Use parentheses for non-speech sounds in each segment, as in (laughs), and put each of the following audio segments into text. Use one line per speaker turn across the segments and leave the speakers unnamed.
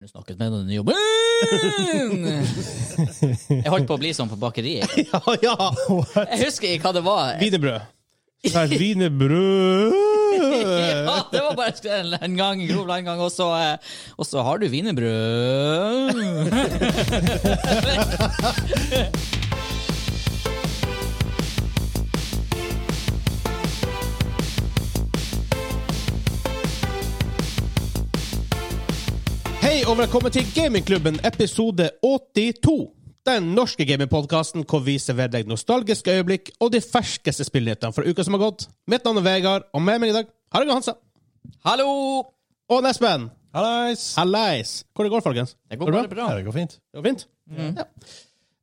Du snakket med den nye (laughs) jobben! Jeg holdt på å bli sånn på bakeriet.
(laughs) Ja, ja!
Jeg husker ikke hva det var.
(laughs) Wienerbrød. Svært wienerbrød!
(laughs) Ja, det var bare en- en gang, en grov lang gang, og så, eh, og så har du wienerbrød. (laughs)
Hei og velkommen til Gamingklubben episode 82. Den norske gamingpodkasten hvor vi serverer deg nostalgiske øyeblikk og de ferskeste spillnyhetene fra uka som har gått. Mitt navn er Vegard, og med meg i dag har jeg Hansa.
Hallo!
Og Nespen.
Hallais!
Hallais. Hvor det går, folkens?
Det går bare bra.
Ja, det går fint.
Det var fint? Ja.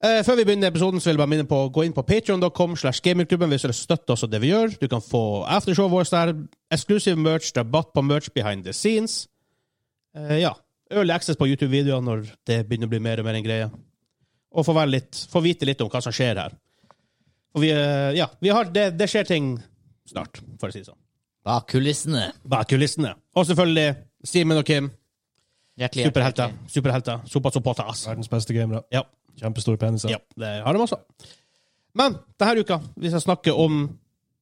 Eh, før vi begynner episoden, så vil jeg bare minne på å gå inn på patreon.com slash gamingklubben hvis dere støtter oss og det vi gjør. Du kan få aftershowet vårt der, exclusive merch, rabatt på merch behind the scenes. Eh, ja. Early access på YouTube-videoer når det begynner å bli mer og mer en greie. Og få, være litt, få vite litt om hva som skjer her. Og vi, eh, ja, vi har, det, det skjer ting snart, for å si det sånn.
Bak kulissene.
Bak kulissene. Og selvfølgelig Simen og Kim.
Hjertelig.
Superhelter. Superhelter. Sopa sopotas.
Verdens beste gamere.
Ja.
Kjempestore peniser.
Ja, det har de også. Men denne uka vi skal snakke om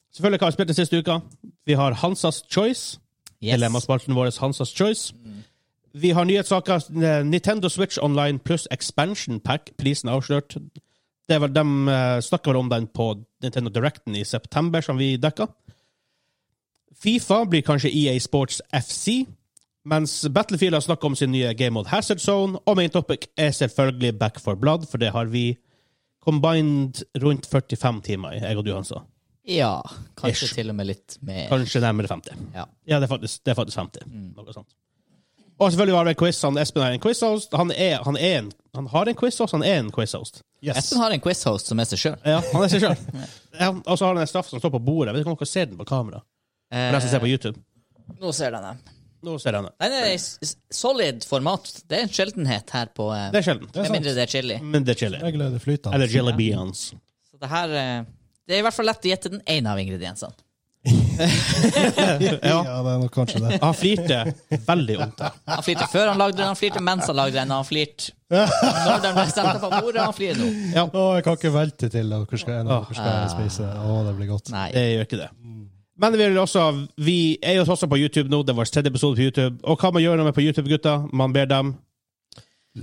Selvfølgelig hva vi spilte den siste uka. Vi har Hansas Choice.
Yes.
Dilemmaspalten vår Hansas Choice. Vi har nyhetssaker. eh, Nintendo Switch Online pluss Expansion Pack. Prisen er avslørt. Det var, de eh, snakka vel om den på Nintendo Directen i september, som vi dekka. Fifa blir kanskje EA Sports FC, mens Battlefield har snakka om sin nye Game of Hazard Zone. Og main topic er selvfølgelig Back for Blood, for det har vi combined rundt 45 timer i, jeg og du, Hansa.
Ja, kanskje
Ish.
til og med litt mer.
Kanskje nærmere 50.
Ja.
Ja, det er faktisk, det er faktisk 50. Noe sånt. Og selvfølgelig har vi en quiz. Han, Espen er en quiz-host. Han, er, han, er en, han har en quiz-host, han er en quiz-host.
Yes.
Espen har en quiz-host som er seg sjøl.
Ja, han er seg sjøl. Ja, og så har han en straff som står på bordet. Jeg vet ikke om dere ser den på kamera. For dere som ser på YouTube.
Nå ser den den.
Nå ser jeg den.
Den er i s- s- solid format. Det er en sjeldenhet her på eh,
Det er sjelden.
er
Med
sant.
mindre det er chili.
Men det er chili.
Regler det flytende.
Eller jelly beans.
Så det her eh, Det er i hvert fall lett å gjette den ene av ingrediensene.
Ja, det er nok kanskje det.
Han flirte veldig vondt. der.
Han flirte før han lagde den, han flirte mens han lagde den, og han flirte når den ble sendt på bordet, og han flirer nå.
Ja,
Å, jeg kan ikke velte til at hvor skal en av dere skal spise. Å, det blir godt.
Nei.
det gjør ikke det. Men vi, vil også, vi er jo også på YouTube nå. Det er vår tredje episode på YouTube. Og hva man gjør når man er på YouTube, gutta? Man ber dem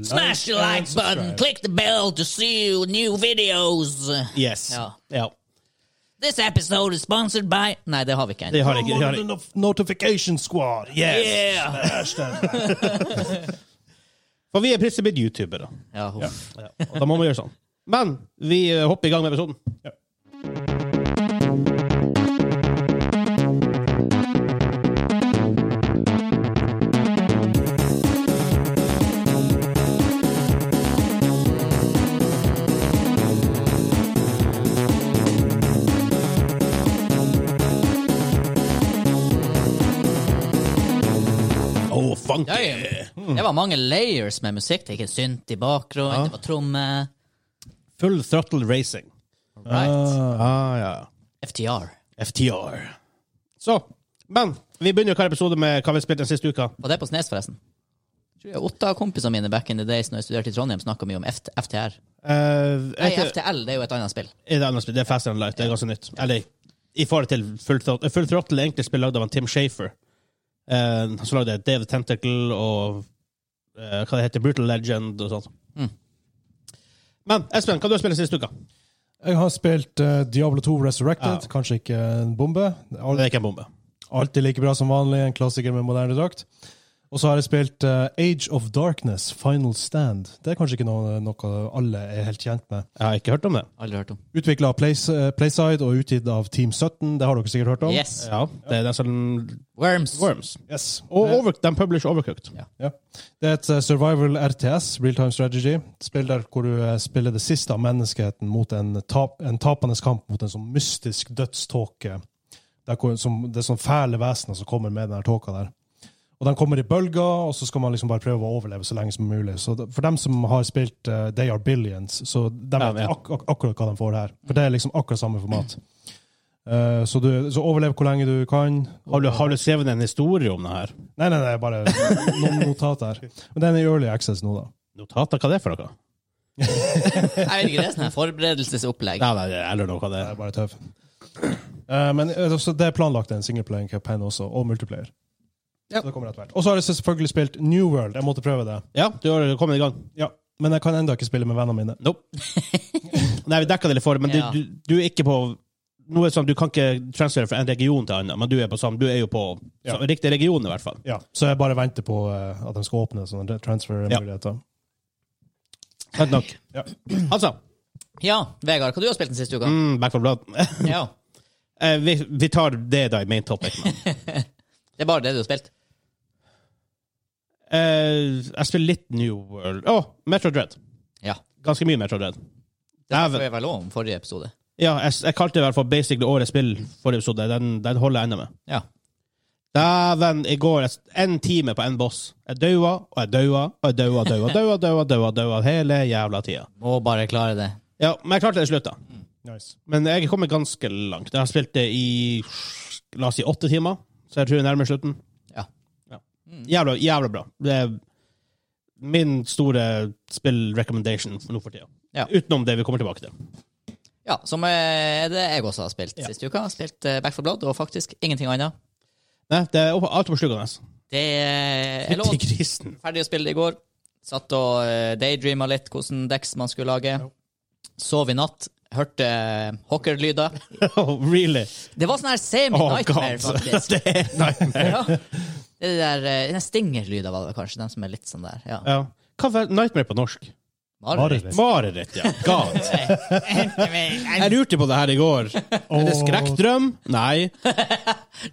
Smash the like button, click the bell to see new videos.
Yes.
Ja.
ja.
This episode is sponsored by Nei, det har vi ikke
Det
ennå.
har jeg ikke. Det har jeg. ikke.
Notification squad! Yes!
Yeah.
For vi er plutselig blitt youtubere.
Ja, huff.
Ja, og da må vi gjøre sånn. Men vi eh, hopper i gang med episoden. Oh, funky!
Ja, ja. Det var mange layers med musikk. Det er ikke synt i bakgrunnen, det var trommer.
Full throttle racing.
Right.
Ah, ja.
FTR.
FTR. Så, men vi begynner jo hver episode med hva vi spilte den siste uka.
Var det på Snes, forresten? Jeg tror jeg Åtte av kompisene mine back in the days når jeg studerte i Trondheim, snakka mye om F- FTR.
Uh,
Nei, FTL det er jo et annet spill.
det, er annet spill, det er Faster Than Light. Det er ganske nytt. Eller i forhold til Full Throttle. Full Throttle er egentlig spill lagd av en Tim Shafer. Eh, Han som lagde Dave Tentacle og eh, hva det heter, Brutal Legend og sånt. Men Espen, hva har du spilt sist uke?
Jeg har spilt eh, Diablo 2 Resurrected.
Ja.
Kanskje ikke en bombe. Al-
Det er ikke en bombe.
Alltid like bra som vanlig. En klassiker med moderne drakt. Og så har jeg spilt eh, Age of Darkness, Final Stand. Det er kanskje ikke noe, noe alle er helt kjent med.
Jeg har ikke hørt om det.
Aldri hørt om.
Utvikla av Playse- Playside og utgitt av Team 17. Det har dere sikkert hørt om.
Yes.
Ja, det er den som
Worms.
Worms.
Yes.
Og
Det,
over, de publisher Overcooked.
ja. det er et eh, survival RTS, real time strategy. Et Spill der hvor du eh, spiller det siste av menneskeheten mot en, tap, en tapende kamp mot en sånn mystisk dødståke. Der hvor, som, det er sånn fæle vesener som kommer med den her tåka der. Og Den kommer i bølger, og så skal man liksom bare prøve å overleve så lenge som mulig. Så det- For dem som har spilt eh, They Are Billions, så de
Ja,
vet
ja.
Ak ak akkurat hva de får her. For det er liksom akkurat samme format. Eh, så, du, så overlev hvor lenge du kan.
Har du, har du skrevet en historie om det her?
Nei, nei, nei, bare noen notater. Men den er i early access nå, da.
Notater, hva er det for noe?
Jeg vet ikke, det er sånn her forberedelsesopplegg.
Nei, nei, eller noe av det.
Det er bare tøv. Eh, men eh, så det er planlagt en singleplaying campaign også, og multiplayer.
Ja.
Så det kommer etter hvert. Og så har jeg selvfølgelig spilt New World. Jeg måtte prøve det.
Ja, du har kommet i gang.
Ja. Men jeg kan ennå ikke spille med vennene mine.
Nope. Nei, vi dekka det litt for, men
Ja.
du, du, du er ikke på nå er det sånn, Du kan ikke transfere fra en region til en annen, men du er, på samme, du er jo på
Ja.
så, riktig region, i hvert fall.
Ja. Så jeg bare venter på eh, at de skal åpne sånne transfer-muligheter.
Sant nok.
Ja.
(clears throat) Altså,
Ja, Vegard, hva du har spilt den siste uka?
mm, back for blood. (laughs)
Ja,
Eh, vi, vi tar det da i main topic. nå.
Det er bare det du har spilt?
Eh, jeg spiller litt New World. Å, Metro Dread.
Ja.
Ganske mye Metro Dread.
Det
Dæven.
får vi vel lov om forrige episode.
Ja, jeg, jeg kalte det i hvert fall basically årets spill forrige episode. Den, den holder jeg ennå med.
Ja.
Dæven, i går én time på én boss. Jeg daua og jeg daua og jeg daua, daua, daua, daua, daua, daua hele jævla tida.
Må bare klare det.
Ja, men jeg klarte det i slutt, da.
Nice.
Men jeg er kommet ganske langt. Jeg har spilt det i la oss si åtte timer, så jeg tror jeg er nærmere slutten.
Ja.
Ja. Jævla, jævla bra. Det er min store spill-recommendation for nå for tida.
Ja.
Utenom det vi kommer tilbake til.
Ja, som eh, det jeg også har spilt siste uka. Spilt eh, Back for Blood, og faktisk ingenting annet.
Nei, det er opp- alt oppslukende.
Det eh, Jeg lå
Fytti grisen.
ferdig å spille det i går. Satt og eh, daydreama litt hvordan decks man skulle lage. Sov i natt. Hørte eh, hockerlyder.
(laughs) Oh, really?
Det var sånn her
Oh,
semi-nightmare,
God.
(laughs) faktisk.
(laughs) det er nightmare.
Ja. Det der, eh, den stingerlyden var det kanskje, den som er litt sånn der. Ja.
Ja. Hva var nightmare på norsk?
(laughs) Mareritt.
Mareritt, ja. God.
eh,
Jeg lurte på det her i går. Er det skrekkdrøm? Nei.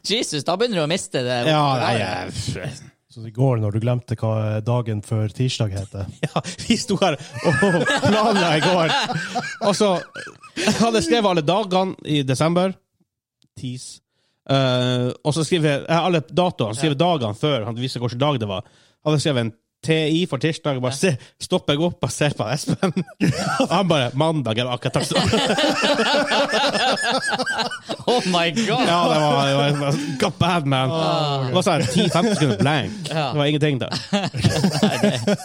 Jesus, da begynner du å miste det.
Ja, nei, jeg-
Så i går, når du glemte hva dagen før tirsdag (laughs) heter
Ja, vi sto her og planla i går. Og så hadde jeg skrevet alle dagene i desember. Tis. Eh, og så skriver jeg eh, alle datoene, skriver dagene før. Han viser hvilken dag det var. Hadde jeg skrevet en TI for tirsdag. Bare se, stopper jeg opp og ser på Espen. Og han bare 'Mandag'. Jeg bare, akkurat takk skal du ha.
Oh my god!
Ja, det var, det var, det var God bad, man. Det var sånn 10-15 sekunder blank.
Ja.
Det var ingenting (laughs) der.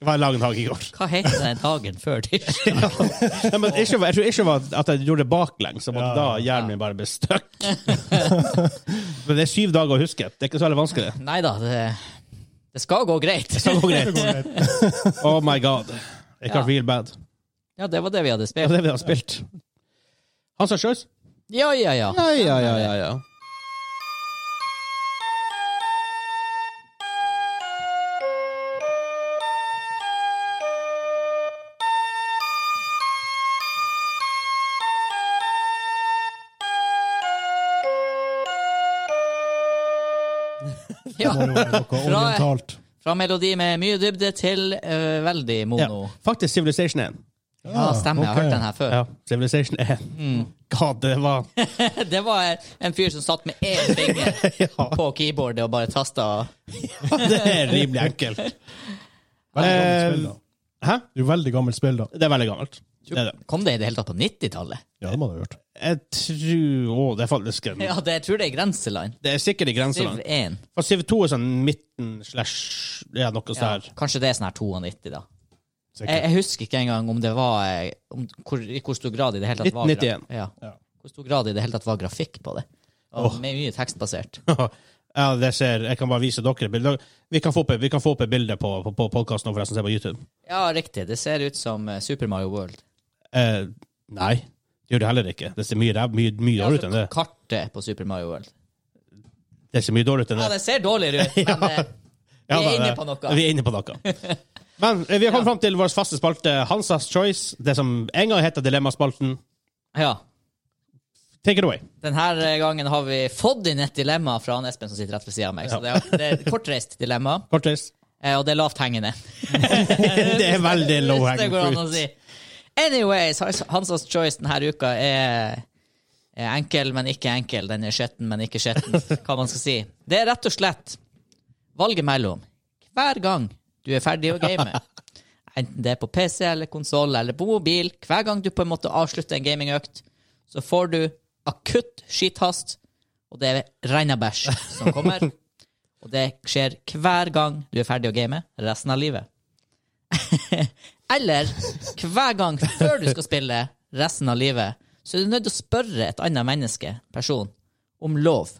Det var en lang dag i går.
Hva heter den dagen før tirsdag?
Nei, men ikke, jeg tror ikke det var at jeg gjorde det baklengs, og at
Ja.
da hjernen min bare ble stuck. (laughs) men det er syv dager å huske. Det er ikke så veldig vanskelig.
(laughs) Nei da, det, det skal gå
(laughs)
greit.
Det går greit. Oh my god. It got
Ja.
real bad.
Ja, det var det vi hadde
Det var
spilt.
det vi har spilt. Hans og Sjøs?
Ja, ja, ja.
Ja, ja, ja, ja, ja.
ja.
Må det være noe orientalt.
Fra melodi med mye dybde til eh, veldig
Oh
mono.
Faktisk Civilization 1.
Ja, stemmer. Jeg har
ok.
hørt den her før.
Ah, Ja, Civilization 1. God, det var (laughs)
Det var en fyr som satt med én finger på keyboardet og bare tasta.
Det er rimelig enkelt.
Veldig gammelt spill, da.
Hæ?
Eh, Det er jo veldig gammelt spill, da.
Det er veldig gammelt. Det er det.
Kom det i det hele tatt på 90-tallet?
Ja, det må du ha gjort.
Jeg tror Å, det er faktisk en
Ja, det, jeg tror det er grenseland.
Det er sikkert i grenseland.
Siv 1.
For Civ 2 er sånn midten slash ja, noe
Ja,
sånt.
kanskje det er sånn her 92, da.
Sikkert.
Jeg, jeg husker ikke engang om det var eh, om, hvor, I hvor stor grad i det hele tatt var
1991.
gra- Ja.
Ja.
Hvor stor grad i det hele tatt var grafikk på det. Og Med mye tekstbasert.
her. (laughs) ja, det ser, jeg kan bare vise dere et bilde. Vi kan få opp, et- vi kan få opp et bilde på, på, på podkasten og forresten se på YouTube.
Ja, riktig. Det ser ut som eh, Super Mario World.
Eh, nei, det gjør det heller ikke. Det ser mye, ræv- mye, mye
Ja,
dårligere ut enn det.
altså, kartet på Super Mario World.
Det ser mye dårligere ut enn
Ja,
det.
det ser dårligere ut, men eh, vi er
Ja, da,
inne
det-
på noe.
Vi er inne på noe.
(laughs)
Men eh, vi har kommet fram til vår faste spalte, Hansas Choice. Det som en gang het Dilemmaspalten.
Ja.
Take it away.
Denne gangen har vi fått inn et dilemma fra han Espen som sitter rett ved siden av meg. Så det er, det er et kortreist dilemma,
Kortreis.
eh, og det er lavt hengende.
(laughs) Det er veldig low
Eh, Hvis det
hanging
går an å
(laughs) fruit.
si. Anyways, Hans- Hansas choice denne uka er, er enkel, men ikke enkel. Den er skjetten, men ikke
(laughs)
skjetten. Hva man skal si. Det er rett og slett valget mellom hver gang du er ferdig å game, enten det er på PC eller konsoll eller på mobil, hver gang du på en måte avslutter en gamingøkt, så får du akutt skithast, og det er regnabæsj som kommer.
(laughs)
og det skjer hver gang du er ferdig å game resten av livet. Eller hver gang før du skal spille resten av livet, så er du nødt til å spørre et annet menneske, person, om lov.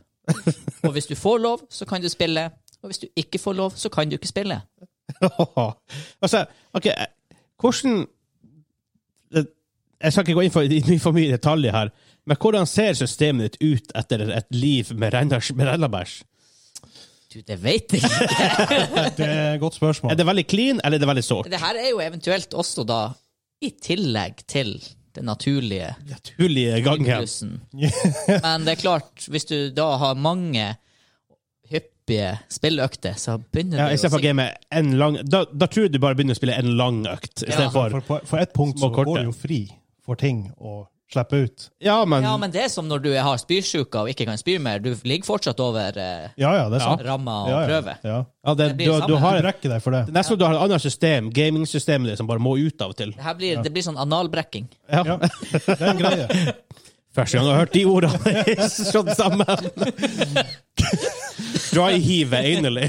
Og hvis du får lov, så kan du spille. Og hvis du ikke får lov, så kan du ikke spille.
altså, OK, eh, hvordan eh, Jeg skal ikke gå inn for, i for mye detaljer her, men hvordan ser systemet ditt ut etter et liv med renners- med rennabæsj?
Du, det veit jeg ikke.
Det er et eh,
Er
godt spørsmål.
det veldig clean, eller er det veldig sårt?
Det her er jo eventuelt også da i tillegg til det naturlige
Naturlige gangen.
plussen. Men det er klart, hvis du da har mange hyppige spilløkter, så begynner
Ja,
du
I stedet for å game en lang da, da tror jeg du bare begynner å spille en lang økt. I
Ja.
stedet for
For, på- for ett punkt så
Små kortet.
går det jo fri for ting å slippe ut.
Ja, men,
Ja, men det er som når du har spysjuka og ikke kan spy mer. Du ligger fortsatt over eh,
Ja, ja, det er sant.
ramma og
Ja, ja,
prøver.
ja.
ja, det,
det blir
du,
det samme.
du
Du
har
brekker deg for det.
Nesten som du har et annet system, gamingsystemet ditt, som bare må ut av og til.
Det, her blir, det blir sånn analbrekking.
Ja. (laughs)
Ja. Det er en greie.
Første gang jeg har hørt de ordene slått sammen. Dry heave anally.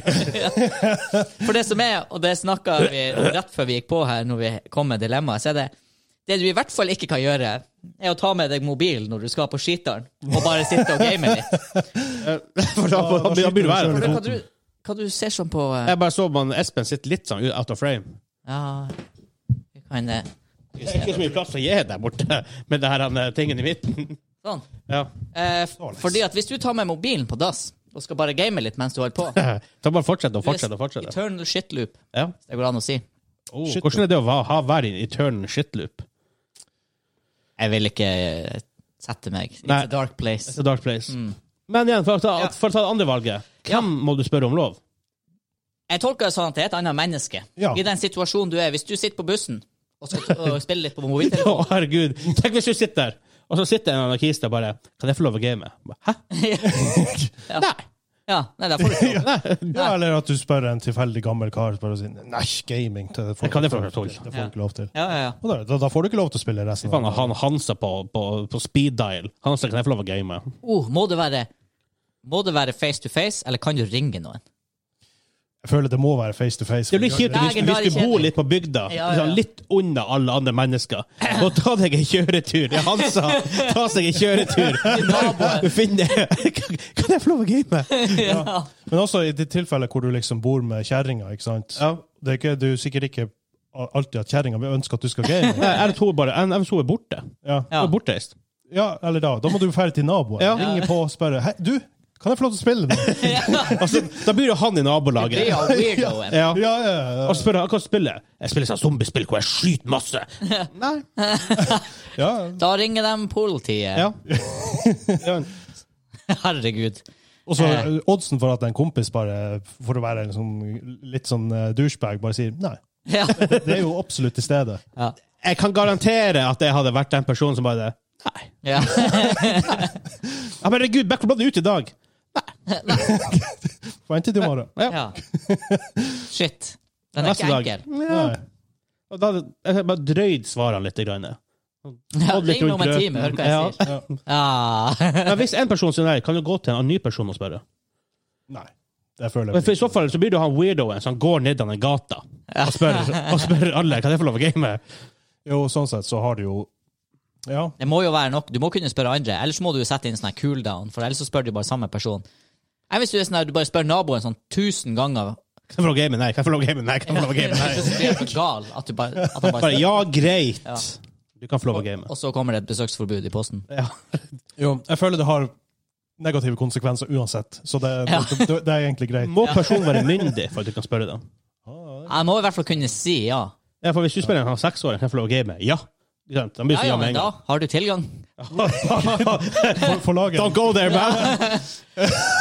For det som er, og det snakka vi om rett før vi gikk på her, når vi kom med dilemmaet, så er det det du i hvert fall ikke kan gjøre, er å ta med deg mobilen når du skal på skiteren, og bare sitte og game
(laughs)
litt.
For da, da, da, blir du
For
verre.
det, hva, du, hva du ser sånn på eh,
Jeg bare så man Espen sitter litt sånn out of frame.
Ja, vi kan eh,
Det er ikke så mye plass å gi der borte med det her han, eh, tingen i midten.
Sånn.
Ja.
Eh, fordi at hvis du tar med mobilen på dass og skal bare game litt mens du holder på
Så bare fortsett og (laughs) fortsett
du
og
er
fortsett.
Eternal shitloop,
Ja.
hvis det går an å si.
Oh,
Shit.
hvordan er det å va- ha være i turn shitloop?
Jeg vil ikke eh, sette meg. It's
Nei.
a dark place.
It's a dark place. Men igjen, for å, ta,
Ja.
for å ta det andre valget. Hvem må du spørre om lov?
Jeg tolker det sånn at det er et annet menneske.
Ja.
I den situasjonen du er. Hvis du sitter på bussen og skal t- og spille litt på
Å, (laughs)
mobiltelefonen
herregud. Tenk hvis du sitter der, og så sitter en anarkist der bare Kan jeg få lov å game? Bare, Hæ?
ja. Nei! Ja, nei, da får du ikke lov.
Ja, eller at du spør en tilfeldig gammel kar bare og sier Nei, gaming det får,
Det kan jeg
du
få
ikke
lov
lov
til.
til. Det får du ikke lov til.
Ja, ja, ja.
Og da, da, da får du ikke lov til å spille resten
Faen,
av
han Hansa på, på, på speed dial. Hansa, kan jeg få lov å game?
Oh, må det være Må det være face to face, eller kan du ringe noen?
Jeg føler det må være face to face.
Det blir kjipt
Nei,
hvis,
det er
hvis du
kjedelig.
bor litt på bygda,
Ja, ja, ja.
sånn litt unna alle andre mennesker, og ta deg en kjøretur. Det er Hansa, ta seg en
(laughs)
kjøretur. Finn det. Kan jeg få lov å (laughs) game?
Ja.
Men også i det tilfellet hvor du liksom bor med kjerringa, ikke sant.
Ja.
Det er ikke, du er sikkert ikke alltid at kjerringa vil ønske at du
(laughs)
skal game.
Nei, jeg tror bare jeg, jeg tror jeg er borte.
Ja.
Ja.
Jeg er bortreist.
ja, eller da. Da må du dra til naboen.
Ja.
Ringe på og spørre Hei, du, kan jeg få lov til å spille nå?
Altså, da blir det han i
Det er
nabolaget.
jo weirdoen.
Ja.
(laughs) Ja, ja, ja.
Og spør han, hva spiller jeg? Jeg spiller sånn zombiespill hvor jeg skyter masse. Nei.
ja.
Da ringer de politiet.
Ja.
(laughs)
Ja.
Herregud.
Og så
Eh.
oddsen for at en kompis bare, for å være en sånn, litt sånn eh, douchebag, bare sier nei.
Ja.
Det er jo absolutt til stede.
Ja.
Jeg kan garantere at jeg hadde vært den personen som bare Nei.
ja. (laughs)
Ja, men herregud, Backforbladet er ute i dag.
Får vente til i morgen.
Ja.
ja. Shit. Den er
Neste
ikke
dag.
enkel.
Nei.
Og da hadde jeg hadde bare drøyd svarene litt. Grann.
Ja,
Hadde litt
ring om
rundt
en
grøten.
time, hør hva jeg sier. Ja.
Men hvis en person sier nei, kan du gå til en annen ny person og spørre?
Nei. Det føler
Men
jeg
for I så fall så blir du han weirdoen som går nedover gata og spør, og spør alle kan jeg få lov å game.
Jo, sånn sett så har du jo Ja.
Det må jo være nok. Du må kunne spørre andre. Ellers må du jo sette inn sånn her cooldown, for ellers så spør du bare samme person. Jeg hvis du er sånn her, du bare spør naboen sånn tusen ganger,
Kan jeg få lov å game? Nei. Kan jeg få lov å game? Nei. Kan jeg få lov å game? Nei.
så blir jeg så gal at du bare, at han
Bare,
bare
ja, greit.
Ja.
Du kan få lov å game.
Og så kommer det et besøksforbud i posten.
Ja.
Jo, jeg føler det har negative konsekvenser uansett, så det,
Ja.
det, det, det er egentlig greit.
Må personen være myndig for at du kan spørre dem?
Jeg må i hvert fall kunne si ja.
Ja, for Hvis du spør en sånn seksåring kan jeg få lov å game, ja. Ikke sant? Han blir
Ja,
så
ja,
ja med
men
en
da (laughs)
gang.
har du tilgang.
For, for
Don't
laget.
go there, man!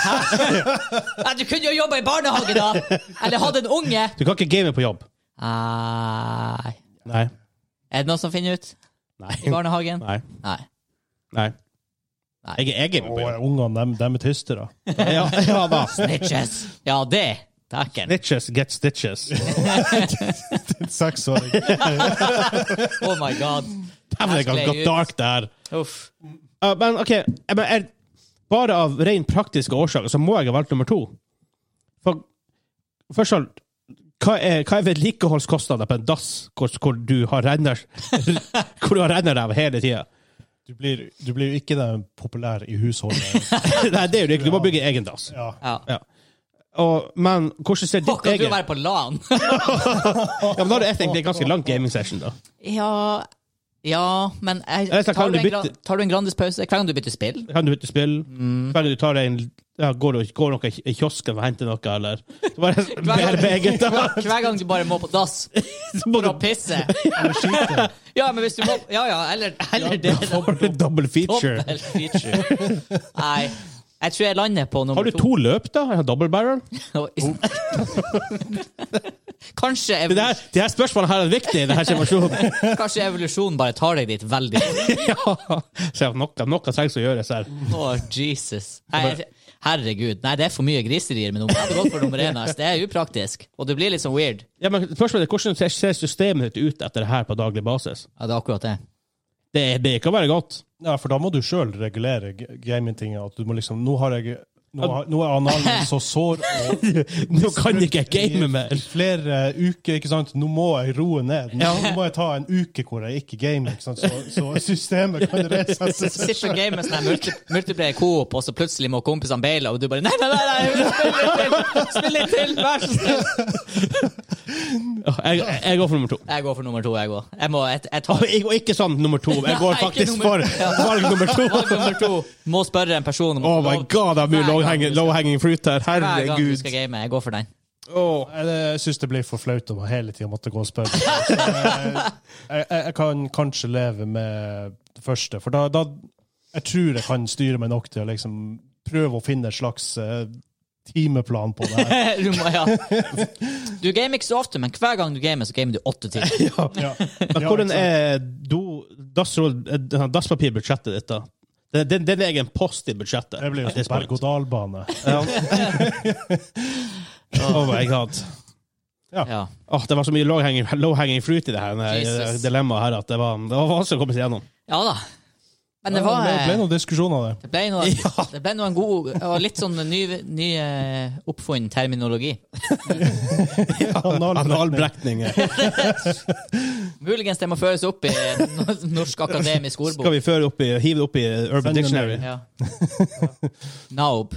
Nei, du kunne jo jobba i barnehage, da! Eller hatt en unge!
Du kan ikke game på jobb.
Nei.
Nei.
Er det noen som finner ut
Nei.
i barnehagen?
Nei.
Nei.
Nei.
Nei.
Jeg, jeg gamer på
Og
jobb.
ungene, dem, dem er tystere.
Ja, ja da.
Bitches. Ja, det. Dæken.
Snitches get stitches.
Seksåring.
Oh my god. Oh
Dæven, det kan
Herlig
gå
ut.
dark der.
Uff.
Ja, men OK, jeg, men jeg, bare av rent praktiske årsaker så må jeg ha valgt nummer to. For først av alt, hva er, hva er vedlikeholdskostnader på en dass hvor, hvor du har renner (laughs) Hvor du har renner av hele tida?
(laughs) Du blir, du blir jo ikke den populær i husholdet.
(laughs) Nei, det er jo det ikke. Du må bygge egen dass.
Ja.
Ja.
Og, men hvordan ser
Å,
ditt
kan du
eget
være på LAN?
Ja, men Da har du egentlig en ganske lang gaming session, da.
ja Ja, men jeg,
Eller så
tar,
kan
du
du
en, gra-
bytte-
tar du en Grandis pause hver gang du bytter spill?
(laughs) Kan du ut og spille?
Mm.
Kan du ta deg en ja, Går du går noe i kiosken og henter noe, eller?
(laughs)
Så bare mer eget, da. (laughs)
hver, hver gang du bare må på dass
Så må
for
du
å pisse.
(laughs)
Eller skite.
Ja, men hvis du må Ja ja, eller, eller det. da.
dobbelt double feature.
Dobbel feature. Nei. Jeg tror jeg lander på nummer
Har du to løp, da? Jeg har double barrel.
(laughs)
(laughs)
kanskje,
Det
evol
her, det her spørsmålet her er viktig i denne
(laughs)
situasjonen.
kanskje evolusjonen bare tar deg dit
(laughs)
veldig fort.
ja. Så jeg har noe, noe trengs å gjøres her.
Å, Jesus. Nei, herregud. Nei, det er for mye griserier med nummer. Jeg hadde gått for nummer én. ass. Det er upraktisk. Og det blir litt sånn weird.
Ja, men spørsmålet er hvordan ser- ser systemet ditt ut etter det her på daglig basis?
Ja, det er akkurat det.
Det er det kan være godt.
Ja, for da må du sjøl regulere g- gamingtinget. At du må liksom Nå har jeg nå, har- nå er analen min så sår og
(laughs) Nå kan ikke jeg game mer.
i flere uker, ikke sant? Nå må jeg roe ned. Nå, nå må jeg ta en uke hvor jeg ikke gamer, ikke sant? Så, så systemet kan
(laughs)
resette seg.
Sitter og gamer med sånn her multi multiplayer coop, og så plutselig må kompisene baile, og du bare Nei, nei, nei! nei spill litt til! Spill litt til! Vær så snill!
Ja, Jeg, jeg går for nummer to.
Jeg går for nummer to, jeg òg. Jeg må jeg, jeg
Og
tar
jeg- og ikke sånn nummer to. Jeg
Nei,
går
ikke
faktisk
nummer-
for valg nummer to.
valg nummer to. Må spørre en person om
Oh my god, det er mye
Hver gang
low
du
hanging,
skal-
low hanging fruit her.
Hver gang du
Herregud.
skal game, jeg går for den. (laughs)
Åh.
Jeg, jeg syns det blir for flaut om jeg hele tida måtte gå og spørre. Så Jeg, jeg, jeg kan kanskje leve med det første, for da, da Jeg tror jeg kan styre meg nok til å liksom prøve å finne en slags eh, timeplan på det her.
Du må, ja. Du gamer ikke så ofte, men hver gang du gamer, så gamer du åtte timer.
(laughs) Ja.
Men
Ja,
hvordan
ikke sant?
er do- dassrull- eh, dasspapirbudsjettet ditt, da? Det, det, det er en egen post i budsjettet.
Det blir jo sånn berg-og-dal-bane.
(laughs)
Oh my god.
Ja.
Åh, det var så mye low hanging, low -hanging fruit i det her, denne, eh,
Jesus.
dilemmaet her at det var, det var vanskelig å komme seg gjennom.
ja da. Men det
Det
var
ble- ble noen diskusjoner, det.
Det ble noe, det ble noe en god og litt sånn ny, ny eh, oppfunnet terminologi.
Analbrekning.
Muligens det må føres opp i no- Norsk akademisk
Skal
ordbok.
vi føre opp i, hive det opp i Urban
Send den
Dictionary?
mail.
Ja. NAOB.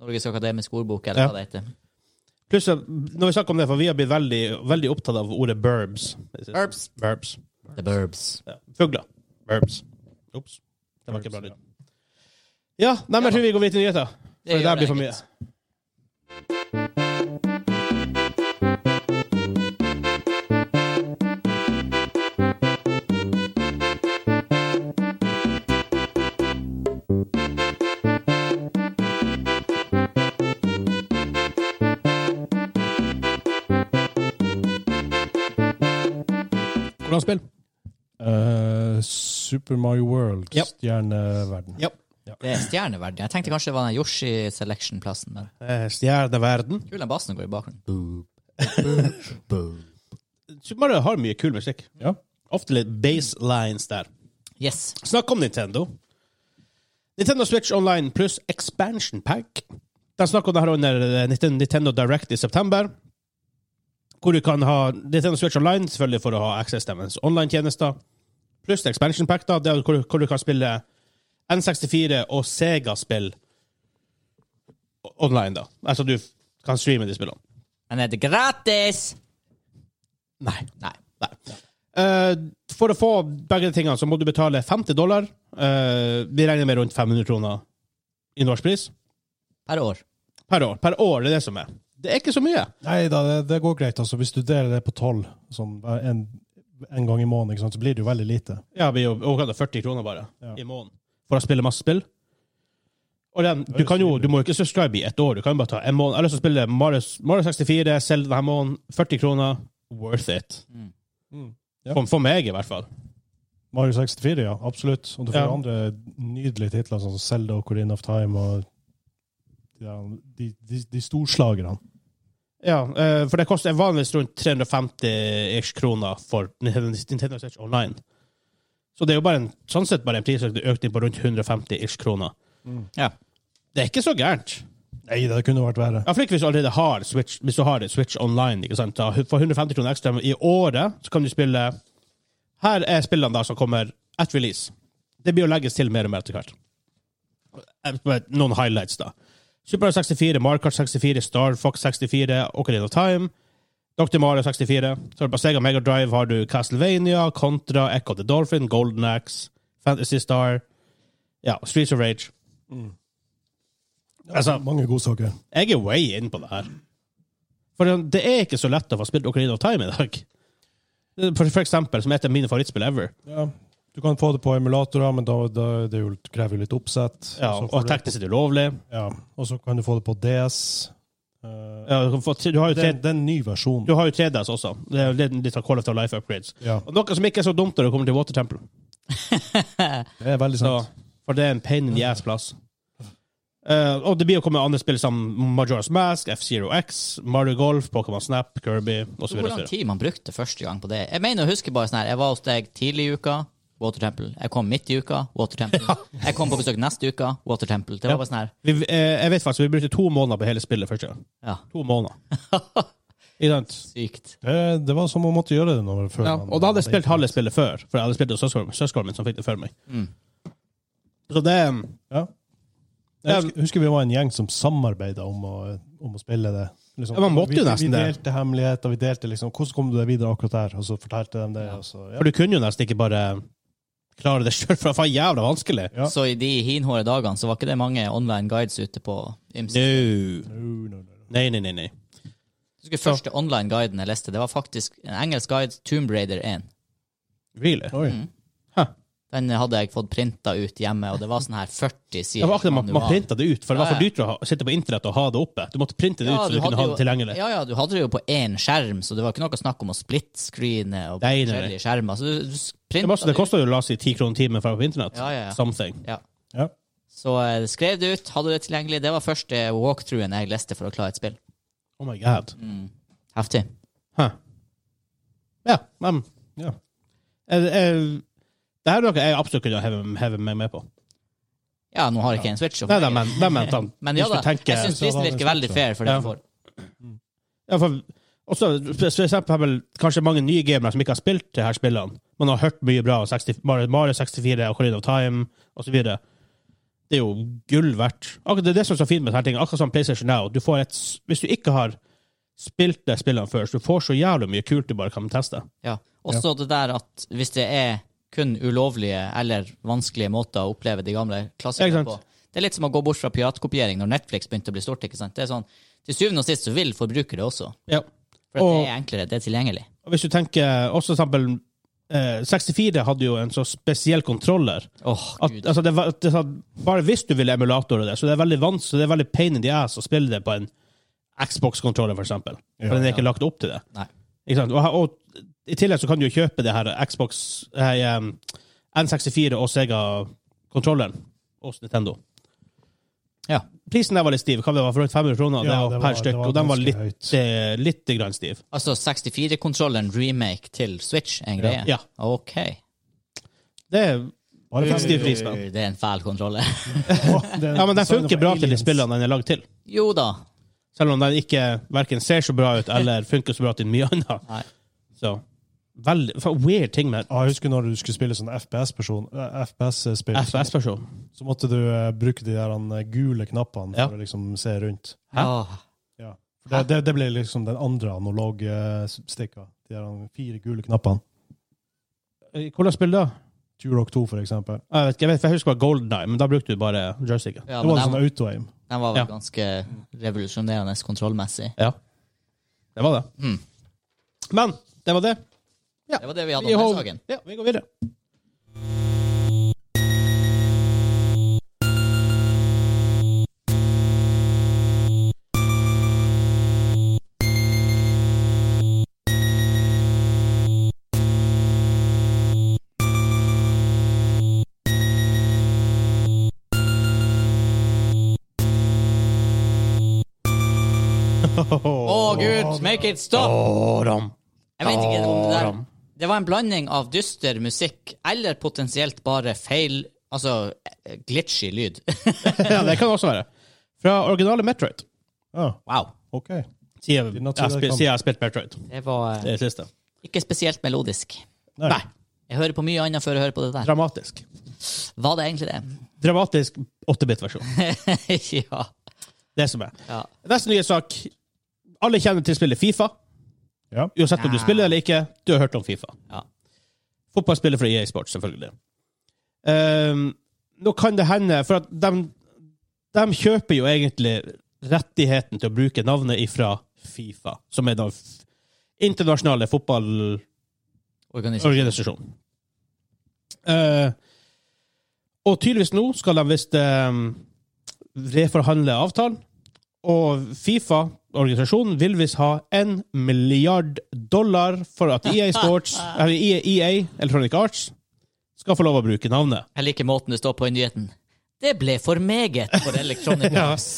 Norges akademisk ordbok, eller
Ja.
hva det heter.
Pluss, at- når vi snakker om det, for vi har blitt veldig, veldig opptatt av ordet burbs.
Burbs.
Burbs.
The Burbs.
Ja. Fugler. Burbs. Ops. Det var ikke bra lyd. Ja, nei, men jeg tror vi går videre til nyheter.
Det
For det
gjør
der
det,
blir for mye.
gitt.
Hvordan spill?
Eh, Super Mario World,
Ja.
stjerneverden.
Ja.
Det er stjerneverden. Jeg tenkte kanskje det var den Yoshi Selection-plassen. men
Eh, Stjerneverden.
Kul den bassen går i bakgrunnen.
Super Mario har mye kul musikk.
Ja.
Ofte litt baselines der.
Yes.
Snakk om Nintendo. Nintendo Switch Online pluss Expansion Pack. De snakker om det her under eh, Nintendo- Nintendo Direct i september. Hvor du kan ha Nintendo Switch Online selvfølgelig for å ha access til deres online-tjenester. Pluss Expansion Pack, da, der hvor, hvor du kan spille N64 og Sega-spill o- online. da. Altså du f- kan streame de spillene.
Men er det gratis?
Nei.
Nei.
Nei. Eh, for å få begge de tingene, så må du betale 50 dollar. Eh, vi regner med rundt 500 kroner i norskpris
Per år.
per år. Per år, det er det som er. Det er ikke så mye.
Nei da, det, det går greit. altså. Hvis du deler det på tolv sånn, hver- en, en gang i måneden, ikke sant? så blir det jo veldig lite.
Ja, vi er jo overkant av 40 kroner bare
Ja.
i måneden for å spille masse spill. Og den, du, kan jo, du må jo ikke subscribe i ett år. Du kan jo bare ta en måned. Jeg har lyst til å spille Mario, Mario 64, selge denne måneden. 40 kroner. Worth it. Mm.
Ja.
For, for meg, i hvert fall.
Mario 64, ja. Absolutt. Og du får
Ja.
andre nydelige titler, sånn som Zelda og Corinne of Time og de der- de, de, de storslagerne.
Ja, eh, for det koster vanligvis rundt 350 ish kroner for Nintendo Switch Online. Så det er jo bare en, sånn sett bare en prisøkning økning på rundt 150 ish kroner.
Ja.
Det er ikke så gærent.
Nei, det kunne vært verre.
Iallfall ikke hvis du allerede har Switch, hvis du har et Switch online. ikke sant? Da, for 150 kroner ekstra i året så kan du spille Her er spillene da som kommer at release. Det blir å legges til mer og mer etter hvert. Eh, med Noen highlights, da. Super Mario 64, Markart 64, Star Fox 64, Ocarina of Time, Dr. Mario 64. Så har du på Sega Mega Drive har du Castlevania, Contra, Echo the Dolphin, Golden Axe, Fantasy Star, ja, Streets of Rage. Altså,
Mange godsaker.
jeg er way in på det her. For det er ikke så lett å få spilt Ocarina of Time i dag. For, for eksempel, som er et av mine favorittspill ever.
Ja. Du kan få det på emulatorer, men da, da det er jo, det krever jo litt oppsett.
Ja,
så får
og
du-
teknisk sett ulovlig.
ja. og så kan du få det på DS. Eh,
Ja, du, kan få, du, har jo
det,
tre,
er- det er en ny versjon.
du har jo 3DS også. Det er jo litt, litt av Call of the Life upgrades.
Ja,
Og noe som ikke er så dumt når det kommer til Water Temple.
det er veldig
Så,
sant.
for det er en pain in the ass-plass. og det blir å komme andre spill som Majora's Mask, F-Zero X, Mario Golf, Pokémon Snap, Kirby osv.
Hvor lang tid man brukte første gang på det? Jeg mener å huske bare sånn her, jeg var hos deg tidlig i uka, Water Temple. Jeg kom midt i uka, Water
(laughs)
Temple. Jeg kom på besøk neste uke, Water Temple. Det var bare sånn her.
Vi, eh, jeg vet faktisk, vi brukte to måneder på hele spillet første gang.
Ja,
To (laughs) måneder. Ikke sant?
sykt.
Det, Eh, det var som om man måtte gjøre det når før.
Ja,
man-
og da hadde jeg spilt halve spillet før, for jeg hadde spilt hos søskenen søskenen min, som fikk det før meg.
Mm.
Så det
Ja. Jeg husker, husker vi var en gjeng som samarbeida om, å- om å spille det. Liksom,
Ja, man måtte jo
vi,
nesten
Vi
det.
delte hemmeligheter, vi delte liksom Hvordan kom du deg videre akkurat der? Og så fortalte de det. Og så, ja.
For du kunne jo nesten ikke bare klare det sjøl, for det var jævla vanskelig.
Ja.
Så i de hinhåre dagene så var ikke det mange online guides ute på ymse.
No.
No, no, no.
Nei, nei, nei. nei.
Jeg husker første online guiden jeg leste, det var faktisk en engelsk guide, Tomb Raider 1.
Really?
Oi.
Mm.
Huh.
Den hadde jeg fått printa ut hjemme, og det var sånn her 40 sider.
Det var akkurat Man, man
manual.
printa det ut, for det var
Ja,
for
ja.
dyrt å ha, sitte på internett og ha det oppe. Du måtte printe det
Ja,
ut så du,
du hadde
kunne ha
jo-
det tilgjengelig.
Ja, ja, du hadde det jo på én skjerm, så det var ikke noe snakk om å splitscreene og
Nei, nei, nei.
forskjellige skjermer. Så du, du s-
Det,
printa
er masse- det
det ut.
kosta jo la oss si ti kroner timen for å være på internett.
Ja, ja, ja.
Something.
Ja.
Ja.
Så eh, skrev det ut, hadde det tilgjengelig. Det var første walkthroughen jeg leste for å klare et spill.
Oh
Mm.
my god.
Heftig.
Huh. Ja, men
Ja.
eh, eh, Det her er noe jeg absolutt kunne heve, heve meg med på.
Ja, nå har jeg ikke en Switch. å få
Nei da,
meg.
men, men, men, sånn,
(laughs) men ja
hvis
da,
du tenker-
jeg syns
så
prisen
var det
virker veldig
Switch,
fair for det
ja.
du får.
Ja, for, også, for eksempel, kanskje mange nye gamere som ikke har spilt de her spillene, men har hørt mye bra om 60, Mario Mario 64 og Corrida of Time osv. Det er jo gull verdt. Akkurat Det er det som er så fint med denne tingen. Akkurat som PlayStation Now. Du får et, s- hvis du ikke har spilt de spillene før, så du får så jævlig mye kult du bare kan teste.
Ja. Også det der at hvis det er kun ulovlige eller vanskelige måter å oppleve de gamle klassikerne
Ikke
på
sant?
Det er litt som å gå bort fra piratkopiering når Netflix begynte å bli stort. ikke sant? Det er sånn, Til syvende og sist så vil forbrukere også.
Ja.
For at
Og-
det er enklere, det er tilgjengelig.
Og hvis du tenker også for eksempel eh, 64 hadde jo en så spesiell kontroller.
Åh,
At,
gud.
altså, det var, det, var- bare hvis du vil emulatorer det, så det er veldig vanskelig, det er veldig pain in the ass å spille det på en Xbox-kontroller, for eksempel. For
Ja,
den er ikke lagt opp til det.
Nei.
Ikke sant? Og, og i tillegg så kan du jo kjøpe det her Xbox eh, um, N64 og Sega-kontrolleren hos Nintendo.
Ja.
Prisen der var litt stiv. Hva det var for rundt 500 kroner
Ja,
det
det
var,
var-
per stykk,
det var
og den var
ganske
litt,
høyt.
eh, litt grann stiv.
Altså 64-kontrollen remake til Switch er en greie?
Ja.
OK.
Det er
Bare
Litt stiv
fem-
pris, men.
Uh, Det er en fæl kontrolle.
Å, det er
Ja, men den
designet
funker
av
bra til de
aliens.
spillene den er lagd til.
(laughs) Jo da.
Selv om den ikke hverken ser så bra ut (laughs) eller funker så bra til mye annet.
Nei.
Så veldig for weird ting med
Ja, jeg husker når du skulle spille sånn FPS-person, eh, FPS-spill, så,
FPS-person.
så måtte du eh, bruke de der eh, gule knappene
Ja.
for å liksom se rundt.
Hæ?
Åh.
Ja. For det, det, det ble liksom den andre analoge eh, stikka. De der eh, fire gule knappene.
Hvordan spill da?
Turok 2, for eksempel.
Jeg vet ikke, jeg, vet, for jeg husker det var Golden Eye, men da brukte du bare joysticken.
Ja,
det
men
var sånn
den,
auto-aim.
den var vel
Ja.
ganske revolusjonerende kontrollmessig.
Ja. Det var det.
Mm.
Men det var det.
Det var det vi
Vi,
hadde om den
hov-
saken.
ja, vi går videre.
Å, gud! Make it stop! Jeg vet ikke om det der Det var en blanding av dyster musikk eller potensielt bare feil Altså eh, glitchy lyd.
(laughs)
(laughs)
ja, det kan det også være. Fra originale Metroid.
Ah,
Wow.
OK.
Siden
Did
jeg,
not see that
spi-
come.
siden jeg har spilt Metroid.
Det var eh,
Det er det siste.
ikke spesielt melodisk.
Nei.
Nei.
Jeg hører på mye annet før jeg hører på det der.
Dramatisk.
Var det egentlig det? (laughs)
Dramatisk 8-bit-versjon.
ja.
Det som er.
ja.
Neste nye sak. Alle kjenner til spillet Fifa.
Ja.
Uansett om du
Ja.
spiller eller ikke, du har hørt om Fifa.
Ja.
Fotballspiller fra EA Sports, selvfølgelig. Ehm, nå kan det hende, for at de, de kjøper jo egentlig rettigheten til å bruke navnet ifra Fifa, som er den f- internasjonale fotballorganisasjonen.
Organisert.
Eh, og tydeligvis nå skal de visst ehm, reforhandle avtalen, og Fifa, organisasjonen, vil visst ha en milliard dollar for at EA Sports, eller E EA, Electronic Arts, skal få lov å bruke navnet.
Jeg liker måten det står på i nyheten. Det ble for meget for
(laughs)
Electronic Arts.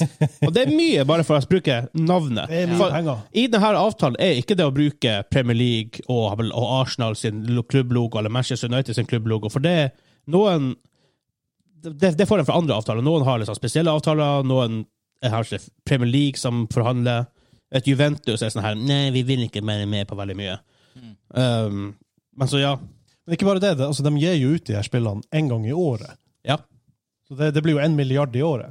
Og det er mye bare for å bruke navnet.
Det er mye
For
penger.
I denne avtalen er ikke det å bruke Premier League og, og Arsenal sin lo- klubblogo eller Manchester United sin klubblogo, for det er noen det, det får en fra andre avtaler. Noen har liksom spesielle avtaler, noen er kanskje Premier League som forhandler. Et Juventus er sånn her Nei, vi vil ikke være med på veldig mye. Um, men så, ja.
Men ikke bare det, det altså, de gir jo ut de her spillene én gang i året.
Ja.
Så det, det blir jo én milliard i året.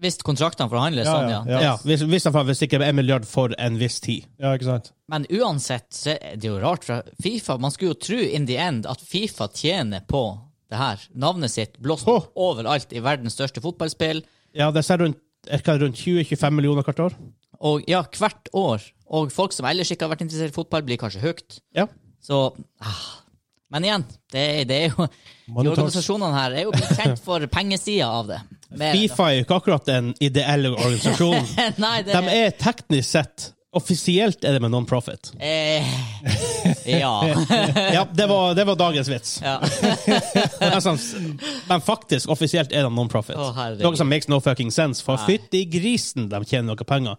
Hvis kontraktene forhandles
Ja,
sånn,
ja,
ja.
ja.
ja hvis, hvis, de får- hvis ikke en milliard for en viss tid.
Ja, ikke sant?
Men uansett, så er det jo rart fra Fifa. Man skulle jo tro in the end at Fifa tjener på det her. Navnet sitt blåst
Hå.
overalt i verdens største fotballspill.
Ja, det ser rundt, er ikke det rundt 20-25 millioner hvert år.
Og ja, hvert år. Og folk som ellers ikke har vært interessert i fotball, blir kanskje hooked.
Ja.
Så ah. Men igjen, det, det er jo De
Money talks.
organisasjonene her er jo blitt kjent for pengesida av det. Mer-
Fifa er jo ikke akkurat en ideell organisasjon.
Nei, det
De er teknisk sett Offisielt er det med non-profit.
eh,
(laughs)
Ja.
Ja, det var, det var dagens vits.
ja.
(laughs) Men sånn, Men faktisk, offisielt er de non-profit.
Å, herregud.
noe som makes no fucking sense. For fytti grisen, de tjener noe penger.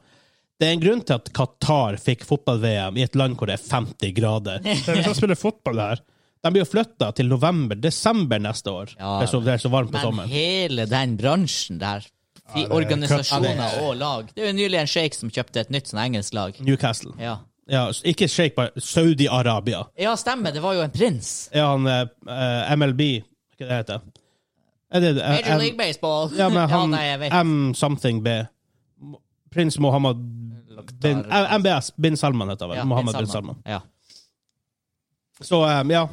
Det er en grunn til at Qatar fikk fotball-VM i et land hvor det er 50
(laughs)
grader. Så Hvis de spiller fotball her De blir jo flytta til november-desember neste år.
Ja.
det, er så, det er så varmt på
Men
sommeren.
hele den bransjen der, fi- organisasjoner og lag Det er jo nylig en sjeik som kjøpte et nytt sånn engelsk lag.
Newcastle.
Ja.
Ja, s- ikke Sheikh, bare Saudi-Arabia.
ja, stemmer. Det var jo en prins.
Er han eh, eh, MLB Hva det heter er det? eh,
Major
M-
League Baseball.
Ja,
(laughs)
men han
nei, jeg vet.
M something B. Prins Mohammed bin, eh, MBS. Bin Salman heter han vel.
Ja,
Mohammed
Bin
bin Salman.
Ja.
Så eh, ja,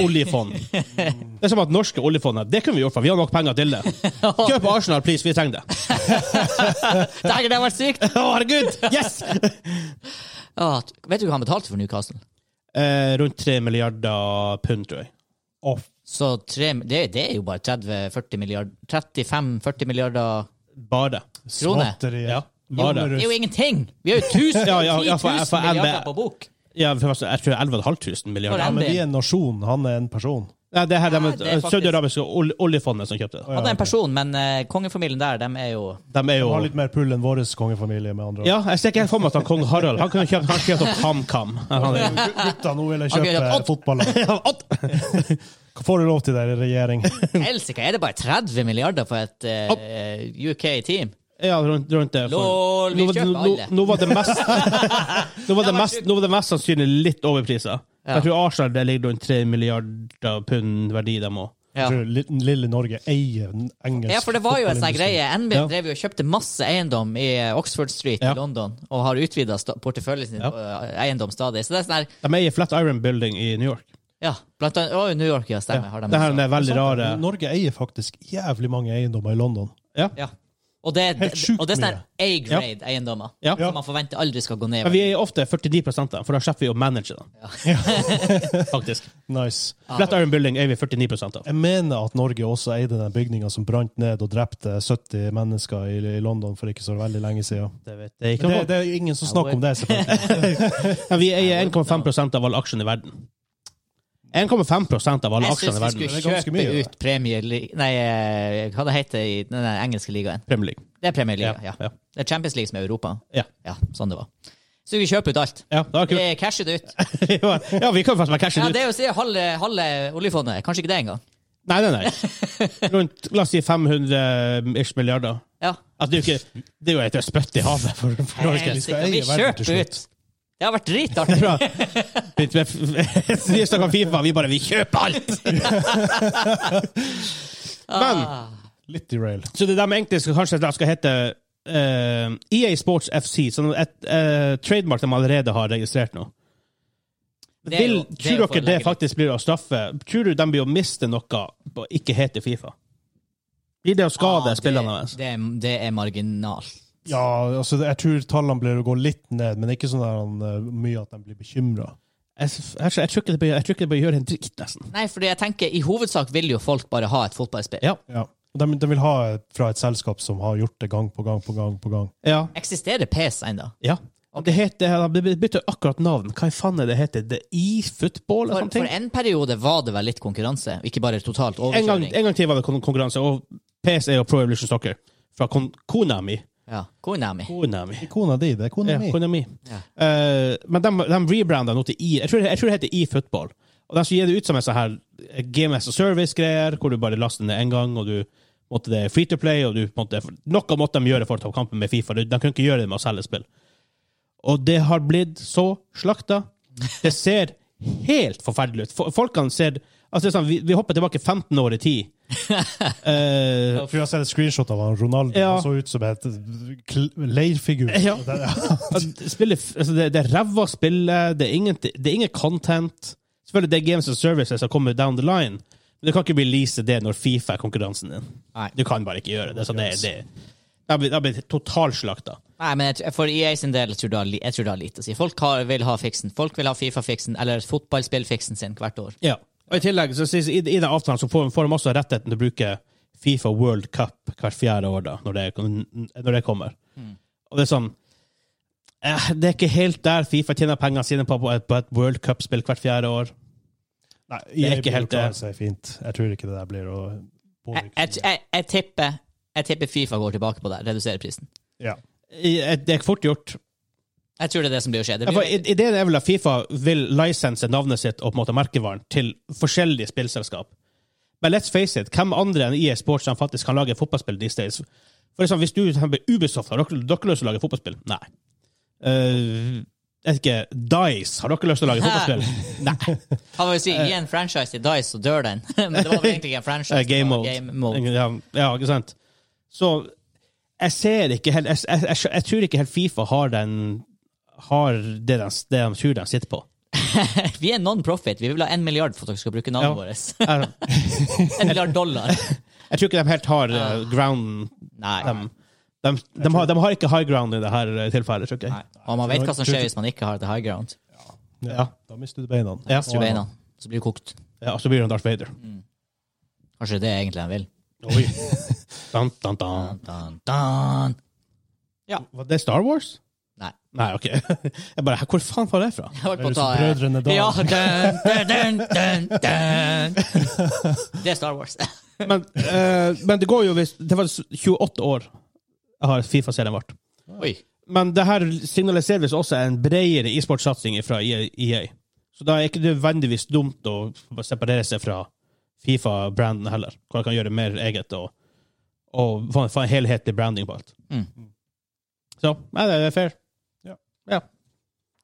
(laughs)
oljefond. Det er som at norske oljefondet Det kunne vi gjort, for vi har nok penger til
(laughs)
det. Kjøp Arsenal, please. Vi trenger det.
Dæger, det har vært sykt!
(laughs) Å, herregud! Yes!
(laughs) Ja, t- vet du hva han betalte for Newcastle?
Eh, rundt tre milliarder pund, tror jeg.
Off.
Så tre, det, det er jo bare 30-40 milliard 35-40 milliarder
Bare.
kroner.
Småtterier.
Ja,
Jo,
bare.
men
Det er jo ingenting! Vi
(laughs)
har jo 1000
Ja, ja, ja, for-
10 000
for NB
milliarder på bok.
Ja, for jeg tror 11.500 milliarder.
For
Ja,
en
men
del.
vi er en nasjon, han er en person.
Nei, det her det er
Nei,
med
det er faktisk-
Saudi-Arabiske ol- oljefondet som kjøpte det.
Han er en person, men eh, kongefamilien der, dem er jo
De er jo
Han har litt mer pull enn vår kongefamilie, med andre ord.
Ja, jeg ser ikke helt for meg at han kong Harald Han kunne kjøpt, han kjøpt opp HamKam. Han er-
Gutta, nå eh, vil jeg
Ok,
kjøpe
ja.
fotballag.
Ja, at-
Får du lov til det, regjering?
Helsike, er det bare 30 milliarder for et eh, UK-team?
(laughs) Ja, rundt, rundt det.
Lol, vi
nå, var-
kjøper
nå,
alle.
nå var det mest
(laughs)
Nå var det mest, nå var det mest sannsynlig litt overpriser.
Ja.
Jeg tror Arsenal det ligger rundt 3 milliarder pund verdi, dem òg.
(laughs) Ja.
Jeg tror li- lille Norge eier den engelske
Ja, for det var jo en sånn
fotballindustri.
greie. NB
Ja.
drev jo og kjøpte masse eiendom i eh, Oxford Street
Ja.
i London, og har utvida porteføljen sin
Ja.
eh, eiendom stadig. Så det er sånn her
De eier Flat Iron Building i New York.
Ja, blant annet Å, New York, ja, stemmer.
Ja.
Har de
Det her
også.
er veldig
Sant,
rare
Norge eier faktisk jævlig mange eiendommer i London.
ja. Og det,
Helt sjukt
og det er sånn her
Ja.
A-grade eiendommer,
Ja.
som man forventer aldri skal gå ned.
Men vi eier ofte 49 da, for da slipper vi å manage dem. (laughs) Faktisk.
Nice.
Flat Iron Building eier vi 49 av.
Jeg mener at Norge også eide den bygninga som brant ned og drepte 70 mennesker i, i London for ikke så veldig lenge siden.
Det vet jeg
Men det,
ikke.
det er jo ingen som snakker om det, selvfølgelig.
Men vi eier 1,5 av alle aksjene i verden. 1,5 av alle
Jeg
aksjene
syns
i
vi
verden.
det
skulle
er ganske
kjøpe
mye, det.
ut Premier League Nei, eh, hva det heter det i den der engelske ligaen?
Premier League.
Det er Premier League, ja.
Ja.
Det er Champions League som er Europa.
Ja.
Ja, sånn det var. Så vi kjøper ut alt.
Ja, det var
Vi
(laughs) kult.
casher det ut.
ja, vi kan faktisk bare cashe
Ja,
det ut.
det er jo å si halve, halve oljefondet. Kanskje ikke det engang.
Nei,
(laughs)
nei, nei. Rundt la oss si 500 ish milliarder.
Ja.
Altså, det, er jo ikke, det er jo et spytt i havet for, for Norge.
Helt
skal
sikkert. Vi
eie verden til
kjøper ut.
slutt.
Det har vært
(laughs)
dritartig.
Bra. Litt med f- Vi snakker om Fifa, vi bare Vi kjøper alt! Men
Ah.
Litt derail.
Så det de egentlig skal, kanskje da skal hete eh, EA Sports FC, sånn et eh, trademark de allerede har registrert nå.
Det er
Vil,
jo- det er jo
tror dere det
fordelaktig.
faktisk blir å straffe? Tror du de blir å miste noe på å ikke hete Fifa? Blir det å skade
Ah, det-
spillerne deres?
Det, er- det er marginalt.
Ja, altså, det- jeg tror tallene blir å gå litt ned, men ikke sånn der, eh, mye at de blir bekymra.
Jeg, s- jeg, jeg, tror ikke det blir- jeg tror ikke det blir å gjøre en dritt, nesten.
Nei, fordi jeg tenker, i hovedsak vil jo folk bare ha et fotballspill.
Ja.
Ja. De, de vil ha et- fra et selskap som har gjort det gang på gang på gang. på gang.
Ja.
Eksisterer PES ennå?
ja. Det heter, det bytter akkurat navn. Hva i faen er det heter? The E-football? eller
For,
sånne
for
ting?
en periode var det vel litt konkurranse, ikke bare totalt
En gang,
overkjøring.
en gang til var det kon- konkurranse, og PS er jo Pro Evolution Soccer fra kon Konami.
Ja, Konami.
Konami.
Kona di, det er kona
Ja,
mi.
Konami.
Ja.
Eh, men de, de rebranda nå til E. Jeg tror, jeg tror det heter eFootball. Og de skulle gi det ut som en sånn her eh, Game as a Service-greier, hvor du bare laster den ned én gang, og du måtte det er free to play, og du måtte, noe måtte de gjøre for å ta kampen med Fifa. De de kunne ikke gjøre det med å selge spill. Og det har blitt så slakta. Det ser helt forferdelig ut. Fo- Folkene ser Altså, det er sånn, vi, vi hopper tilbake 15 år i tid. Eh,
For jeg har sett et screenshot av han, Ronaldo.
Ja.
Han så ut som et kl- leirfigur.
Ja.
Det-
At spillet, altså det, det er ræva spill, det er, ingen, det er ingen content. Selvfølgelig det er games and services som kommer down the line, men du kan ikke release det når Fifa er konkurransen din.
Nei.
Du kan bare ikke gjøre det. Så det, det, det har blitt- det har blitt totalslakta.
Nei, men jeg, for EA sin del tror jeg det har li- jeg tror det har lite å si. Folk har, vil ha fiksen. Folk vil ha Fifa-fiksen, eller fotballspillfiksen sin hvert år.
Ja. Og I tillegg så sies i, i den avtalen så får, får de også rettigheten til å bruke Fifa World Cup hvert fjerde år, da, når det, når det kommer. Og det er sånn eh, Det er ikke helt der Fifa tjener pengene sine på, på et, på et World Cup-spill hvert fjerde år.
Nei,
er
jeg
ikke helt
klarer
det.
seg fint. Jeg tror ikke det der blir å
Jeg, jeg, jeg, jeg, tipper, jeg tipper Fifa går tilbake på det, reduserer prisen.
Ja.
I- eh, Det er fort gjort.
Jeg tror det er det som blir å skje. Det
Ja, for
blir,
i- Ideen er vel at Fifa vil lisense navnet sitt og på en måte merkevaren til forskjellige spillselskap. Men let's face it, hvem andre enn EA Sports som faktisk kan lage fotballspill these days? For eksempel, hvis du for eksempel, Ubisoft, har dere, dere lyst til å lage fotballspill? Nei. Eh, jeg vet ikke, Dice, har dere lyst til å lage fotballspill? Nei.
hva vil vi si? Gi en franchise til Dice, så dør den. (laughs) men det var vel egentlig ikke en franchise.
Eh, game
det var
mode.
Game mode.
Ja, ja, ikke sant? Så jeg ser ikke helt Jeg, jeg, jeg, jeg tror ikke helt Fifa har den har det de, det de tror de sitter på.
Vi er non-profit. Vi vil ha en milliard for at dere skal bruke navnet
Ja.
vårt.
Jeg,
(laughs) En milliard dollar.
Jeg tror ikke de helt har uh, grounden.
Ah. Nei.
De, de, de, har, de har ikke high ground i det her eh, tilfellet, tror
Nei.
jeg.
Og man vet hva som skjer hvis man ikke har the high ground.
Ja.
Da mister du beina.
Ja.
Hvis du beina, så blir du kokt.
Ja, og så blir det Darth Vader.
Mm. Kanskje det er egentlig han vil.
Oi. Dan, dan,
Dun,
dan.
dun, dun.
Var det Star Wars?
Nei.
Nei, OK. (laughs) Jeg bare, Hvor faen var det fra?
Jeg holdt på å
Høres
ta
ut som Brødrene Dal.
Ja, dun, dun, dun, dun, dun. Det er Star Wars.
Men, eh, men det går jo hvis Det var 28 år jeg har Fifa-serien vart.
Oi.
Men det her signaliserer visst også en bredere e-sportsatsing fra E EA. Så da er ikke det nødvendigvis dumt å separere seg fra Fifa-branden heller. Hvor man kan gjøre mer eget og, og få, en- få en helhetlig branding på alt.
Mm.
Så nei, det er fair.
Ja.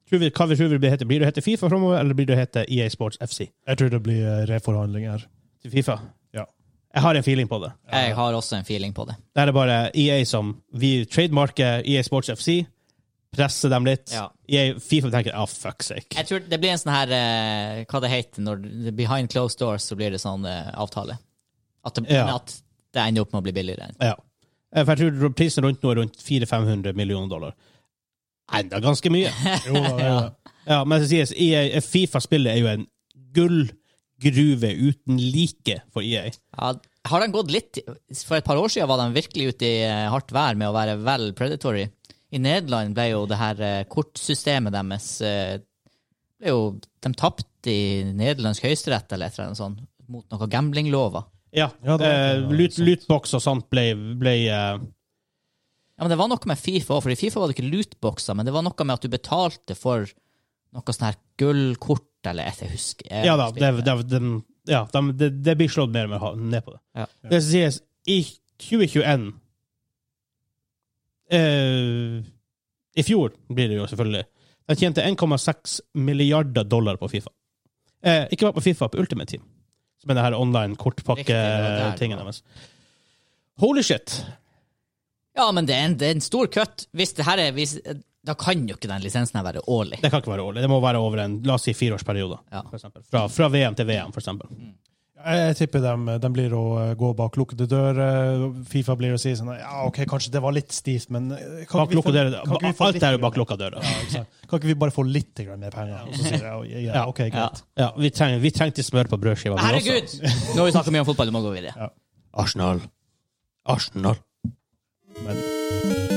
Tror vi, hva vi tror vi blir hete? Blir du hete Fifa framover, eller blir du hete EA Sports FC?
Jeg tror det blir eh, reforhandling her.
Til Fifa?
Ja.
Jeg har en feeling på det.
Jeg har også en feeling på det.
Det her er bare EA som Vi trademarker EA Sports FC, presser dem litt.
Ja.
EA, Fifa tenker ah, fuck sake.
Jeg tror Det blir en sånn her eh, Hva det heter når det- Behind closed doors, så blir det sånn eh, avtale. At det,
Ja.
men at det ender opp med å bli billigere.
Ja. Eh, For jeg tror prisen rundt nå er rundt 400-500 millioner dollar. Enda ganske
(laughs)
mye.
Jo, da, det er det.
Ja, men det sies, EA, Fifa-spillet er jo en gullgruve uten like for E EA.
Ja, har de gått litt For et par år siden var de virkelig ute i eh, hardt vær med å være vel predatory. I Nederland ble jo det her eh, kortsystemet deres eh, ble jo, De tapte i nederlandsk høyesterett eller et eller annet sånt mot noen gamblinglover.
Ja.
Ja, det var-
eh,
det var
loot,
sant.
lootbox og sånt ble, ble eh,
Ja, men det var noe med Fifa òg, for i Fifa var det ikke lootboxer, men det var noe med at du betalte for noe sånn her gullkort eller et, jeg husker jeg
Ja da, det,
spilte.
det, den- ja, de, det, det blir slått mer og mer ha- ned på det.
Ja.
Det som sies, i 2021 eh, I fjor blir det jo selvfølgelig. De tjente 1,6 milliarder dollar på Fifa. Eh, ikke bare på Fifa, på Ultimate Team. Som er det her online
Riktig, det var der
kortpakke-tingen
det var.
deres. Holy shit!
ja, men det er en, det er en stor kutt. Hvis det her er hvis, Da kan jo ikke den lisensen her være årlig.
Det kan ikke være årlig. Det må være over en la oss si fireårsperiode.
Ja.
for eksempel. fra, fra VM til VM, for eksempel.
Jeg, jeg tipper dem, dem blir å eh, gå bak lukkede dører. Fifa blir å si sånn Ja, OK, kanskje det var litt stivt, men eh, kan
Bak
ikke vi få-
lukka dører.
kan ikke vi få
Alt er jo bak
litt-
lukka dører.
Ja, ikke sant? (laughs) Kan ikke vi bare få litt grann mer penger? Og så sier jeg ja, ja, OK, greit.
Ja, vi, trenger, vi trengte smør på brødskiva. men også-
Herregud! (laughs) Nå har vi snakket mye om fotball, du må gå videre.
Arsenal. Arsenal. Men
eh,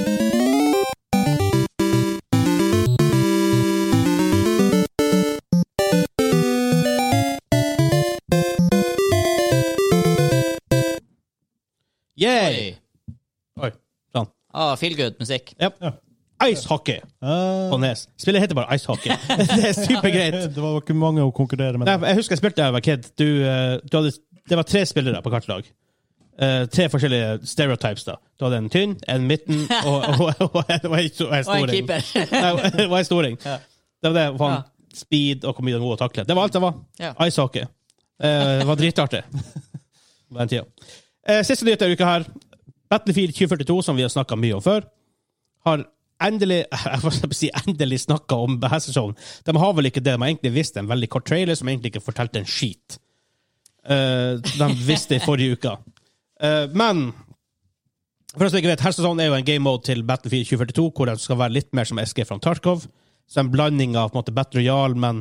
Yay!
Oi.
Oi. Sånn.
Ah, feel good musikk.
Ja. Ice hockey
Eh,
på Nes. Spillet heter bare ice hockey. (laughs) Det er supergreit.
det var ikke mange å konkurrere med.
Nei, jeg husker jeg spilte da jeg var kid. Du, eh, du hadde, det var tre spillere på hvert lag. Eh, tre forskjellige stereotypes. da. Du hadde en tynn, en midten og, og, og, og, en- og en sto- en
Og en
storing.
keeper.
Nei, og en storing. Det var det, faen,
Ja.
Speed og hvor mye de var gode å takle. Det var alt det var.
Ja.
Ice hockey. Eh, det var dritartig. (laughs) På den tida. Eh, siste nyhet denne uka her. Battlefield 2042, som vi har snakka mye om før, har endelig (laughs) jeg får si endelig snakka om hesteshowen. De har vel ikke det. De har egentlig vist en veldig kort trailer som egentlig ikke fortalte en skit. Eh, de visste det i forrige uke. Eh, men for oss som ikke vet, hesteshowen er jo en game mode til Battlefield 2042, hvor den skal være litt mer som SG fra Tarkov. Så en blanding av på en måte, Battle Royale, men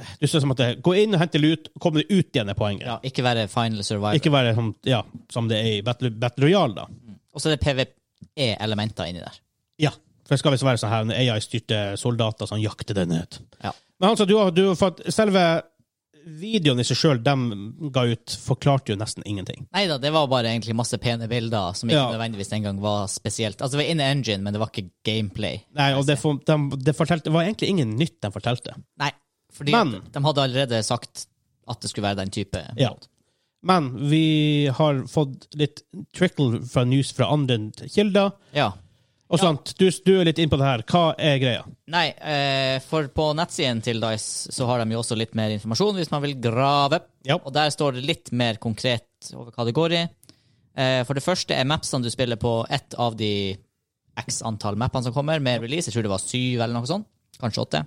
eh, du ser som at det, gå inn og hente lut, kom deg ut igjen er poenget.
Ja, (laughs) ikke være final survivor.
Ikke være som, ja, som det er i Battle, Battle Royale, da.
Og så er det PVE-elementer inni der.
Ja. For det skal visst være sånn her, AI-styrte soldater som jakter den ut.
Ja.
Men altså, du, har- du, har fått- selve videoen i seg sjøl de ga ut, forklarte jo nesten ingenting.
Nei da, det var bare egentlig masse pene bilder som ikke
Ja.
nødvendigvis engang var spesielt. Altså, det var in engine, men det var ikke gameplay.
Nei, og det, for, de, det fortalte, var egentlig ingen nytt de fortalte.
Nei, fordi
Men-
at de hadde allerede sagt at det skulle være den type.
Ja. Men vi har fått litt trickle fra news fra andre kilder.
Ja.
Og sånt, du, du er litt inn på det her. Hva er greia?
Nei, eh, for på nettsiden til Dice så har de jo også litt mer informasjon hvis man vil grave.
Ja.
Og der står det litt mer konkret over hva det går i. Eh, for det første er mapsene du spiller på ett av de x antall mappene som kommer med release. Jeg tror det var syv eller noe sånt. Kanskje åtte.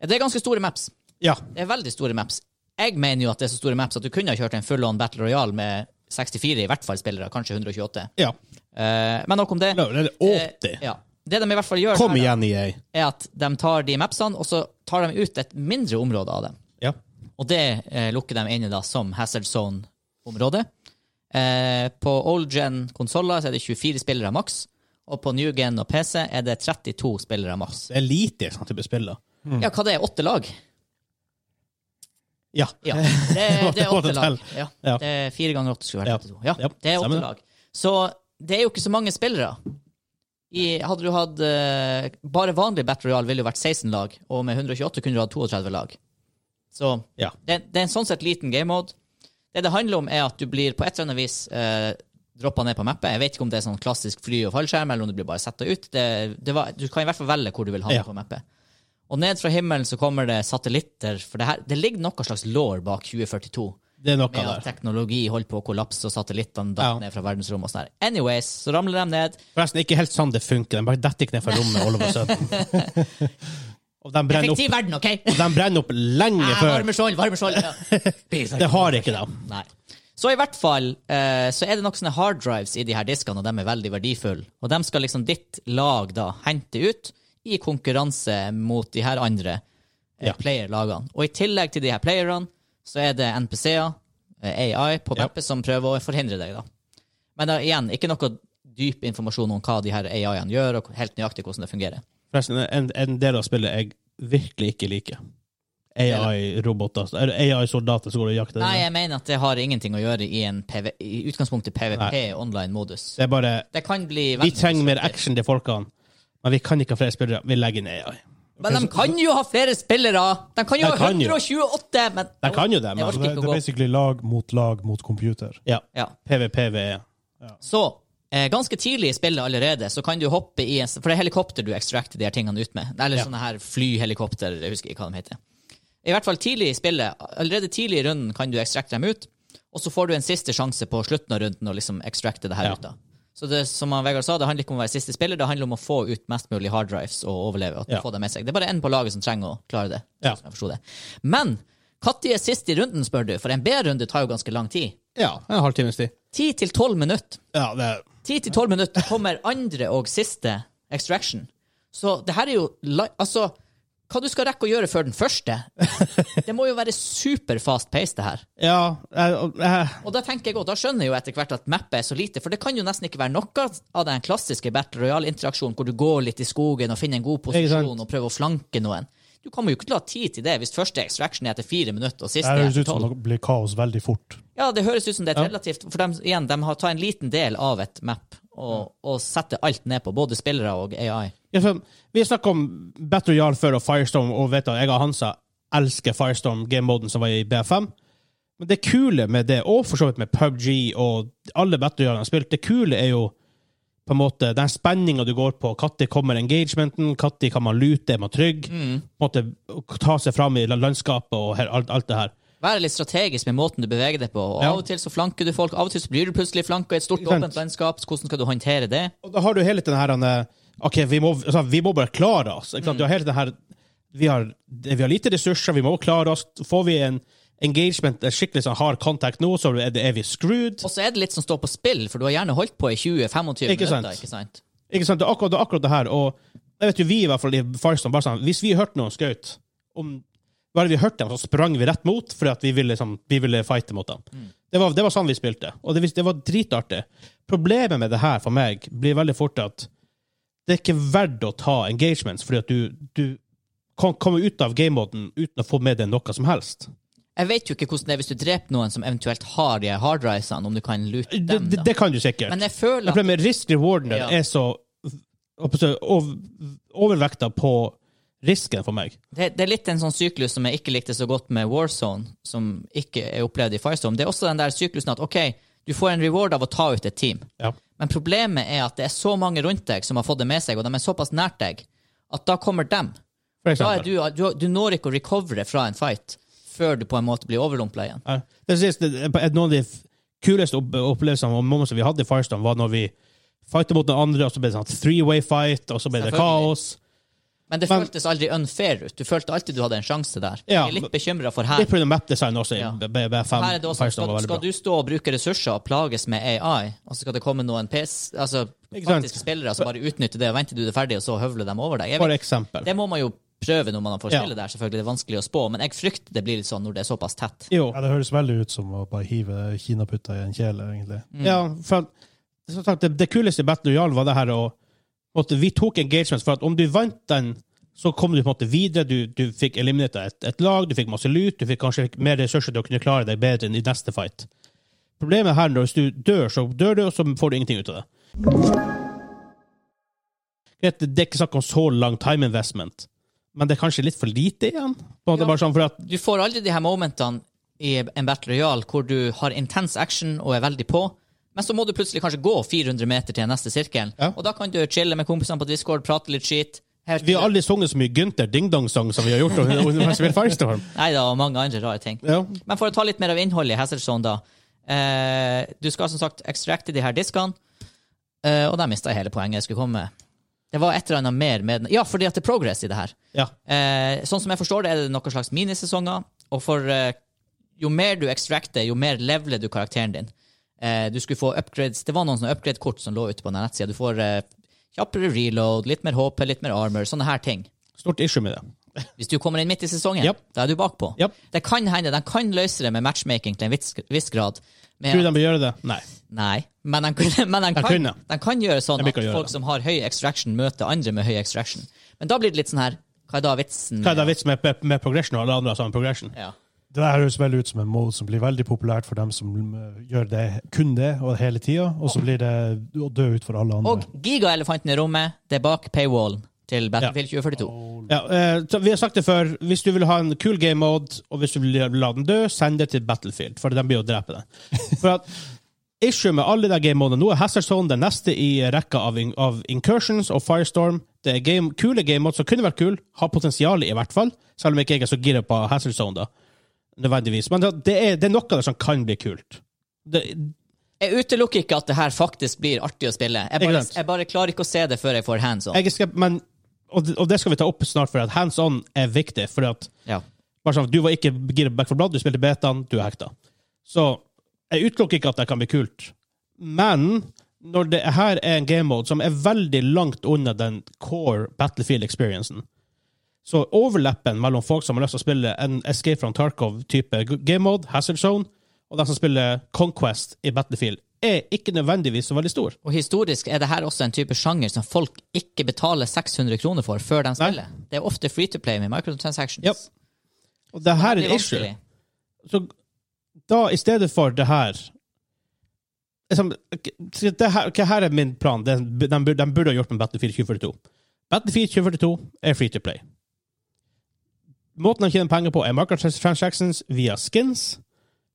Eh, Det er ganske store maps.
Ja.
Det er veldig store maps. Jeg mener jo at det er så store maps at du kunne ha kjørt en full-on Battle Royale med 64 i hvert fall spillere, kanskje 128.
ja.
Eh, men nok om det.
Nå, det er
Eh,
80.
ja. Det de i hvert fall gjør,
Kom
her da,
igjen, E EA.
er at de tar de mapsene, og så tar de ut et mindre område av dem.
Ja.
Og det eh, lukker de inne da som Hazard Zone-område. Eh, på old gen-konsoller er det 24 spillere maks, og på new gen og PC er det 32 spillere maks.
Det er lite sånn type spill, da.
Ja, hva det er? Åtte lag?
Ja. (laughs)
Ja, det, det er
Må
åtte
det
lag.
til.
Ja,
Ja.
det er fire ganger åtte skulle
Ja.
vært 32. Ja,
Ja,
det er
stemmer
åtte
det.
lag. Så det er jo ikke så mange spillere. I, hadde du hatt eh, Bare vanlig Battle Royale ville jo vært 16 lag, og med 128 kunne du hatt 32 lag. Så
Ja.
det, det er en sånn sett liten game mode. Det det handler om, er at du blir på et eller annet vis eh, droppa ned på mappet. Jeg vet ikke om det er sånn klassisk fly- og fallskjerm, eller om du blir bare setta ut. Det, det var, du kan i hvert fall velge hvor du vil havne
Ja.
på mappet. Og ned fra himmelen så kommer det satellitter, for det, her, det ligger noe slags law bak 2042.
Det er noe
Med at
der.
teknologi holdt på å kollapse, og satellittene datt
Ja.
ned fra verdensrommet og sånn. her. Anyways, så ramler de ned.
Forresten, ikke helt sånn det funker. De bare detter ikke ned fra rommet all of a sudden.
(laughs)
Og de brenner opp,
Effektiv verden, OK?
og de brenner opp lenge
Ah,
før.
varme skjold, varme skjold!
(laughs)
Ja.
Det har ikke de.
Nei. Så i hvert fall eh, så er det nok sånne hard drives i de her diskene, og de er veldig verdifulle. Og de skal liksom ditt lag da hente ut i konkurranse mot de her andre eh,
Ja.
playerlagene. Og i tillegg til de her playerne så er det NPC-er, eh, AI, på
Ja.
mappet som prøver å forhindre deg, da. Men da, igjen, ikke noe dyp informasjon om hva de her AI-ene gjør, og helt nøyaktig hvordan det fungerer.
Forresten, en, en del av spillet jeg virkelig ikke liker. AI-roboter, eller AI-soldater som går og jakter.
Nei, jeg mener at det har ingenting å gjøre i en PV, i utgangspunktet PVP-online-modus.
Det er bare
Det kan bli
Vi
veldig
trenger mer
kjedelig.
action til folkene, men vi kan ikke ha flere spillere. Vi legger inn AI.
Men de kan jo ha flere spillere! De kan jo
De
ha
kan jo.
128, men
De kan jo det,
Jeg
men
orker
Det, det
ikke
er
å gå.
basically lag mot lag mot computer.
ja.
Ja.
PVPVE.
Så eh, ganske tidlig i spillet allerede, så kan du hoppe i en For det er helikopter du extracter de her tingene ut med. Eller
Ja.
sånne her flyhelikopter, jeg husker ikke hva de heter. I hvert fall tidlig i spillet, allerede tidlig i runden kan du extracte dem ut, og så får du en siste sjanse på slutten av runden å liksom extracte det her
Ja.
ut. da. Så det, som han Vegard sa, det handler ikke om å være siste spiller, det handler om å få ut mest mulig hard drives og overleve. at
Ja.
du får Det med seg. Det er bare én på laget som trenger å klare det.
Ja.
som jeg forsto det. Men når er sist i runden, spør du? For en B-runde tar jo ganske lang tid.
Ja, en halvtimes tid.
10-12 minutter.
Ja, det er
10-12 minutter kommer andre og siste extraction. Så det her er jo li- Altså, hva du skal rekke å gjøre før den første? Det må jo være super fast pace, det her.
Ja, jeg, jeg,
Og da tenker jeg godt, da skjønner jeg jo etter hvert at mappet er så lite, for det kan jo nesten ikke være noe av den klassiske Battle Royale-interaksjonen hvor du går litt i skogen og finner en god
Ikke sant.
posisjon og prøver å flanke noen. Du kommer jo ikke til å ha tid til det hvis første extraction er etter fire minutter og
Det
siste er
høres
etter
ut som
tolv.
det blir kaos veldig fort.
Ja, det høres ut som det er et relativt For de, igjen, de har tatt en liten del av et map og, og setter alt ned på, både spillere og AI.
Ja, for vi har snakket om Battle Royale før og Firestorm, og vet at jeg og Hansa elsker Firestorm, gamemoden som var i BFM. Men det kule med det, og for så vidt med PubG og alle Battle Royale jeg har spilt, det kule er jo på en måte den spenninga du går på. Når kommer engagementen? Når kan man lute? Er man trygg? På en måte å Ta seg fram i landskapet og her, alt, alt det her.
Være litt strategisk med måten du beveger deg på. Og
Ja.
Av og til så flanker du folk, av og til så blir du plutselig flanka i et stort,
Ikke sant.
åpent landskap. så Hvordan skal du håndtere det?
Og da har du hele den her eh, OK, vi må, altså, vi må bare klare oss. Ikke sant? Du har hele den her vi har, vi har lite ressurser, vi må klare oss. Får vi en engagement, en skikkelig sånn hard contact nå, så er, det, er vi screwed.
Og så er det litt som står på spill, for du har gjerne holdt på i 20-25 minutter.
Ikke sant.
ikke sant?
Ikke sant? Det er akkurat det, er akkurat det her. Og jeg vet jo, vi i hvert fall i Firestone bare sånn Hvis vi hørte noen skaut om bare vi hørte dem, så sprang vi rett mot, fordi at vi ville, liksom, vi ville fighte mot dem.
Mm.
Det, var, det var sånn vi spilte, og det, vis- det var dritartig. Problemet med det her for meg blir veldig fort at det er ikke verdt å ta engagements, fordi at du, du kan komme ut av gamemoden uten å få med deg noe som helst.
Jeg vet jo ikke hvordan det er hvis du dreper noen som eventuelt har de hardrisene, om du kan lute
Det,
dem,
det,
da.
det kan du sikkert.
Men jeg føler at
Problemet med risk-rewarden
Ja.
er så hva skal jeg si, ov- overvekta på risken for meg.
det, det er litt en sånn syklus som jeg ikke likte så godt med Warzone, som ikke er opplevd i Firestorm. Det er også den der syklusen at OK, du får en reward av å ta ut et team.
Ja.
Men problemet er at det er så mange rundt deg som har fått det med seg, og de er såpass nært deg, at da kommer dem.
For
Da er
eksempel.
du, du, du når ikke å recovere fra en fight før du på en måte blir overrumpla igjen.
Ja. Det siste, noen av de f- kuleste opp- opplevelsene og momentene vi hadde i Firestone, var når vi fightet mot den andre, og så ble det sånn three-way fight, og så ble det
Selvfølgelig.
kaos.
Men det
Men-
føltes aldri unfair ut. Du følte alltid du hadde en sjanse der.
Ja,
jeg er litt bekymra for
Det
her.
prøvde map-design også i
Ja.
B- B- B5.
Her er det også, skal,
Firestone var veldig
skal
bra.
du stå og bruke ressurser og plages med AI, og så skal det komme noen PS, altså
Ikke sant?
faktiske spillere som bare utnytter det, og venter du det ferdig, og så høvler dem over deg? Jeg
For
vet,
eksempel.
det må man jo prøve når man får
Ja.
spille der, selvfølgelig. Det er vanskelig å spå, men jeg frykter det blir litt sånn når det er såpass tett.
Jo,
Ja, det høres veldig ut som å bare hive kinaputter i en kjele, egentlig.
ja, for at- som sagt, det, det kuleste i Battle Royale var det her å måtte, Vi tok engagements, for at om du vant den, så kom du på en måte videre. Du, du fikk eliminert et, et lag, du fikk masse lut, du fikk kanskje mer ressurser til å kunne klare deg bedre enn i neste fight. Problemet her, når du dør, så dør du, og så får du ingenting ut av det. Greit, det er ikke snakk om så lang time investment, men det er kanskje litt for lite igjen? På en måte
Ja.
bare sånn for at,
du får aldri de her momentene i en battle royal hvor du har intens action og er veldig på, men så må du plutselig kanskje gå 400 meter til neste sirkel,
Ja.
og da kan du chille med kompisene på Discord, prate litt skit. Helt
vi har aldri sunget så mye Gunther Ding-dong-sang som vi har gjort under- under mens vi spilte Firestorm.
Neida, og mange andre rare ting.
Ja.
Men for å ta litt mer av innholdet i Hazardson, da. Eh, du skal som sagt extracte de her diskene, eh, og der mista jeg hele poenget jeg skulle komme med. Det var et eller annet mer med den. Ja, fordi at det er progress i det her.
ja.
Eh, sånn som jeg forstår det, er det noen slags minisesonger. Og for eh, jo mer du extracter, jo mer leveler du karakteren din. Eh, du skulle få upgrades. Det var noen sånne upgrade-kort som lå ute på den nettsida. Du får eh, kjappere reload, litt mer HP, litt mer armor, sånne her ting.
Stort issue med det.
Hvis du kommer inn midt i sesongen,
Japp.
da er du bakpå.
Japp.
Det kan hende, De kan løse det med matchmaking til en viss, viss grad. Med,
Tror du de vil gjøre det? Nei.
Nei, men de, kunne- men de, kan,
kunne.
de kan gjøre sånn
De vil
at
ikke gjøre
folk
det.
som har høy extraction, møter andre med høy extraction. Men da blir det litt sånn her Hva er da vitsen?
Hva er da vitsen med, med progression og alle andre som har progression?
Ja.
Det der høres veldig ut som en mode som blir veldig populært for dem som eh, gjør det, kun det og hele tida, og så blir det å dø ut for alle andre.
Og gigaelefanten i rommet, det er bak paywallen til Battlefield 2042.
Ja, eh, så vi har sagt det før. Hvis du vil ha en cool game mode, og hvis du vil la den dø, send det til Battlefield, for de blir jo å drepe den. For at issue med alle de game modene nå er Hazard Zone den neste i rekka av, in av Incursions og Firestorm. Det er game kule game modes som kunne vært kule, har potensial i hvert fall, selv om ikke jeg er så gira på Hazard Zone, da. Nødvendigvis. Men det det er, det er noe av det som kan bli kult. Det,
Jeg utelukker ikke at det her faktisk blir artig å spille. Jeg
Ikke
bare,
sant?
jeg bare klarer ikke å se det før jeg får hands on.
jeg er skep- men, og, det- og det skal vi ta opp snart, for at hands on er viktig. for at
Ja.
Bare sånn, Du var ikke gira på Back 4 Blood, du spilte betaen, du er hekta. Så jeg utelukker ikke at det kan bli kult. Men når det her er en game mode som er veldig langt unna den core battlefield experiencen, så overlappen mellom folk som har lyst til å spille en Escape from Tarkov-type game mode, Hazard Zone, og de som spiller Conquest i Battlefield, er ikke nødvendigvis så veldig stor.
Og historisk er det her også en type sjanger som folk ikke betaler 600 kroner for før de spiller. Det er ofte free to play med microtransactions.
Ja. Og det her
Det er
er et issue.
vanskelig.
Så da, i stedet for det her liksom, det her, ok, her er min plan. Det, de, burde, de burde ha gjort med Battlefield 2042. Battlefield 2042 er free to play. Måten de tjener penger på, er microtransactions via skins,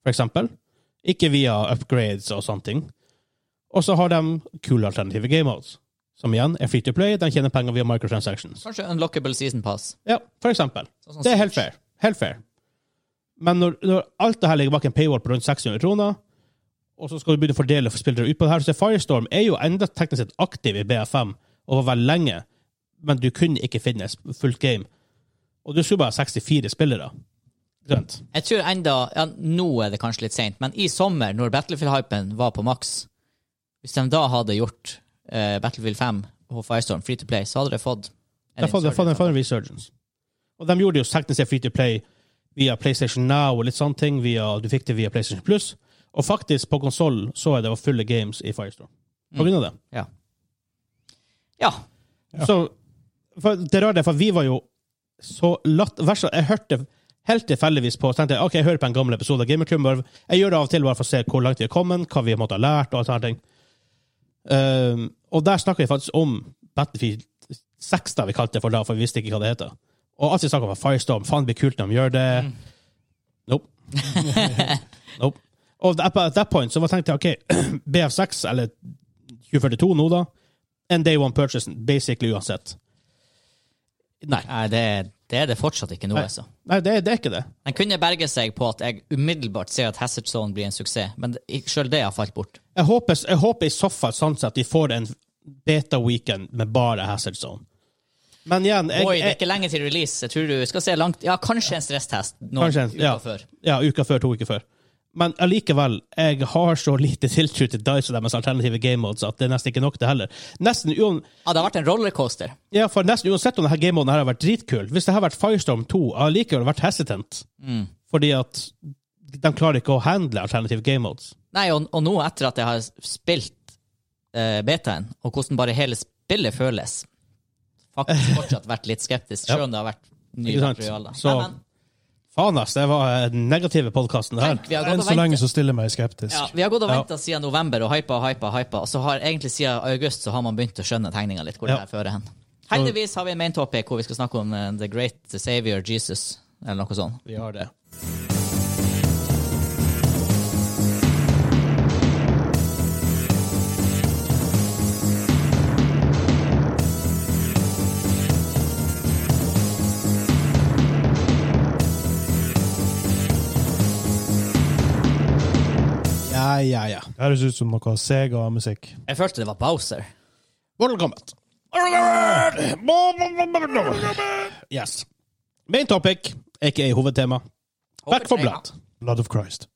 for eksempel. Ikke via upgrades og sånne ting. Og så har de kule alternative game modes, som igjen er free to play. De tjener penger via microtransactions.
Kanskje unlockable season pass.
Ja, for eksempel.
Sånn som
Det er helt
Switch.
fair. Helt fair. Men når, når alt det her ligger bak en paywall på rundt 600 kroner, og så skal du begynne å fordele for spillere ut på det her, så Firestorm er jo enda teknisk sett aktiv i BFM og var veldig lenge, men du kunne ikke finne fullt game. Og du skulle bare ha 64 spillere. Grønt.
Jeg tror enda, ja, Nå er det kanskje litt seint, men i sommer, når Battlefield-hypen var på maks Hvis de da hadde gjort eh, Battlefield 5 og Firestorm free to play, så hadde de fått en
Det er fått det er fått en
insurgent.
fun resurgence. Og de gjorde det jo teknisk sett free to play via PlayStation Now og litt sånne ting. Via, du fikk det via PlayStation Plus. Og faktisk, på konsoll så er det å fylle games i Firestorm.
Mm.
På grunn av det.
Ja. ja.
Så for, Det rare er, for vi var jo så latt... Vær så, jeg hørte helt tilfeldigvis på og tenkte jeg, ok, jeg hører på en gammel episode av Gamerkummer. Jeg gjør det av og til bare for å se hvor langt vi er kommet, hva vi måtte ha lært. og alt sånne ting. Ehm, og der snakker vi faktisk om Battlefield 6, da vi kalte det for da, for vi visste ikke hva det heter. Og alt vi snakker om, var Firestorm. Faen, det blir kult når de gjør det. Nope. nope. Og at that- at that point så var tenkte jeg, ok, (clears throat) BF6, eller 2042 nå, da, en day one purchase, basically uansett.
Nei, det, det er det fortsatt ikke nå,
Nei.
altså.
Nei, det, det er ikke det.
Den kunne berge seg på at jeg umiddelbart ser at Hazard Zone blir en suksess, men sjøl det har falt bort.
Jeg håper, jeg håper i så fall sånn sett at vi får en beta-weekend med bare Hazard Zone. Men igjen jeg,
Oi, det er
jeg,
ikke lenge til release. Jeg tror du skal se langt Ja, kanskje en stresstest noen
Kanskje en-
uker
ja.
før.
Ja, uka før, to uker før. Men allikevel, jeg har så lite tiltro til Dice og deres alternative game modes at det er nesten ikke nok, det heller. Nesten uan,
Ja, det har vært en rollercoaster.
ja, for nesten uansett om denne game moden her har vært dritkul, hvis det har vært Firestorm 2, jeg har allikevel vært hesitant.
Mm.
Fordi at de klarer ikke å handle alternative game modes.
Nei, og, og nå etter at jeg har spilt eh, betaen, og hvordan bare hele spillet føles, faktisk fortsatt vært litt skeptisk, sjøl om det har vært nye
Ikke sant?
materialer.
Så-
Nei, men,
Faen, ass, det var eh, den negative podkasten her.
tenk, vi har
Enn
gått og
så lenge
ventet.
så stiller jeg meg skeptisk.
Ja, vi har gått og venta siden november og hypa og hypa, hypa, og så har egentlig siden august så har man begynt å skjønne tegninga litt, hvor
Ja.
det her fører hen. Heldigvis har vi en main topic hvor vi skal snakke om eh, The Great Savior Jesus, eller noe sånt.
Vi har det. Ja, ja, ja.
Det høres ut som noe Sega-musikk.
Jeg følte det var Bowser.
Mortal Kombat. Yes. Main topic, aka hovedtema. Back for blood.
Blood of Christ.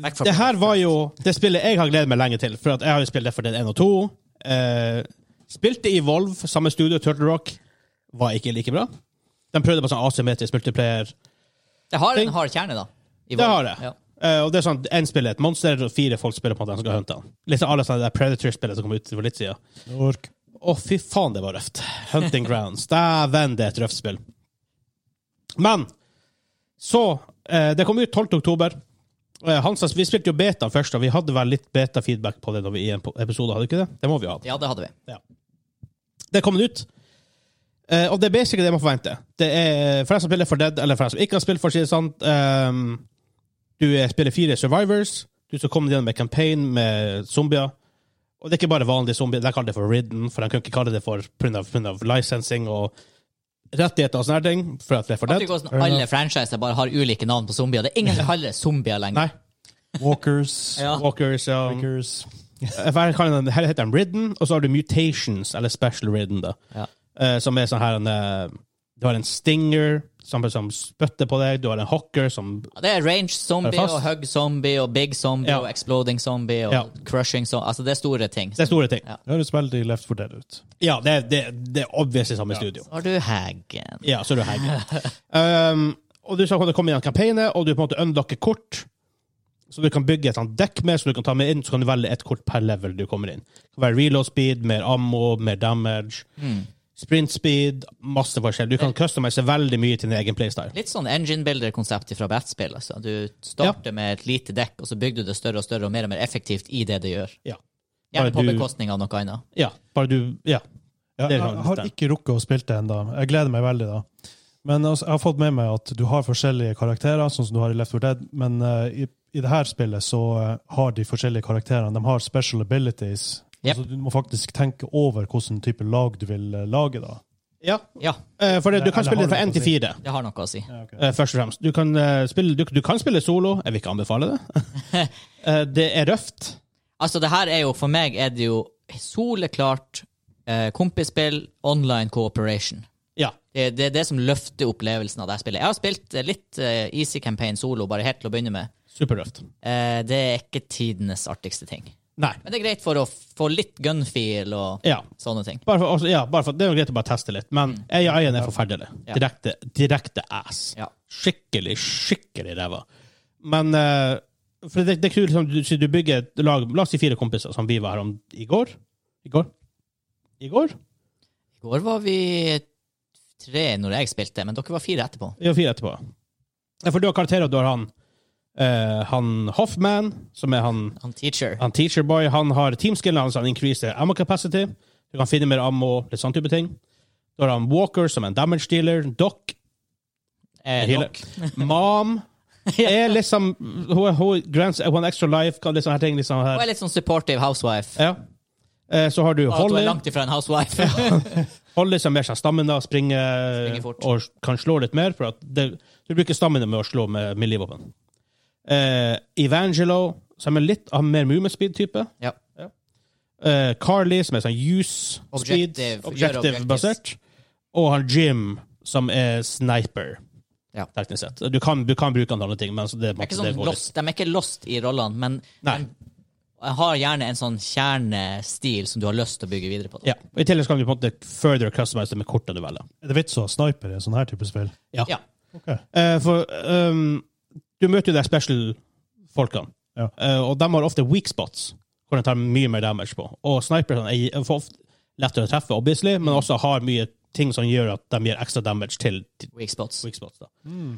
Back for
Det
blood.
her var jo det spillet jeg har gledet meg lenge til. For at jeg har jo spilt det for den 1 og 2. Eh, spilte i Volve, samme studio, Turtle Rock. Var ikke like bra. De prøvde på sånn asymmetrisk multiplayer.
Det har
Tenk-
en hard kjerne, da. i
Det
vår.
har det.
Ja.
Eh, og det er sånn, Én spiller et
(laughs)
monster, og fire folk spiller på at de skal hunte han. Liksom alle sånne der Predator-spillet som kom ut for litt siden.
Ork.
Å, fy faen, det var røft. Hunting Grounds. Dæven, det er et røft spill. Men så eh, Det kom ut 12. oktober. Eh, Hansas, vi spilte jo beta først, og vi hadde vel litt beta-feedback på det når vi i en po- episode, hadde vi ikke det? Det må vi ha.
Ja, det hadde vi.
Det er kommet ut. Eh, og det er basically det man forventer. Det er for deg som spiller for Dead, eller for deg som ikke har spilt, for å si det sant. ehm, du er, spiller fire survivors. Du skal komme gjennom en campaign med zombier. Og det er ikke bare vanlige zombier. De kaller det for ridden, for de kan ikke kalle det for pga. licensing og rettigheter og sånne ting. For at det er for
At
Dead.
det går sånn, alle franchiser bare har ulike navn på zombier. Det er ingen som kaller det zombier lenger.
Nei.
Walkers.
Ja.
Walkers og
Walkers.
Her kaller de- her heter de ridden, og så har du mutations, eller special ridden, da.
Ja.
Eh, som er sånn her en, eh, Du har en stinger som, som spytter på deg, du har en hocker som
Ja, Det er range zombie
Er det fast?
og hug zombie og big zombie
Ja.
og exploding zombie og
Ja.
crushing zombie. Altså, det er store ting.
Det er store ting.
Ja.
Det høres veldig Left 4 Dead ut.
Ja, det, er- det, det er obviously samme studio.
Så har du Hagen.
Ja, så er du hacker. um, og du skal kunne komme gjennom kampanje, og du på en måte unlocker kort. Så du kan bygge et sånt dekk med, så du kan ta med inn, så kan du velge et kort per level du kommer inn. Det kan være reload speed, mer ammo, mer damage,
Mm.
sprint speed, masse forskjell. Du kan customize veldig mye til din egen playstyle.
Litt sånn engine builder-konsept fra brettspill. Altså. Du starter med et lite dekk, og så bygger du det større og større og mer og mer effektivt i det det gjør.
Ja.
Gjerne på
Bare du-
bekostning av noe annet.
Ja, bare du Ja.
Ja,
Det
jeg
er sant,
jeg har
det.
ikke rukket å spille det ennå. Jeg gleder meg veldig, da. Men altså, jeg har fått med meg at du har forskjellige karakterer, sånn som du har i Left 4 Dead, men eh, i, i det her spillet så eh, har de forskjellige karakterene. De har special abilities.
Yep.
Så du må faktisk tenke over hvilken type lag du vil eh, lage, da.
ja.
Ja,
Eh, for det, du kan
Eller
spille
har
fra
du
én til
noe å si?
fire.
det har noe å si.
Ja, ok.
Eh, først og fremst. Du kan, eh, spille, du, du kan spille solo. Jeg vil ikke anbefale det. Eh, det er røft.
Altså, det her er jo, for meg er det jo soleklart eh, kompisspill, online cooperation.
Ja.
Det, det er det som løfter opplevelsen av det her spillet. Jeg har spilt eh, litt eh, Easy Campaign solo, bare helt til å begynne med.
Superrøft.
Eh, det er ikke tidenes artigste ting.
Nei.
Men det er greit for å få litt gunfeel og
Ja.
sånne ting.
Bare for, altså, ja, bare for, det er jo greit å bare teste litt, men AI-en er forferdelig.
Ja.
Direkte, direkte ass.
Ja.
Skikkelig, skikkelig ræva. Men eh, for det, det er kult, liksom, du, så du bygger et lag La oss si fire kompiser, som vi var her om i går. I går? I går?
I går var vi tre når jeg spilte, men dere var fire etterpå.
Vi har fire etterpå. Ja, for du har karakterer. Du har han eh, Han Hoffman, som er han
Han teacher.
Han teacher boy, han har teamskillen hans, han increaser ammo capacity. Du kan finne mer ammo, litt sånn type ting. Da har han Walker, som er en damage dealer. Doc,
Eh,
healer.
nok.
(laughs)
(laughs)
Mom er liksom Hun, hun grants one extra life, kan liksom her ting. Liksom
Hun
her.
er litt sånn supportive housewife.
Ja. Eh, Så har du
Bare at hun
Holly.
er langt ifra en
(laughs)
housewife.
Holly som er mer sånn stamina, springer,
Springer fort.
og kan slå litt mer. For at det, du bruker stamina med å slå med melee-våpen. Eh, Evangelo, som er litt av mer movement speed-type.
ja.
eh, Carly, som er sånn use speed,
Objective, gjør
objective-basert. Og han Jim, som er sniper,
Ja.
teknisk sett. Du kan, du kan bruke han til andre ting, men så det,
De er ikke
det
sånn
går litt.
lost, de er ikke lost i rollene, men
Nei.
de har gjerne en sånn kjernestil som du har lyst til å bygge videre på.
Ja. Og I tillegg så kan du på en måte further customize det med kortene du velger.
Er det vits å ha sniper i en sånn her type spill?
Ja.
Ok.
Eh, for ehm, du møter jo de special-folkene,
Ja.
Eh, og de har ofte weak spots, hvor de tar mye mer damage på. Og sniperne er for ofte lettere å treffe, obviously, men også har mye ting som gjør at de gir ekstra damage til til
Weak spots.
weak spots. Da.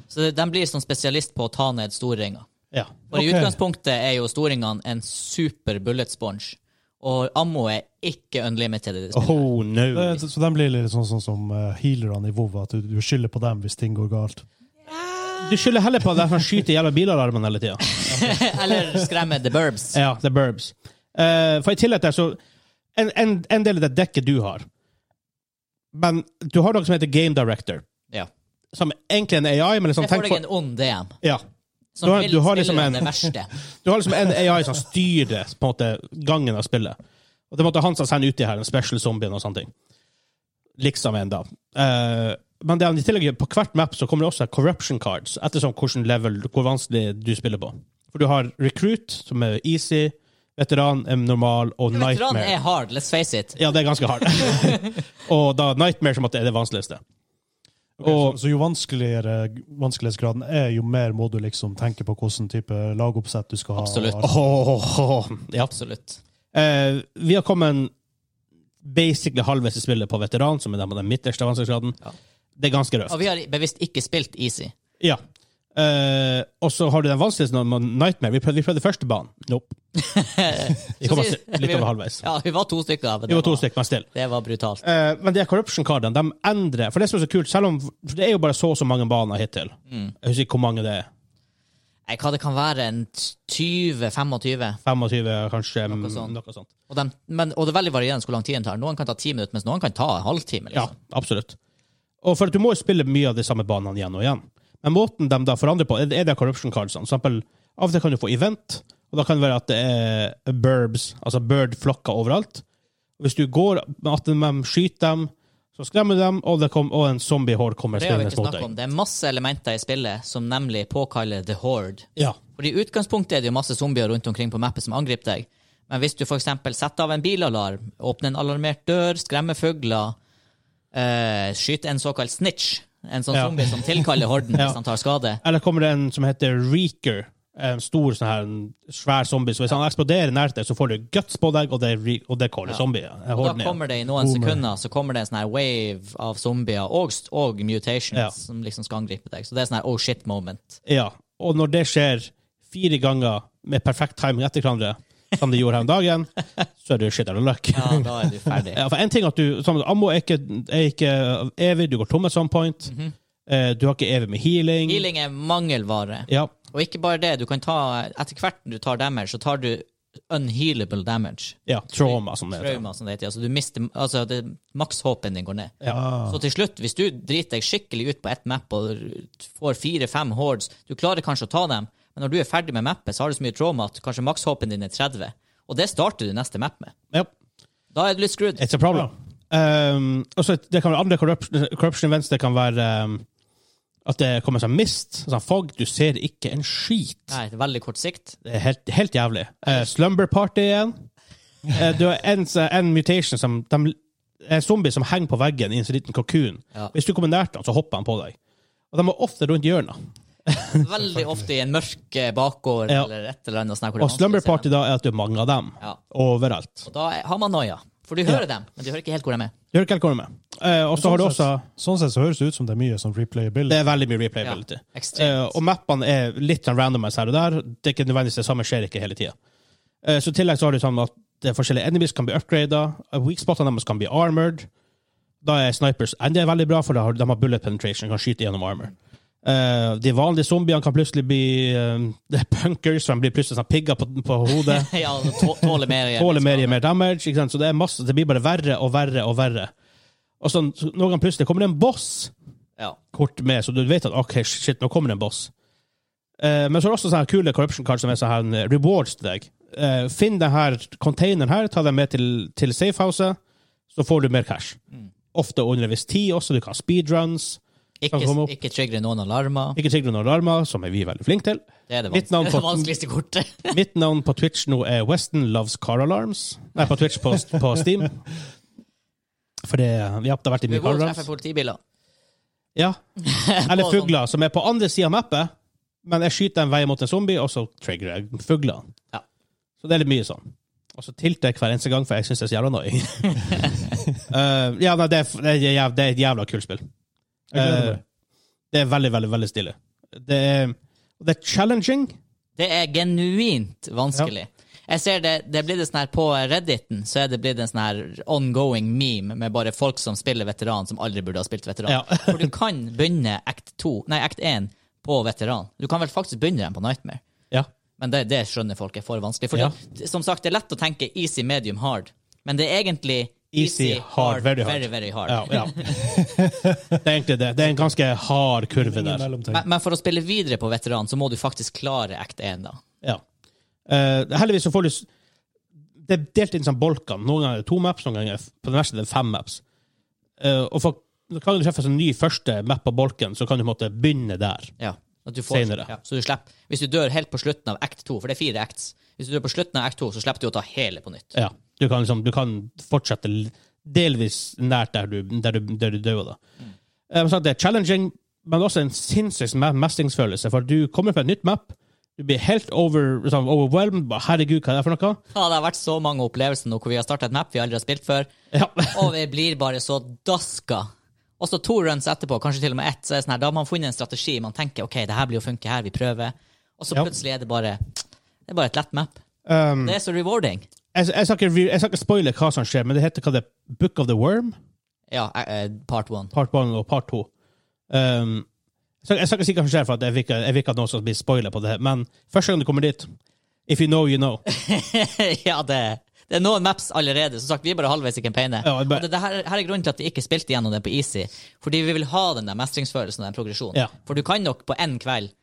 Så de blir sånn spesialist på å ta ned storringer.
Ja.
For i
Ok.
utgangspunktet er jo storingene en super bullet sponge, og ammo er ikke unlimited i det spillet.
Oh, no.
Det- Eh, Så de blir litt sånn, sånn som eh, healerne i WoW, at du, du skylder på dem hvis ting går galt.
Du skylder heller på at de som skyter jævla bilalarmen hele tida.
(laughs) Eller skremme the burbs.
Ja, the burbs. Eh, for i tillegg til det, så en, en, en del av det dekket du har Men du har noe som heter Game Director,
Ja.
som egentlig er en AI, men liksom
Jeg får
tenk
deg
for
en ond DM.
ja.
Som
Du har-
vil
du har
spille
liksom en-
det
(laughs)
verste.
Du har liksom en AI som styrer på en måte gangen av spillet. Og det måtte han som sender uti her, den special zombien og sånne ting. Liksom en, da. Eh, men det han i tillegg gjør, på hvert map så kommer det også corruption cards, ettersom hvordan level, hvor vanskelig du spiller på. For du har recruit, som er easy, veteran er normal, og
Veteran
nightmare.
er hard, let's face it.
Ja, det
(laughs)
er ganske hardt. og da nightmare som at det er det vanskeligste.
så, så jo vanskeligere vanskelighetsgraden er, jo mer må du liksom tenke på hvilken type lagoppsett du skal ha.
Absolutt.
Åh, ja.
Absolutt.
Eh, vi har kommet en basically halvveis i spillet på veteran, som er den, den midterste vanskelighetsgraden.
Ja.
Det er ganske røft.
Og vi har bevisst ikke spilt easy.
Ja. Eh, og så har du den vanskeligste når man- Nightmare. Vi prøvde, vi prøvde første banen. (laughs) Nope. Vi kom oss litt over halvveis.
Ja, vi var to stykker. men
Vi
det
var to stykker, men still.
Det var brutalt.
Eh, men de her corruption-kardene de endrer For det som er så kult, selv om for det er jo bare så og så mange baner hittil
Mm.
Jeg husker ikke hvor mange det er.
Nei, hva det kan være, en 20-25?
25, kanskje?
Noe
Noe
sånt.
sånt. Noe sånt.
Og, dem- men- og det er veldig varierende hvor lang tid det tar. Noen kan ta ti minutter, mens noen kan ta en halvtime.
Ja,
Liksom.
absolutt. Og for at Du må jo spille mye av de samme banene igjen og igjen. Men måten de da forandrer på, er er det corruption cardsene. For eksempel, Av og til kan du få event, og da kan det være at det er burbs, altså bird-flokker overalt. Og Hvis du går at de skyter dem, så skremmer de dem, og, det kom, og en zombiehorde kommer
Det har vi
spillende
ikke
mot
snakket om.
deg.
Det er masse elementer i spillet som nemlig påkaller The Horde.
Ja.
For i utgangspunktet er det jo masse zombier rundt omkring på mappet som angriper deg. Men hvis du for eksempel setter av en bilalarm, åpner en alarmert dør, skremmer fugler, eh, skyter en såkalt snitch, en sånn
Ja.
zombie som tilkaller
(laughs)
horden
Ja.
hvis han tar skade
Eller kommer det en som heter Reeker. En stor sånn her, en svær zombie. Så hvis han eksploderer nært deg, så får du guts på deg, og det, er re- og det caller zombie. eh, Jeg
Og
holder
da
den igjen.
kommer det i noen sekunder så kommer det en sånn her wave av zombier og, st- og mutations
Ja.
som liksom skal angripe deg. Så det er sånn her oh shit
(laughs)
moment.
Ja, og når det skjer fire ganger med perfekt timing etter hverandre, som de gjorde her om dagen, så er du shit out of luck.
Ja, da er du ferdig.
Ja, for en ting er at du, sånn, at Ammo er ikke, er ikke evig, du går tom at some point. Eh, Du har ikke evig med healing.
Mhm. Healing er mangelvare.
Ja,
Og ikke bare det, du kan ta Etter hvert du tar damage, så tar du unhealable damage.
ja, trauma, som det heter.
Trauma, som det heter. Altså, du mister Altså, det- makshåpen din går ned.
Ja.
Så til slutt, hvis du driter deg skikkelig ut på ett map og r- får fire-fem hordes Du klarer kanskje å ta dem, men når du er ferdig med mappet, så har du så mye trauma at kanskje makshåpen din er 30. Og det starter du neste map med.
Ja.
Da er du litt screwed.
It's a problem. Um, og så det kan være andre corruption, corruption events. Det kan være um, at det kommer sånn mist, sånn fog. Du ser ikke en skit.
Nei, det er veldig kort sikt.
Det er helt, helt jævlig. Eh, slumber party igjen. Eh, du har en, en mutation som de, En zombie som henger på veggen i en sånn liten kalkun.
Ja.
Hvis du kommer nært han, så hopper han på deg. Og de er ofte rundt hjørnet. (laughs)
Veldig ofte i en mørk eh, bakgård
Ja.
eller et eller annet. Sånn, her hvor det er
Og
vanskelig
slumber
å se dem.
party da er at du er mange av dem.
Ja.
Overalt.
Da er- har man noia. For du hører dem, men du hører ikke helt hvor de er.
Du hører ikke helt hvor de er. Eh, og så har du også
Sånn sett så høres det ut som det er mye sånn replayability.
Det er veldig mye replayability.
Ja, ekstremt.
Eh, og mappene er litt sånn randomized her og der. Det er ikke nødvendigvis det samme skjer ikke hele tida. så i tillegg så har du sånn at det er forskjellige enemies kan bli upgrada. Weakspotene deres kan bli armored. Da er snipers enn det er veldig bra, for da har- de har bullet penetration, kan skyte gjennom armor. Eh, de vanlige zombiene kan plutselig bli eh, (laughs) det er punkers, som blir plutselig sånn pigger på, på
(laughs)
hodet.
ja, tå- tåler mer igjen.
Tåler mer, gir mer damage. Ikke sant? Så det er masse, det blir bare verre og verre og verre. Og sånn, så noen ganger plutselig kommer det en boss
Ja.
kort med, så du vet at ok, shit, nå kommer det en boss. Eh, men så er det også sånne kule corruption cards som er sånne her rewards til deg. Eh, finn denne containeren her, ta den med til, til safehouset, så får du mer cash. Ofte under en viss tid også, du kan ha speedruns.
Ikke,
Kan komme opp.
ikke triggere noen alarmer.
Ikke trigger noen alarmer, som er vi veldig flinke til.
Det er det,
Mitt
vans
navn
det, er
på-
det (laughs) vanskeligste kortet.
Mitt navn på Twitch nå er Weston Loves Car Alarms. Nei, på Twitch, på, på Steam. For det, ja, det har vært i
Du
mye
går
car
og treffer
alarms.
politibiler.
Ja.
(laughs) På
Eller
sånn-
fugler, som er på andre sida av mappet, men jeg skyter en vei mot en zombie, og så trigger jeg fuglene.
Ja.
Så det er litt mye sånn. Og så tilter jeg hver eneste gang, for jeg syns det er så
(laughs)
jævla nøye. uh, ja, nei, det er, det, er jævla, det er et jævla kult spill.
Jeg gleder
Eh,
meg.
det er veldig, veldig veldig stilig. Det er, det er challenging.
Det er genuint vanskelig. Jeg ser det, det blir det sånn her På Redditen så er det blitt en sånn her ongoing meme med bare folk som spiller veteran, som aldri burde ha spilt veteran.
Ja. (laughs)
For du kan begynne act 2, nei, act 1 på veteran. Du kan vel faktisk begynne den på Nightmare.
Ja.
Men det, det skjønner folk er for vanskelig. For
Ja.
det, som sagt, det er lett å tenke easy, medium, hard. Men det er egentlig
Easy, hard, very hard.
very, very hard.
ja,
(laughs)
ja. det er egentlig det. Det er en ganske hard kurve
Ingen
der.
mellomting.
Men, men for å spille videre på veteran, så må du faktisk klare act 1, da.
Ja. Eh, heldigvis så får du s- Det er delt inn som bolker. Noen ganger er det to maps, noen ganger er f- på det verste det er fem maps. Eh, og for, kan du treffe en ny første map på bolken, så kan du på en måte begynne der.
Ja. At du får,
Senere.
Ja, så du slipper, hvis du dør helt på slutten av act 2, for det er fire acts Hvis du dør på slutten av act 2, så slipper du å ta hele på nytt.
Ja. Du kan, liksom, du kan fortsette l- delvis nært der du, der du, der du dør. Da. Eh, men sånn at det er challenging, men også en sinnssyk me- mestringsfølelse, for du kommer på et nytt map, Du blir helt over, sånn, overwhelmed. Bare, Herregud, hva er det for noe?
Ja, det har vært så mange opplevelser nå hvor vi har starta et map vi aldri har spilt før,
Ja. (laughs)
og vi blir bare så daska. Og så to runs etterpå, kanskje til og med ett, så er det sånn her, da har man funnet en strategi. Man tenker ok, det her blir å funke her, vi prøver. Og så
Ja.
plutselig er det bare det er bare et lett map.
Um,
Det er så rewarding.
jeg, jeg, skal ikke, re- jeg skal ikke spoile hva som skjer, men det heter hva det er Book of the Worm,
Ja, eh, eh, part one.
part 1 og part 2. Um, jeg, skal, jeg skal ikke si hva som skjer, for at jeg vil ikke- jeg vil ikke at noen skal bli spoilet på det. her, Men første gang du kommer dit If you know, you know.
(laughs) ja, det, det er noen maps allerede. Som sagt, vi er bare halvveis i campaignet.
Ja,
og
jeg bare-
det, det her, her er grunnen til at vi ikke spilte gjennom det på Easy. Fordi vi vil ha den der mestringsfølelsen og den progresjonen.
Ja.
For du kan nok på én kveld,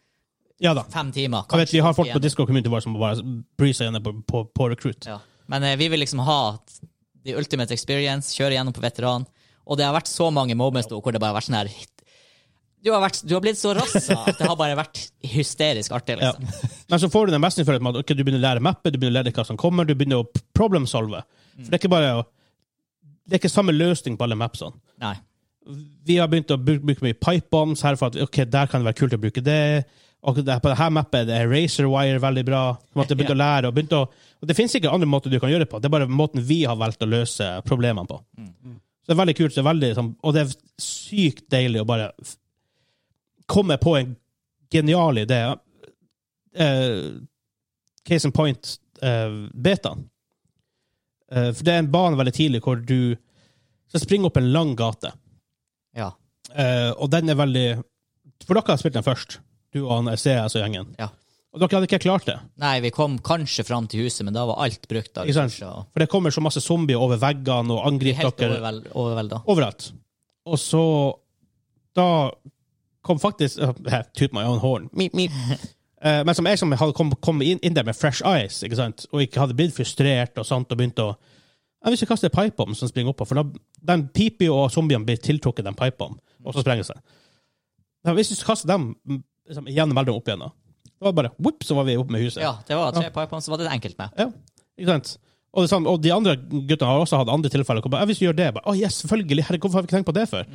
Ja da.
fem timer
Jeg vet, vi har folk på
igjennom.
Discord community vår som bare bryr seg gjennom på, på, på recruit.
Ja. Men eh, vi vil liksom ha t- the ultimate experience, kjøre gjennom på veteran. Og det har vært så mange moments nå hvor det bare har vært sånn her hit. du har, vært, du har blitt så
(laughs)
rassa at det har bare vært hysterisk artig.
Ja.
liksom.
Men så får du den mestringsfølelsen med at ok, du begynner å lære mappet, du begynner å lære hva som kommer, du begynner å problem-solve. For det er ikke bare å Det er ikke samme løsning på alle sånn. mapsene.
Nei.
Vi har begynt å bruke, bruke mye pipe bombs her for at ok, der kan det være kult å bruke det. Og det, på dette mappet er razor wire veldig bra. På en måte begynte å lære og begynte å Og det finnes ikke andre måter du kan gjøre det på. Det er bare måten vi har valgt å løse problemene på. Så det er veldig kult. Det er veldig, sånn, og det er sykt deilig å bare f- komme på en genial idé. Eh, case in point, uh, betaen. Eh, for det er en bane veldig tidlig hvor du skal springe opp en lang gate.
Ja.
Eh, og den er veldig For dere har spilt den først, du og han CS og gjengen.
Ja.
Og dere hadde ikke klart det.
Nei, vi kom kanskje fram til huset, men da var alt brukt. av
Ikke sant?
ressurser, og
For det kommer så masse zombier over veggene og angriper
Helt
dere
overvel, overvelda.
overalt. Og så Da kom faktisk (laughs) uh, Toot my own horn. Mip, mip. Eh, men som jeg som hadde kommet kom inn, inn der med fresh eyes, ikke sant? og ikke hadde blitt frustrert og sånt, og begynte å Jeg vil ikke kaste en pipebomb som springer oppå, for da, den piper jo, og zombiene blir tiltrukket den pipebomben, og så sprenger seg. Men hvis du kaster dem mm, liksom, igjen og melder dem opp igjen, da Det var bare whoop, så var vi oppe med huset.
Ja, det var tre pipebombs, så var det et enkelt map.
Ja, ikke sant? Og, det samme, og de andre guttene har også hatt andre tilfeller. hvor Bare, «Ja, hvis vi gjør det, bare, «Å, yes, selvfølgelig, herregud, hvorfor har vi ikke tenkt på det før?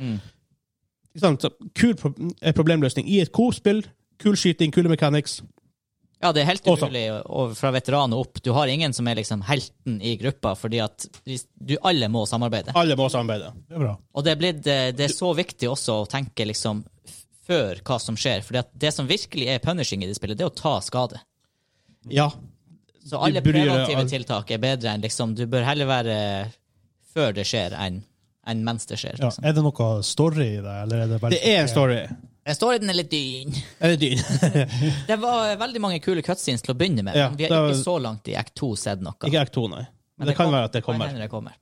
Ikke sant? Så, kul pro eh, problemløsning i et co-spill, kul skyting, kule mechanics.
Ja, det er helt
Og så-
umulig og fra veteran og opp. Du har ingen som er liksom helten i gruppa, fordi at hvis du alle må samarbeide.
Alle må samarbeide.
Det er bra.
Og det er, blitt, eh, det er så viktig også å tenke liksom f- før hva som skjer. For det som virkelig er punishing i det spillet, det er å ta skade.
Ja.
Så alle
burde gjøre
preventive
alt.
tiltak er bedre enn liksom Du bør heller være før det skjer, enn enn mens det skjer.
Ja.
Liksom.
Er det noe story i det? Eller er det, bare-
Det er en story.
Jeg står i den er litt dyn. (laughs)
Er det dyr? (laughs)
Det var veldig mange kule cutscenes til å begynne med.
Ja,
men vi
det
har
var-
ikke så langt i Act 2 sett noe.
ikke Act 2, nei.
Men
Men det kan
kom-
være at det
kan
kommer.
hende det kommer.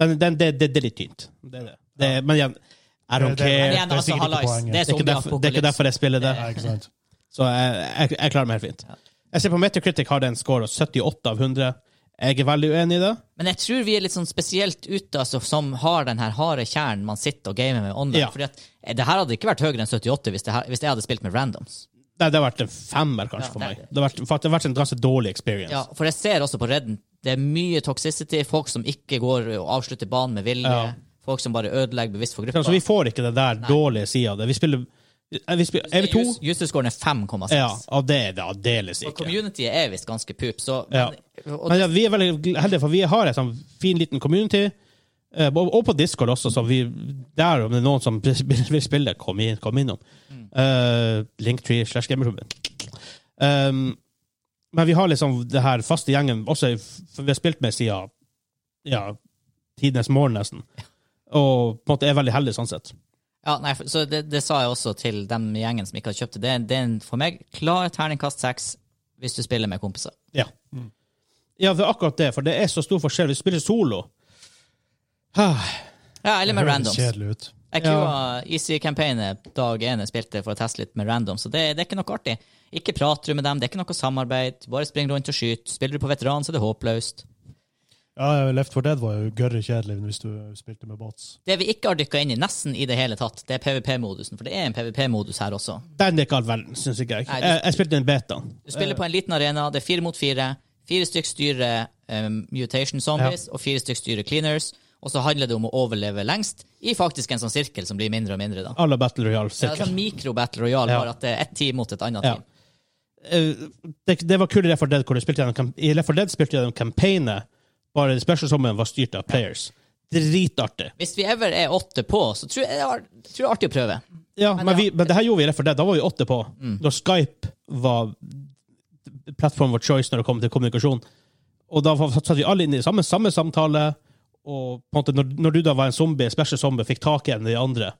Den, den, det, det, det er litt tynt. Det er det. det er- men igjen, I
Men
don't
Det- det-
care.
igjen,
det er
altså,
sikkert ikke
hallais.
poenget.
Det er
Det er ikke derfor, det er ikke
zombieapokalypse.
derfor jeg spiller det.
Ja, ikke sant?
Så jeg, jeg, jeg klarer meg helt fint. Jeg ser på Metacritic har det en score av 78 av 100. Jeg er veldig uenig i det.
Men jeg tror vi er litt sånn spesielt ute, altså, som har den her harde kjernen man sitter og gamer med online.
Ja.
Fordi at eh, det her hadde ikke vært høyere enn 78 hvis, det her, hvis jeg hadde spilt med randoms.
Nei, det har vært en femmer, kanskje,
Ja,
for
det er
meg. Det har vært, for at det har vært en ganske dårlig experience.
Ja, for jeg ser også på Redden, det er mye toxicity, folk som ikke går og avslutter banen med vilje,
Ja.
folk som bare ødelegger bevisst for gruppa.
Så vi får ikke den der dårlige sida av det. Vi spiller, eh, vi spiller EV2.
Us- User-scoren er 5,6.
Ja, og det er det aldeles
Og
ikke.
communityet er visst ganske pup, så
Ja.
og,
Men ja, vi er veldig heldige, for vi har en sånn fin, liten community. eh, Og og på Discord også, så vi, der om det er noen som (laughs) vil spille, kom inn, kom innom.
Mm.
Eh, Linktree slash gamerklubben. Um, men vi har liksom det her faste gjengen, også i- for vi har spilt med siden ja, tidenes morgen, nesten. Og på en måte er veldig heldig sånn sett.
ja, nei, for- så det, det sa jeg også til dem i gjengen som ikke hadde kjøpt det. Det er, en- det er en, for meg klar terningkast 6 hvis du spiller med kompiser.
Ja. ja, det er akkurat det, for det er så stor forskjell. Vi spiller solo. Ah,
Ja, eller
Det
med
høres
randoms.
kjedelig ut.
Jeg ja. Easy-campaignet dag én jeg spilte for å teste litt med random, så det, det er ikke noe artig. Ikke prater du med dem, det er ikke noe samarbeid. Bare spring rundt og skyt. Spiller du på veteran, så er det håpløst.
Ja, Left 4 Dead var jo gørre kjedelig hvis du spilte med bots.
Det vi ikke har dykka inn i nesten i det hele tatt, det er PVP-modusen, for det er en PVP-modus her også.
den er ikke all verden, syns ikke jeg.
Nei, du-
Jeg, jeg spilte en beta.
Du spiller på en liten arena, det er fire mot fire. Fire stykk styrer um, mutation zombies, og fire stykk styrer cleaners. Og så handler det om å overleve lengst i faktisk en sånn sirkel som blir mindre og mindre, da.
Alle Battle
Det er
Royale-sirkel.
sånn mikro-battle royal,
Ja.
bare at det er ett team mot et annet
Ja.
team.
eh, det, det var kult i Left 4 Dead hvor du spilte gjennom, kamp- i Left 4 Dead spilte gjennom campaignet, bare det special sommeren var styrt av players. Dritartig.
Hvis vi ever er åtte på, så tror jeg, det er- tror jeg det er artig å prøve.
Ja, men,
ja.
Vi, men det her gjorde vi i Left 4 Dead, da var vi åtte på. Da Skype var plattform of choice når det kom til kommunikasjon. Og da var- satt vi alle inn i samme, samme samtale, og på en måte, når, når du da var en zombie, special zombie, fikk tak i en av de andre,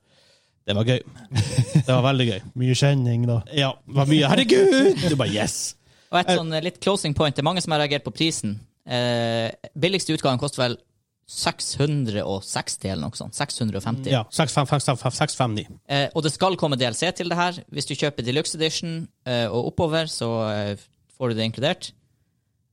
det var gøy. Det var veldig gøy.
Mye kjenning, da.
Ja, det var mye. Herregud! Du bare yes!
Og et sånn eh, litt closing point. Det er mange som har reagert på prisen. Eh, billigste utgaven koster vel 660 eller noe sånt. 650.
Ja, 659.
Eh, og det skal komme DLC til det her. Hvis du kjøper Deluxe Edition eh, og oppover, så eh, får du det inkludert.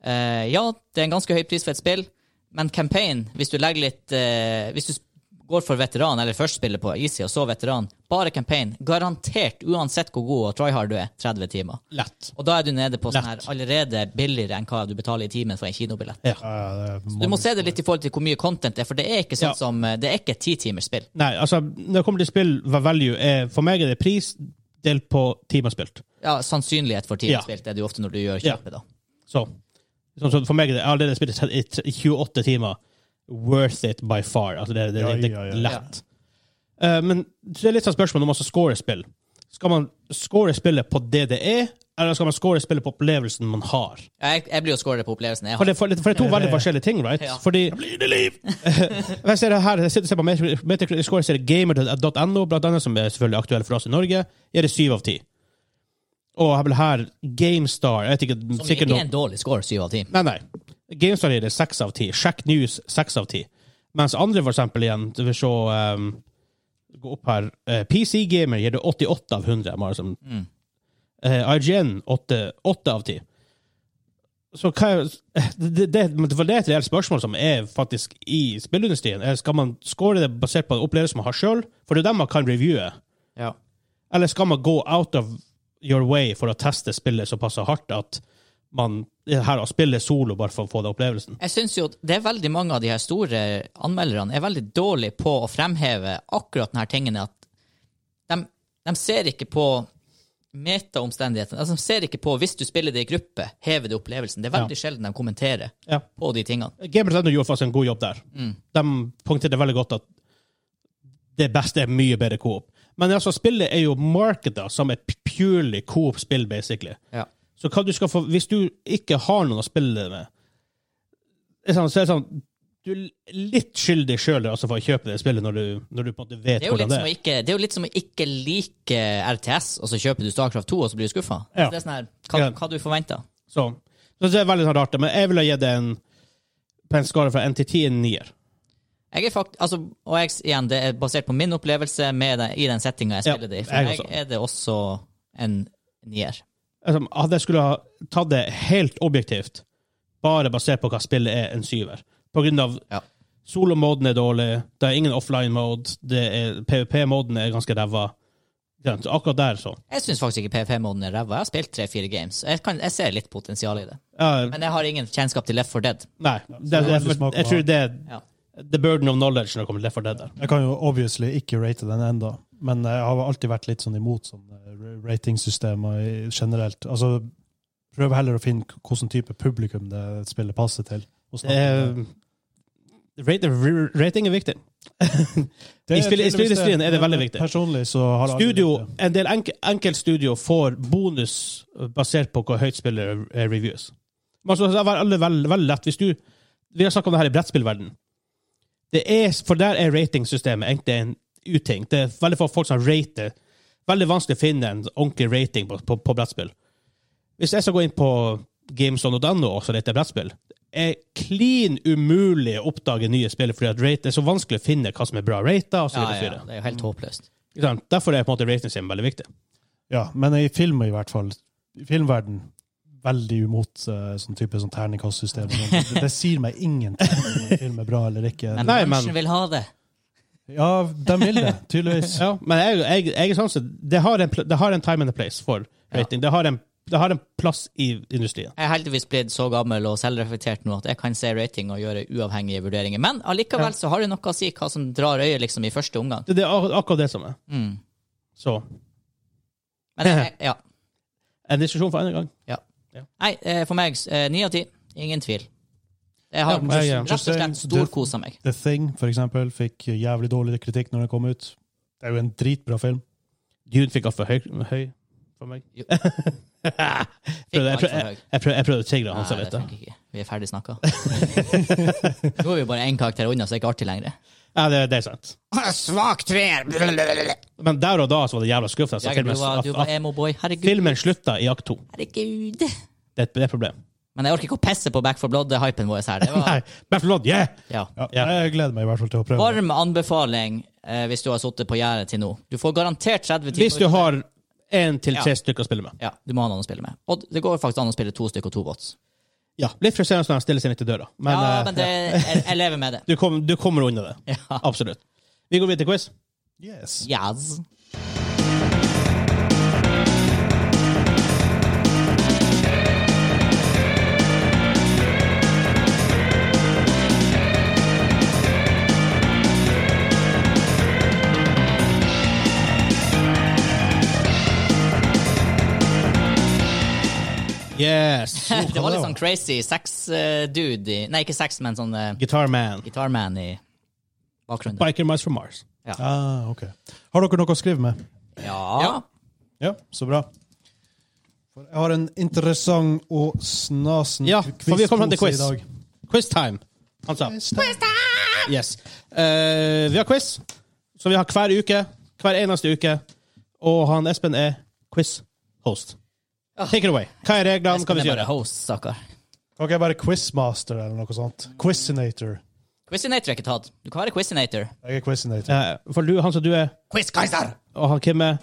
Eh, ja, det er en ganske høy pris for et spill, men campaign, hvis du legger litt eh, Hvis du s- går for veteran, eller først spiller på easy og så veteran, bare campaign, garantert, uansett hvor god og try hard du er, 30 timer.
Lett.
Og da er du nede på sånn her
Lett.
allerede billigere enn hva du betaler i timen for en kinobillett.
Ja, ja, det
Du må se det litt i forhold til hvor mye content det er, for det er ikke sånn
Ja.
som eh, Det er ikke et titimers spill.
Nei, altså, når det kommer til spill, hva value er For meg er det pris delt på timer spilt.
Ja, sannsynlighet for timer
Ja.
spilt er det jo ofte når du gjør
Ja.
kjøpet, da.
Så, sånn som for meg er det jeg har allerede spilt i tre- i 28 timer. Worth it by far. Altså, det, det,
Ja,
det, det
ja, ja.
er lett. Eh, men det er litt sånn spørsmål om man skal score spill. Skal man score spillet på det det er, eller skal man score spillet på opplevelsen man har?
Jeg, jeg blir jo scoret på opplevelsen jeg
For
har.
det, for, det, for det er to veldig forskjellige ting, right?
Eh, Ja.
Fordi blir det liv! (laughs) jeg ser det her, jeg sitter og ser på Metacritic- Metacritic Score, jeg ser gamer.no, blant annet, som er selvfølgelig aktuell for oss i Norge, gir det syv av ti. Og her, her GameStar jeg vet ikke,
Som ikke
sikkert
er
noe...
en dårlig score, syv av ti.
Nei, nei. GameStar gir det seks av ti. Shack News seks av ti. Mens andre, for eksempel, igjen, du vil se um, Gå opp her. eh, PC Gamer gir det 88 av 100. Bare som, Eh, IGN 8, av 10. Så hva er- (laughs) det, det, men for det er et reelt spørsmål som er faktisk i spillindustrien. Er, Skal man score det basert på den opplevelsen man har sjøl? For det er jo dem man kan reviewe.
Ja.
Eller skal man gå out of your way for å teste spillet såpass hardt at man det her spiller solo bare for å få den opplevelsen?
Jeg synes jo at det er veldig mange av de her store anmelderne er veldig dårlige på å fremheve akkurat denne tingen at de, de ser ikke på metaomstendighetene. Altså, de ser ikke på hvis du spiller det i gruppe, hever det opplevelsen. Det er veldig sjelden de kommenterer
Ja.
på de tingene.
Gamer.no gjorde faktisk en god jobb der.
Mm.
De poengterte veldig godt at det beste er mye bedre coop. Men altså, spillet er jo markedet som et purely coop-spill, basically. Så hva du skal få, hvis du ikke har noen å spille det med, det er sånn, så er det sånn du er litt skyldig sjøl altså, for å kjøpe det spillet når du, når du på en måte vet
Det er, jo litt
hvordan det
som å
er.
ikke, det er jo litt som å ikke like RTS, og så kjøper du Starcraft 2, og så blir du skuffa.
Ja.
Det er sånn her, hva,
Ja.
hva du forventer.
Så, så det er veldig sånn rart. Men jeg ville gi det en på en skala fra 1 til 10 en nier.
Jeg er fakt, altså, og jeg, igjen, det er basert på min opplevelse med det, i den settinga jeg
Ja,
spiller det i.
jeg
For meg
også.
er det også en nier.
Altså, hadde jeg skulle ha tatt det helt objektivt, bare basert på hva spillet er, en syver. På grunn av
Ja.
solo-moden er dårlig, det er ingen offline-mode, PVP-moden er ganske ræva. Ja, så Akkurat der, så.
Jeg syns faktisk ikke PVP-moden er ræva. Jeg har spilt tre-fire games. Jeg, kan, jeg ser litt potensial i det.
Ja,
Men jeg har ingen kjennskap til Left 4 Dead.
Nei. Det,
det er
jeg,
veldig smak å
jeg
ha.
tror det er
Ja.
the burden of knowledge når det kommer til Left 4 Dead. der.
Jeg kan jo obviously ikke rate den enda, men jeg har alltid vært litt sånn imot sånne ra- ratingsystemer i- generelt. Altså, prøv heller å finne k- hvilken type publikum det spillet passer til. og snakke om det.
Eh, rate- r- rating er viktig. (laughs)
Det
i spill- i
tydeligvis
spillindustrien er det veldig viktig.
Personlig så har jeg aldri
Studio,
likt det.
en del enk enkeltstudio får bonus basert på hvor høyt spillet er reviews. Men altså, det er alle veldig, veldig lett. Hvis du, vi har snakket om det her i brettspillverden. Det er, for der er ratingsystemet egentlig en uting. Det er veldig få folk som rater. Veldig vanskelig å finne en ordentlig rating på, på, på brettspill. Hvis jeg skal gå inn på gameson.no og så lete brettspill, det er klin umulig å oppdage nye spill fordi at rate, det er så vanskelig å finne hva som er bra rata. Og så
Ja,
videre, og så
ja,
videre.
det er jo helt håpløst.
Ikke sant? Derfor er på en måte ratingsystemet veldig viktig.
Ja, men i film i hvert fall. I filmverden, veldig imot eh, sånn type sånn terningkastsystem. Det, det sier meg ingenting om en film er bra eller ikke.
Men
Nei, men-
bransjen vil ha det.
Ja, de vil det, tydeligvis.
Ja, men jeg, jeg, jeg er sånn sett det, har en pl- det har en time and a place for rating. Det, har en, det har en plass i industrien.
Jeg er heldigvis blitt så gammel og selvreflektert nå at jeg kan se rating og gjøre uavhengige vurderinger. Men allikevel så har det noe å si hva som drar øyet liksom i første omgang.
Det, det er ak- akkurat det som er.
Mm.
(laughs) Så
Men jeg, ja.
En diskusjon for en gang.
Ja.
Ja.
Nei, eh, for meg eh, ni av ti. Ingen tvil. Jeg har
Ja, men-
ja.
rett og slett storkosa meg.
The Thing, for eksempel, fikk jævlig dårlig kritikk når den kom ut. Det er jo en dritbra film.
Dune fikk altfor høy, høy for meg.
Jo.
(laughs) jeg,
Fikk
prøvde, jeg,
altfor
prøvde,
høy.
jeg, jeg, prøvde, jeg prøvde å tigre hans,
Nei,
jeg
det
vet det.
tenker jeg ikke. Vi er ferdig snakka. (laughs) Nå er vi bare én karakter unna, så det er ikke artig lenger.
Ja, det, det er sant.
Svak treer!
Men der og da så var det jævla skuffende. så
Du
Filmen,
var, du
at,
var
at
emo-boy. Herregud.
filmen slutta i akt to.
Herregud.
Det er et- det er et problem.
Men jeg orker ikke å pisse på Back for Blood-hypen vår her. Det var,
Nei, Back for Blood, yeah!
ja.
Ja,
Ja.
Jeg gleder meg i hvert fall til å prøve.
Varm anbefaling eh, hvis du har sittet på gjerdet til nå. Du får garantert 30 timer.
Hvis du har én til tre
Ja.
stykker å spille med.
Ja, du må ha noen å spille med. Og det går faktisk an å spille to stykker og to bots.
Ja, Litt frustrerende når han stiller seg midt i døra, men,
ja,
eh,
men det, jeg, jeg lever med det.
du, kom, du kommer unna det.
Ja.
Absolutt. Vi går videre til quiz.
Yes.
Yes. (laughs)
Yes!
Det var litt sånn crazy sex-dude i Nei, ikke sex, men sånn uh,
Guitar Man.
gitarman i bakgrunnen.
Biker Mice from Mars.
Ah, ok. Har dere noe å skrive med?
Ja.
Ja, så bra. For jeg har en interessant og snasen
Ja, for vi kommer fram til
quizpose
quiz.
i dag.
Quiz time. Han sa. Yes. Eh, vi har quiz, som vi har hver uke. Hver eneste uke. Og han Espen er quiz-host. Take it away. Hva er reglene? Hva
Espen
vi
er
skal
bare
gjøre?
host, stakkar.
Kan ikke jeg være quizmaster eller noe sånt? Quizinator.
Quizinator er ikke tatt. Du kan være quizinator.
Jeg er quizinator.
Eh, for du, han som du er,
Quizkaiser!
og han Kim er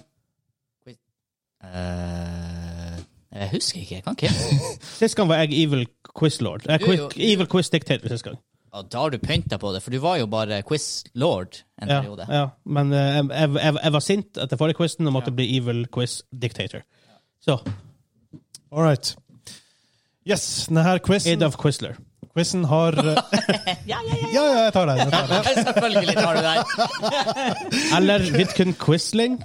Eh, jeg husker ikke. Jeg kan ikke.
Sist gang var jeg evil quiz-lord. Eh,
Jo,
quiz,
jo.
evil quiz-dictator sist gang.
Ja, da har du pynta på det, for du var jo bare quiz-lord en
Ja,
periode.
ja. Men eh, jeg, jeg, jeg, jeg var sint etter forrige quizen og måtte bli evil quiz-dictator. Så
All right. Yes, denne quizen,
Adolf Quisler.
quizen har
(laughs)
eh,
Ja, ja, ja.
Ja, ja, jeg tar den. Jeg tar den.
Selvfølgelig tar du den.
Eller Vidkun Quisling.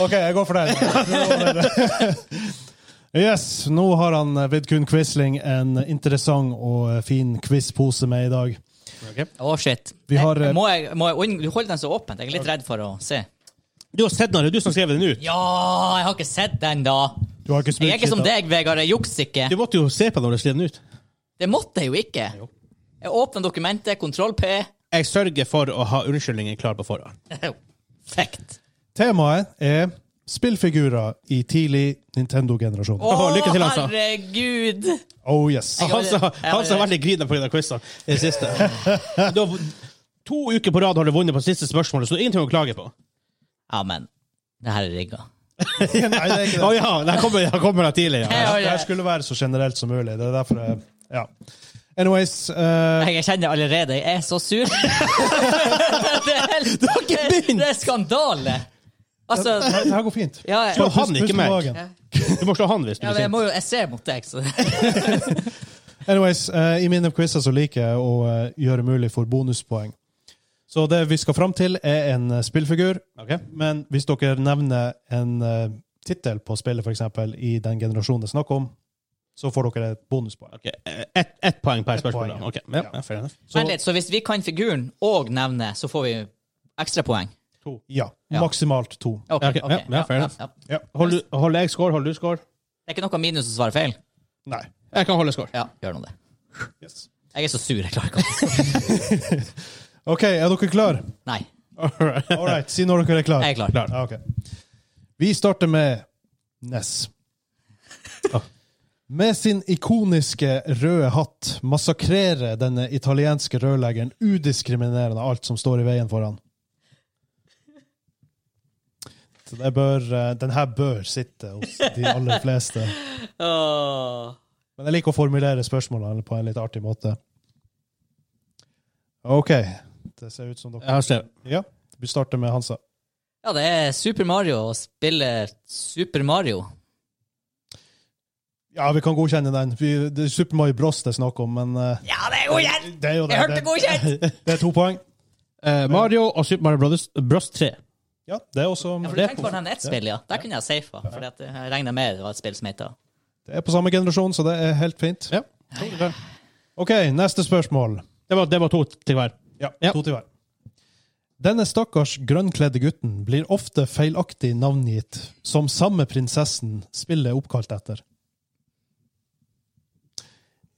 OK, jeg går for den. (laughs) Yes, nå har han eh, Vidkun Quisling en interessant og eh, fin quizpose med i dag.
Å, shit.
Vi har, eh,
må jeg, må jeg, unn- du holder den så åpent. Jeg er litt redd for å se.
Du har sett den, det er du som skrev den ut.
Ja, jeg har ikke sett den, da.
Du har ikke
Jeg
spurt
er ikke som
litt, da?
deg, Vegard. Jeg jukser ikke.
Du måtte jo se på den når du skrev den ut.
Det måtte jeg jo ikke. Jeg åpner dokumentet, kontroll P.
Jeg sørger for å ha unnskyldningen klar på forhånd.
Fact.
Temaet er spillfigurer i tidlig Nintendo-generasjon.
Å,
Oh.
lykke til, altså.
herregud!
yes.
Jeg-
Han som han som har vært litt grina pga. quizene i det siste. Du har, to uker på rad har du vunnet på siste spørsmålet, så det er ingenting å klage på.
Ja, men det her er rigga.
Nei, det er ikke
Å
det.
ja, der kommer, der kommer det tidlig. Ja.
Ja,
Det
ja.
her skulle være så generelt som mulig. Det er derfor jeg Ja. Anyways eh,
Jeg kjenner allerede jeg er så
(laughs)
sur. det, er, helt- det, det er skandale! Altså
Det her går fint.
ja, jeg,
Så han
Pust-
ikke
pust på
meg.
magen.
Du må slå han hvis du
ja,
er
men jeg,
sint.
må jo, jeg ser mot deg, så
Anyways, eh, I mine quizer så liker jeg å eh, gjøre mulig for bonuspoeng. Så det vi skal fram til, er en eh, spillfigur.
Ok.
Men hvis dere nevner en eh, tittel på spillet, f.eks., i den generasjonen det er snakk om, så får dere et bonuspoeng.
Ok, eh, Ett ett poeng per spørsmål. da.
poeng, ja.
Ok, ja, ja, fair enough.
Vent litt, så hvis vi kan figuren og nevnet, så får vi ekstrapoeng?
Ja.
Ja.
Maksimalt to.
OK.
Ja, ok.
ok.
Ja, ja, fair enough.
Det
Ja.
Hold, du- hold jeg score, hold du score?
er ikke noe minus å svare feil?
Nei.
Jeg kan holde score.
Ja, gjør nå det.
Yes.
Jeg er så sur, jeg klarer ikke å
OK, er dere klare?
Nei,
All right, si når dere er klare.
jeg er klar.
Ja, ok. Vi starter med
(laughs)
Ness. Ah. Med sin ikoniske røde hatt massakrerer denne italienske rørleggeren udiskriminerende alt som står i veien for han. Så det bør, eh, den her bør sitte hos de aller fleste.
Åh.
Men jeg liker å formulere spørsmålene på en litt artig måte. OK. Det ser ut som dere
Jeg har skrevet.
Ja, vi starter med Hansa.
Ja, det er Super Mario og spiller Super Mario.
Ja, vi kan godkjenne den. Vi, det er Super Mario Bros det er snakk om, men eh,
Ja, det er godkjent!
det er jo det.
Jeg hørte
Det,
godkjent!
det er to poeng.
Eh, Mario og Super Mario Brothers, Bros 3.
Ja, det er også
Ja, for du
det, er
tenkte
på,
bare nevne ett spill, ja. Der kunne jeg safa. For jeg regna med det var et spill som heter
det er på samme generasjon, så det er helt fint.
Ja. Så er det.
OK, neste spørsmål.
Det var, det var to til hver.
Ja,
Ja.
to til hver. Denne stakkars grønnkledde gutten blir ofte feilaktig navngitt som samme prinsessen spillet er oppkalt etter.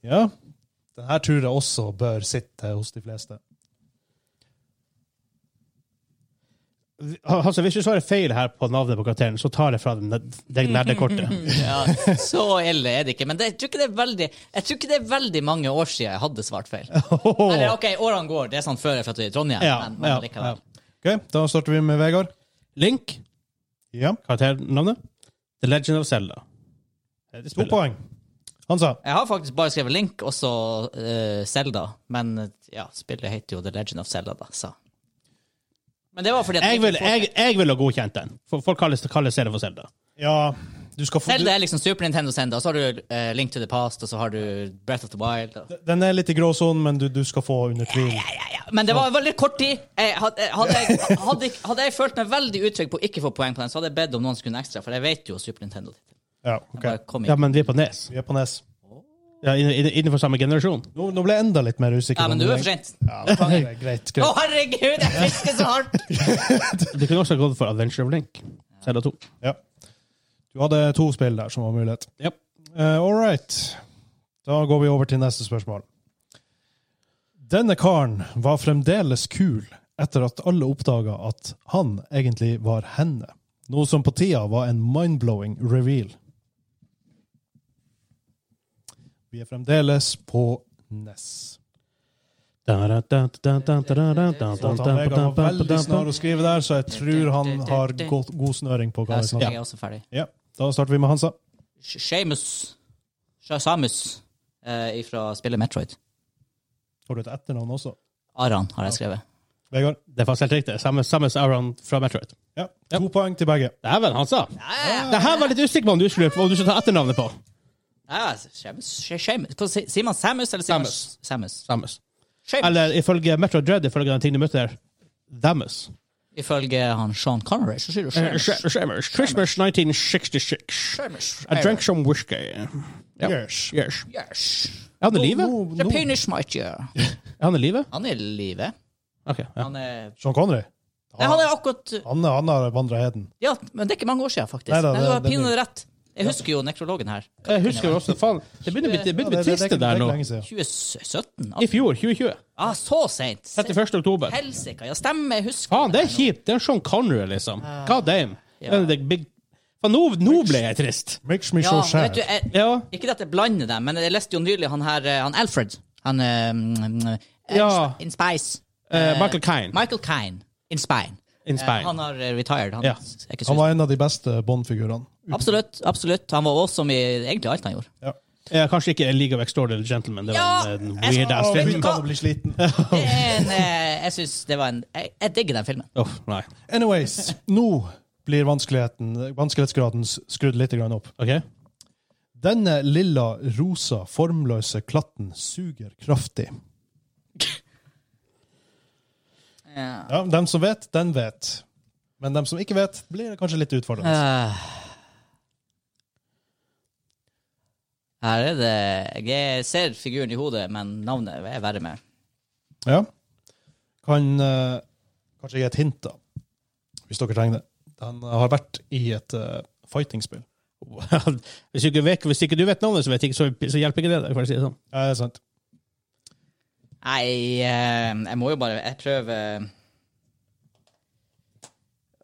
Ja, den her tror jeg også bør sitte hos de fleste.
Altså, hvis du svarer feil her på navnet på karakteren, så tar jeg fra den- deg nerdekortet.
(laughs) ja, Så ille er det ikke. Men det, jeg, tror ikke det er veldig, jeg tror ikke det er veldig mange år siden jeg hadde svart feil. Eller OK, årene går. Det er sånn før jeg flyttet til Trondheim.
Ja,
men, men
ja,
likevel.
Ok, Da starter vi med Vegard.
Link,
Ja,
karakternavnet. The Legend of Zelda. Det er det
to
spillet.
poeng. Hansa.
Jeg har faktisk bare skrevet Link og så eh, Zelda, men eh, ja, spillet heter jo The Legend of Zelda, da, så Men det var fordi at
Jeg
ikke
ville
folk-
jeg, jeg ville ha godkjent den. For Folk kaller, kaller Zelda for Zelda.
Ja, du skal få
Zelda er liksom Super Nintendo Zelda, og så har du eh, Link to the Past, og så har du Breath of the Wild. Og...
Den er litt i gråsonen, men du, du skal få under tvil.
Ja, ja, men det var veldig kort tid. Jeg hadde, hadde, jeg, hadde, ikke- hadde jeg følt meg veldig utrygg på å ikke få poeng på den, så hadde jeg bedt om noen sekunder ekstra, for jeg vet jo Super Nintendo.
Ja,
Jeg
ok.
bare kom
Ja,
inn.
men vi er på Nes.
Vi er på nes.
Ja, inn- inn- Innenfor samme generasjon.
Nå, nå ble jeg enda litt mer usikker.
Ja, men du er for sent. Å,
Ja, det er (laughs) greit, greit.
herregud, jeg fisker så hardt!
Det kunne også gått for Adventure of Link. Zelda 2.
Ja. Du hadde to spill der som var mulighet.
Ja.
Eh, all right. Da går vi over til neste spørsmål. Denne karen var fremdeles kul etter at alle oppdaga at han egentlig var henne. Noe som på tida var en mind-blowing reveal. Vi er fremdeles på Ness. Zlatan Vega var veldig snar å skrive der, så jeg tror han har god, god snøring på hva
Ja,
vi
så jeg
snakker om.
er også ferdig.
Ja. Da starter vi med Hansa.
Sh- Seamus Shazamus eh, fra spillet Metroid.
Har du et etternavn også?
Aran har jeg skrevet.
Vegard?
Det er faktisk helt riktig. Samme, samme som Aron fra Metroid.
Ja. To poeng til begge.
Dæven, han sa! Det her var litt usikker på om du skulle, om du skulle ta etternavnet på.
Ja, Seamus altså, Sh- Seamus. Hva si- Sier man Samus, eller sier man
Samus.
Samus?
Samus.
Seamus.
Eller ifølge Metroid Dread, ifølge den tingen du møtte der, Damus.
Ifølge han Sean Connery så sier du
Eh,
Seamus.
Sh- Shamus. Christmas 1966.
Seamus.
I drank some whiskey. Ja.
Yes.
Yes.
Yes.
Er han i live?
Nå-
The
nå-
penis might you.
Er han i live?
Han er i live.
Ok. Ja.
Han er
Sean Connery?
Nei, han er akkurat
Han, han har vandra heden.
Ja, men det er ikke mange år siden, faktisk.
Nei da,
Nei, du
det-
har
det blir-
pinadø rett. Jeg husker jo nekrologen her.
Jeg husker også, faen, det begynner å bli- det begynner å bli trist det der nå.
nå.
2017?
I fjor, 2020.
altså. Ah, så seint!
31. oktober.
Helsike! Ja, stemmer, jeg husker
Faen, det er kjipt. Det er Sean Connery, liksom. God damn.
Ja.
Det er det big... Faen, nå, nå ble jeg trist.
Makes me
Ja,
so
vet
sad.
du, jeg,
Ja.
Ikke at jeg blander dem, men jeg leste jo nylig han her, eh, han Alfred. Han eh, mm, eh,
Ja.
In Spice.
Eh, Michael Caine.
Michael Caine. In Spine.
In Spain.
han har eh, retired. Han,
Ja.
er ikke
Han
sus-
var en av de beste Bond-figurene.
Absolutt. absolutt. Han var awesome i egentlig alt han gjorde.
Eh, kanskje ikke League of Extraordinary Gentlemen. Det var
Ja,
en,
jeg
en
skal-
weird ass
Å,
film.
vet du hva?
Begynte han å bli sliten.
Det er en, eh, jeg synes det var en Jeg, jeg digger den filmen.
Uff, nei.
Anyways, nå blir vanskeligheten- vanskelighetsgraden s- skrudd litt grann opp.
OK?
Denne lilla, rosa, formløse klatten suger kraftig.
Ja.
Ja, Dem som vet, den vet. Men dem som ikke vet, blir det kanskje litt utfordrende.
Eh. Her er det Jeg ser figuren i hodet, men navnet er verre med.
Ja. Kan eh, kanskje gi et hint, da, hvis dere trenger det. Den har vært i et eh, fighting-spill.
(laughs) hvis, ikke du vet, hvis ikke du vet navnet, så, vet ikke, så, så hjelper ikke det deg. for å Si det sånn.
Ja, det er sant.
Nei, eh, jeg må jo bare Jeg prøver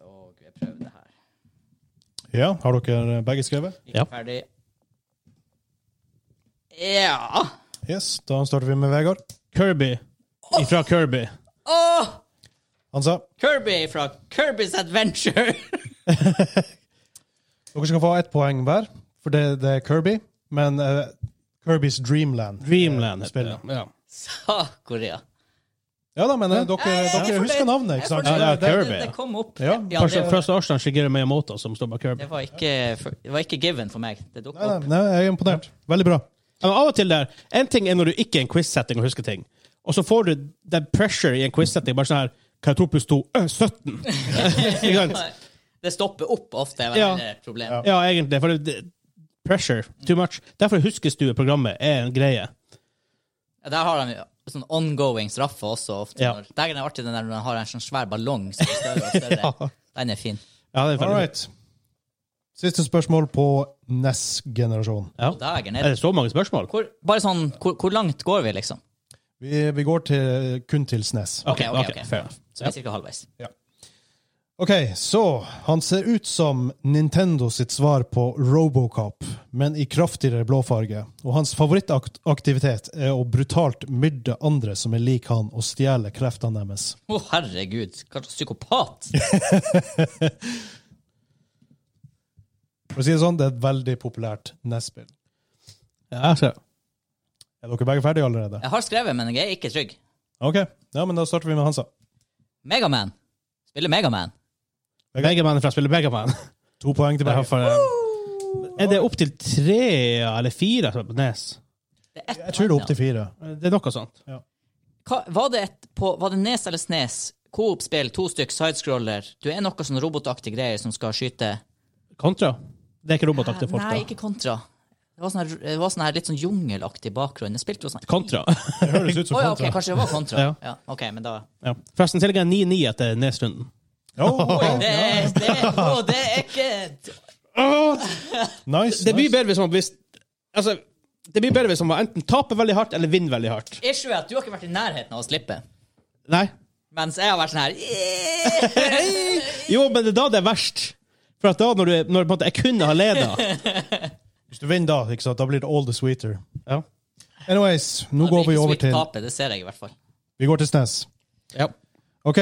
Å, Gud, jeg prøver det her.
Ja, Har dere eh, begge skrevet?
Ikke
Ja.
ferdig. Ja
Yes, Da starter vi med Vegard.
Kirby. Ifra Kirby.
Åh!
Han sa
Kirby fra Kirby's Adventure. (laughs)
dere skal få ett poeng hver, for det, det er Kirby. Men eh, Kirbys Dreamland.
Dreamland.
Eh,
heter
spillet.
det. Ja.
Sa-Korea.
Ja da, men eh, dere,
Jeg er
dere
fornøyd.
husker navnet,
Jeg er
ikke sant?
fornøyd.
Ja, det er
Det-
Kirby,
Det
ja.
kom opp.
Ja,
ja
Første,
det,
første årsdagen Shigeru Miyamoto som står bak Kirby.
det, var ikke, det var ikke given for meg. Det dukket
Nei,
opp.
nei, nei, jeg er imponert. Veldig bra.
Ja, Men av og til der, En ting er når du ikke er i en quiz-setting og husker ting, og så får du den pressure i en quiz-setting. bare sånn her, Katopus 2 øh,
(laughs)
17! Ikke sant?
Det stopper opp ofte, er vel
Ja.
det problemet.
Ja, egentlig. For det, det- pressure. Too much. Derfor huskestueprogrammet er en greie.
Der har de jo sånn ongoing straffe også ofte.
Ja.
når- Dægen er artig den der når de har en sånn svær ballong som er større og
(laughs)
større.
Ja.
Den er fin.
Ja, det er
All
veldig-
right. Siste spørsmål på E NES-generasjon.
Ja.
Dægen
Er
er
det så mange spørsmål?
hvor, Bare sånn, hvor, hvor langt går vi, liksom?
Vi, vi går til, kun til E SNES.
Ok, ok, ok.
fair enough.
Så vi er cirka halvveis.
OK, så han ser ut som Nintendo sitt svar på Robocop, men i kraftigere blåfarge. Og hans favorittaktivitet er å brutalt myrde andre som er lik han, og stjele kreftene deres.
Å, herregud, hva slags psykopat!
For å si det sånn, det er et veldig populært NES-spill.
Ja, altså, så-
Er dere begge ferdige allerede?
Jeg har skrevet, men jeg er ikke trygg.
OK, ja, men da starter vi med Hansa.
Megaman. Spiller Megaman.
Megaman fra spillet Megaman.
To poeng til begge.
Er det opp til tre eller fire som er på Nes?
Det er ett
Jeg tror det er opp til fire.
Det er noe sånt.
Hva, var, det et, på, var det Nes eller Snes? Coop-spill, to stykk, sidescroller. Du er noe sånn robotaktig greier som skal skyte
Kontra? Det er ikke robotaktige folk,
Nei,
da.
ikke kontra. Det var sånn her, det var sånn her litt sånn jungelaktig bakgrunn. Jeg spilte jo sånn
(laughs) Kontra.
Det høres ut
Å
som
ja, ok,
kontra.
kanskje det var kontra.
Ja.
ja, ok, men da
Ja. Forresten, tillegger jeg 9-9 etter Nes-runden.
Åh,
Oi, (laughs) det, er- det, er-
(laughs)
å, det er ikke
nice,
Det blir
nice.
bedre hvis man hvis, altså, det blir bedre hvis man enten taper veldig hardt eller vinner veldig hardt.
Issue er at du har ikke vært i nærheten av å slippe.
Nei.
Mens jeg har vært sånn her yeah!
Jo, men det er da det er verst. For at da, når, du, når på en måte, jeg kunne ha (laughs) leda
Hvis du vinner da, ikke sant? da blir det all the sweeter.
ja.
Anyways, nå går vi over til
Tape, det ser jeg i hvert fall.
Vi går til SNES.
Ja.
Ok,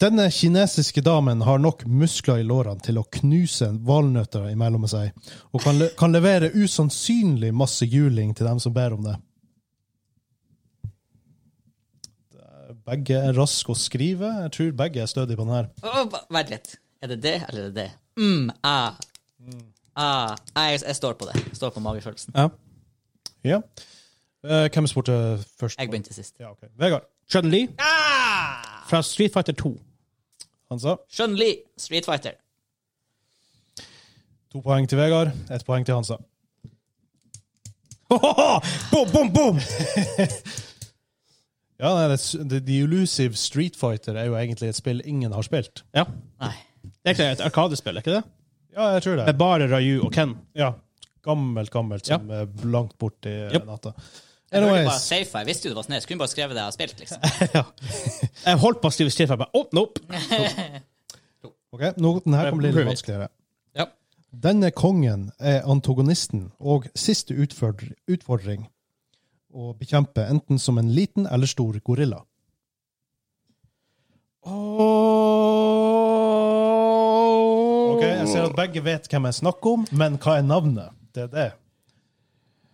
denne kinesiske damen har nok muskler i lårene til å knuse valnøtter imellom seg, og kan, le kan levere usannsynlig masse juling til dem som ber om det. Begge er raske å skrive. Jeg tror begge er stødige på den her.
Å, ba- Vent litt. Er det det, eller er det det? Mm, ah. Ah, jeg, jeg står på det. Jeg står på magefølelsen.
Ja.
Ja. Eh, hvem spurte først?
Jeg begynte sist.
Ja, ok. Vegard.
Chun Li
Ah!
fra Street Fighter 2.
Han sa
Chun-Li, Street Fighter.
to poeng til Vegard, ett poeng til Hansa.
Boom, boom, boom!
Ja, nei, det, The, The Elusive Street Fighter er jo egentlig et spill ingen har spilt.
Ja.
Nei.
Det er ikke et arkadespill, er ikke det?
Ja, jeg tror det.
Med bare Raju og Ken.
Ja. Gammelt, gammelt, som er langt borti
Yep.
natta.
Jeg burde bare
Anyways,
safe, jeg visste jo det var snes. Kunne bare skrevet det jeg har spilt. liksom.
(laughs)
Jeg holdt på å skrive Street Fighter, bare oh, nope.
ok, nå, den her kommer litt
Prøv.
vanskeligere.
Ja.
Denne kongen er antagonisten og siste utfordr- utfordring å bekjempe, enten som en liten eller stor gorilla. Ok, Jeg ser at begge vet hvem jeg snakker om, men hva er navnet? Det er det.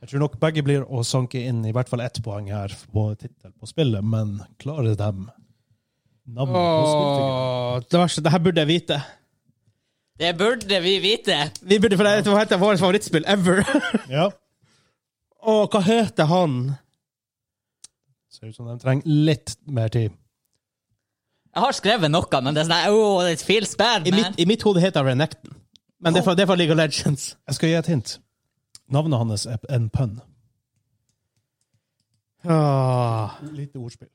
Jeg tror nok begge blir å sanke inn i hvert fall ett poeng her på tittel på spillet, men klarer dem navnet på spillfiguren?
Åh, det verste, det her burde jeg vite.
Det burde vi vite.
Vi burde, for det er- Hva heter vårt favorittspill ever? (laughs)
Ja.
Åh, hva heter han?
Ser ut som de trenger litt mer tid.
Jeg har skrevet noe, men det er sånn oh, it feels bad,
I
man.
mitt, i mitt hode heter han Renekton. Men det er fra, det er fra League of Legends.
Jeg skal gi et hint. Navnet hans er en pønn.
Åh.
Lite ordspill.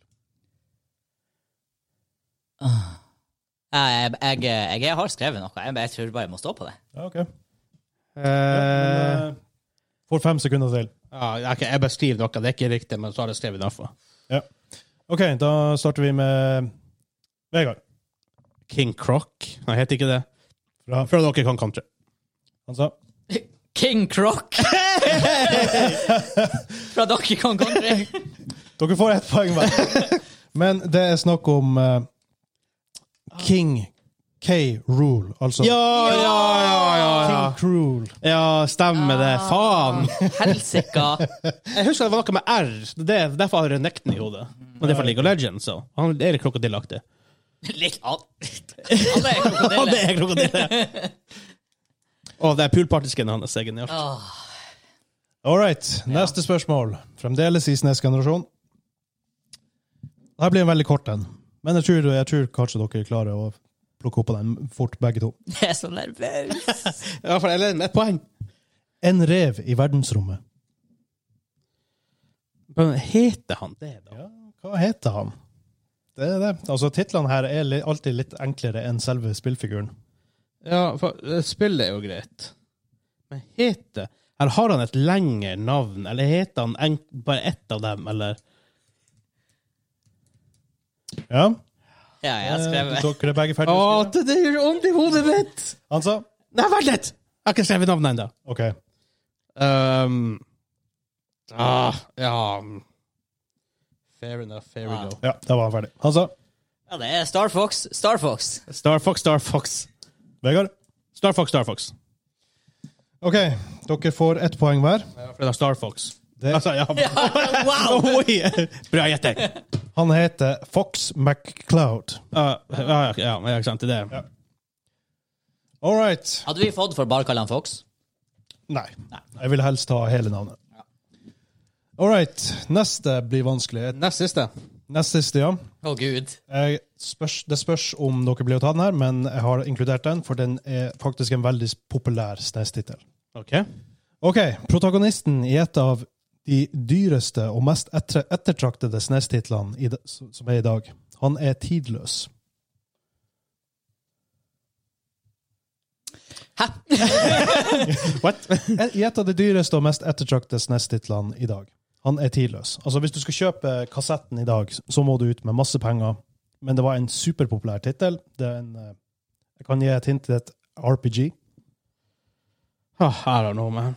Jeg, jeg, jeg, jeg har skrevet noe. Jeg, jeg tror bare jeg må stå på det.
Ja, ok.
Eh,
Men, eh, Får fem sekunder til.
ja, ok, jeg bare skriver noe. Det er ikke riktig, men så har jeg skrevet derfor.
Ok, da starter vi med Vegard.
King Croc. Nei, heter ikke det. Fra, fra dere kan country.
Han sa
King (laughs) Croc! Fra Donkey Kong Country.
Dere får ett poeng hver. Men det er snakk om eh, King K. Rule, altså
Ja, ja, ja, ja, ja.
King Cruel.
Ja, stemmer det. Faen!
Helsika.
Jeg husker det var noe med R. Det er derfor har jeg Renekton i hodet. Men det er fra League of Legends, så han er litt krokodilleaktig.
Litt av Alle er
Ja, det
krokodiller.
er krokodille! Og det er poolpartysken hans. Det er genialt.
Åh,
All right. Neste spørsmål. Fremdeles i SNES-generasjon. Dette blir en veldig kort en. Men jeg tror, jeg tror kanskje dere klarer å plukke opp på den fort, begge to.
Jeg er så nervøs.
I hvert fall Ellen, ett poeng.
En rev i verdensrommet.
Men heter han det, da?
Hva heter han? Det er det. Altså, Titlene her er li alltid litt enklere enn selve spillfiguren.
Ja, for eh, spillet er jo greit. Men heter Her har han et lengre navn, eller heter han en, bare ett av dem, eller?
Ja,
Ja, jeg har
eh,
skrevet
Dere er begge
Å,
ferdige? å skrive?
det, det gjør vondt i hodet mitt!
Han sa?
Nei, vent litt! Jeg har ikke skrevet navnet ennå.
OK.
Um, ah, ja Fair enough, fair
Ah.
enough.
Ja, da var han ferdig. Han sa?
Ja, det er Star Fox. Star Fox.
Star Fox, Star Fox.
Vegard?
Star Fox, Star Fox.
OK, dere får ett poeng hver.
Ja, for det er Star Fox. (laughs)
Det-
Altså, ja.
(laughs) Wow!
Oi, Bra gjetting.
Han heter Fox McCloud.
Uh, ja, ja, ja, ja, ikke sant. Det er det.
All right.
Hadde vi fått for bare å kalle han Fox?
Nei. Jeg vil helst ha hele navnet. All right. Neste blir vanskelig.
Nest siste.
Nest siste, ja.
Å, gud.
Jeg spørs, det spørs om dere blir å ta den her, men jeg har inkludert den, for den er faktisk en veldig populær SNES-tittel.
OK.
Ok, protagonisten i et av de dyreste og mest etter, ettertraktede SNES-titlene i det- som er i dag, han er tidløs.
What?
Eh, I et av de dyreste og mest ettertraktede SNES-titlene i dag. Han er tidløs. Altså, hvis du skal kjøpe kassetten i dag, så må du ut med masse penger. Men det var en superpopulær tittel. Det er en, eh, Jeg kan gi et hint til et RPG.
Oh, I don't know, man.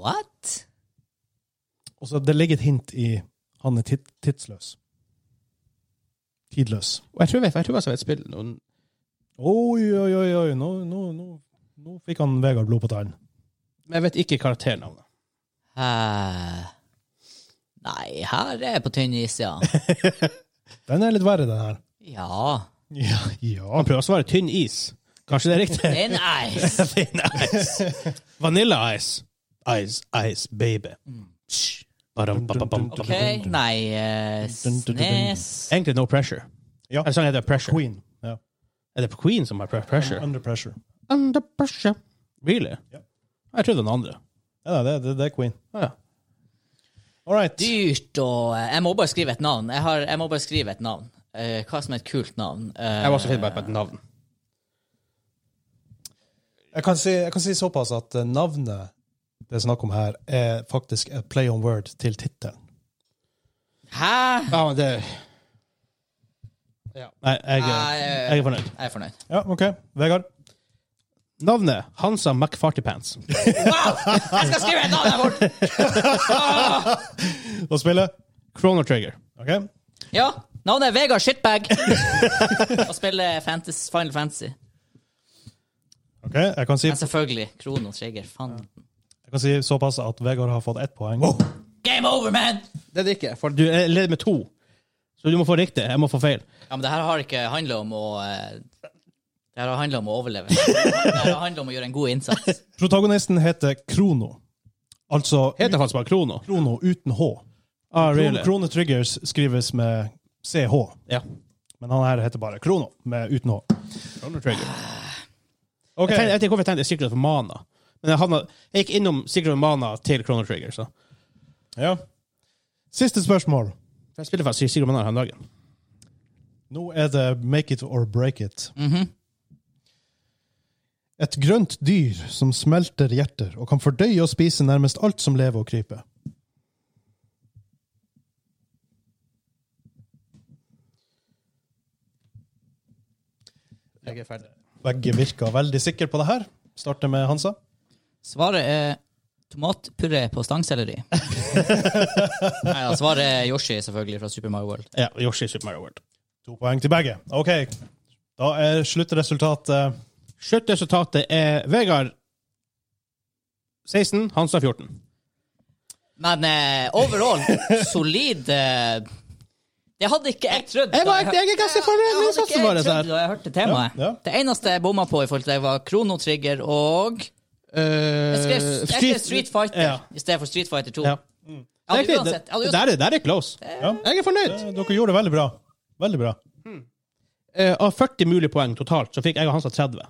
What?
Og så det ligger et hint i han er tid, tidsløs. Tidløs.
Og Jeg tror jeg, jeg tror jeg har et spill noen
Oi, oi, oi, oi. Nå, nå, nå, nå fikk han Vegard blod på tann.
Men jeg vet ikke (laughs) karakternavnet.
Eh, nei, her er jeg på tynn is, ja.
Den er litt verre, den
(laughs)
her.
Ja.
Ja, ja.
Han prøver å svare tynn is. Kanskje det er riktig?
Thin ice.
Thin (laughs) ice. Vanilla ice. Ice, ice, baby.
Mm.
Badum, bam, bam, bam, bam.
OK, nei eh, Snes
Egentlig no pressure.
Ja.
Eller sånn heter det pressure.
Queen. (laughs) Ja.
Er det på Queen som har pre- pressure?
Under pressure.
Under pressure. Really?
Ja.
Jeg trodde den andre.
Ja, det, det, det er Queen.
Ja.
All right.
Dyrt og eh, Jeg må bare skrive et navn. Jeg, har, jeg må bare skrive et navn. Eh, hva som er et kult navn? Eh,
Jeg var så fint bare på et navn.
Jeg kan, si, jeg kan si såpass at eh, navnet det er snakk om her, er faktisk et play on word til tittelen.
Hæ?
Ja, men det ja. Nei, eh. jeg,
Nei,
jeg er fornøyd.
Jeg er fornøyd.
Ja, OK. Vegard?
Navnet Hansa (laughs) McFartypants.
Wow! Jeg skal skrive et navn her borte!
Og spille?
Chrono Trigger.
OK.
Ja. Navnet er Vegard Shitbag. Og spiller fantasy, Final Fantasy.
ok, Jeg kan si,
Men selvfølgelig. Krono Trigger. Faen.
jeg kan si såpass at Vegard har fått ett poeng.
Game over, man!
Det er det ikke, for du jeg leder med to. Så du må få riktig. Jeg må få feil.
Ja, men det her har ikke handla om å eh, Det her har handla om å overleve. Det her har handla om å gjøre en god innsats.
Protagonisten heter Krono. Altså
Heter faktisk bare Krono.
Krono uten H.
Ah,
Krono, Krono Triggers skrives med CH,
Ja.
men han her heter bare Krono med uten H.
Chrono Trigger. Jeg,
Ok,
tenkte, jeg vet ikke hvorfor jeg tenkte Secret of Mana. Men jeg, havna- jeg gikk innom Secret of Mana til Chrono Trigger. Så.
ja. Siste spørsmål.
Jeg spiller faktisk Secret of Mana her om dagen.
Nå er det make it or break it.
Mhm.
Et grønt dyr som smelter hjerter og kan fordøye og spise nærmest alt som lever og kryper.
Jeg er ferdig.
Begge virker veldig sikre på det her. Starter med Hansa.
Svaret er tomatpuré på stangselleri. Nei da, svaret er Yoshi, selvfølgelig, fra Super Mario World.
Ja, Yoshi Super Mario World.
To poeng til begge. OK. Da er sluttresultatet
Sluttresultatet er Vegard 16, Hansa 14.
Men eh, overall, solid eh, Det hadde ikke jeg trodd. da
Jeg var ikke- jeg er ganske fornøyd med altså.
hadde ikke
svaret
trodd
der.
da jeg hørte temaet.
Ja, ja.
Det eneste jeg bomma på, i forhold til det var Krono Trigger og
Eh,
Jeg skrev, jeg skrev Street Fighter
Ja.
i stedet for Street Fighter 2.
Ja.
Jeg hadde
Riktig,
uansett, Eh. jeg hadde
det,
uansett
der er, der er close.
Ja.
Jeg er fornøyd.
Eh, Dere gjorde det veldig bra. Veldig bra.
Eh, av 40 mulige poeng totalt, så fikk jeg og Hansa 30.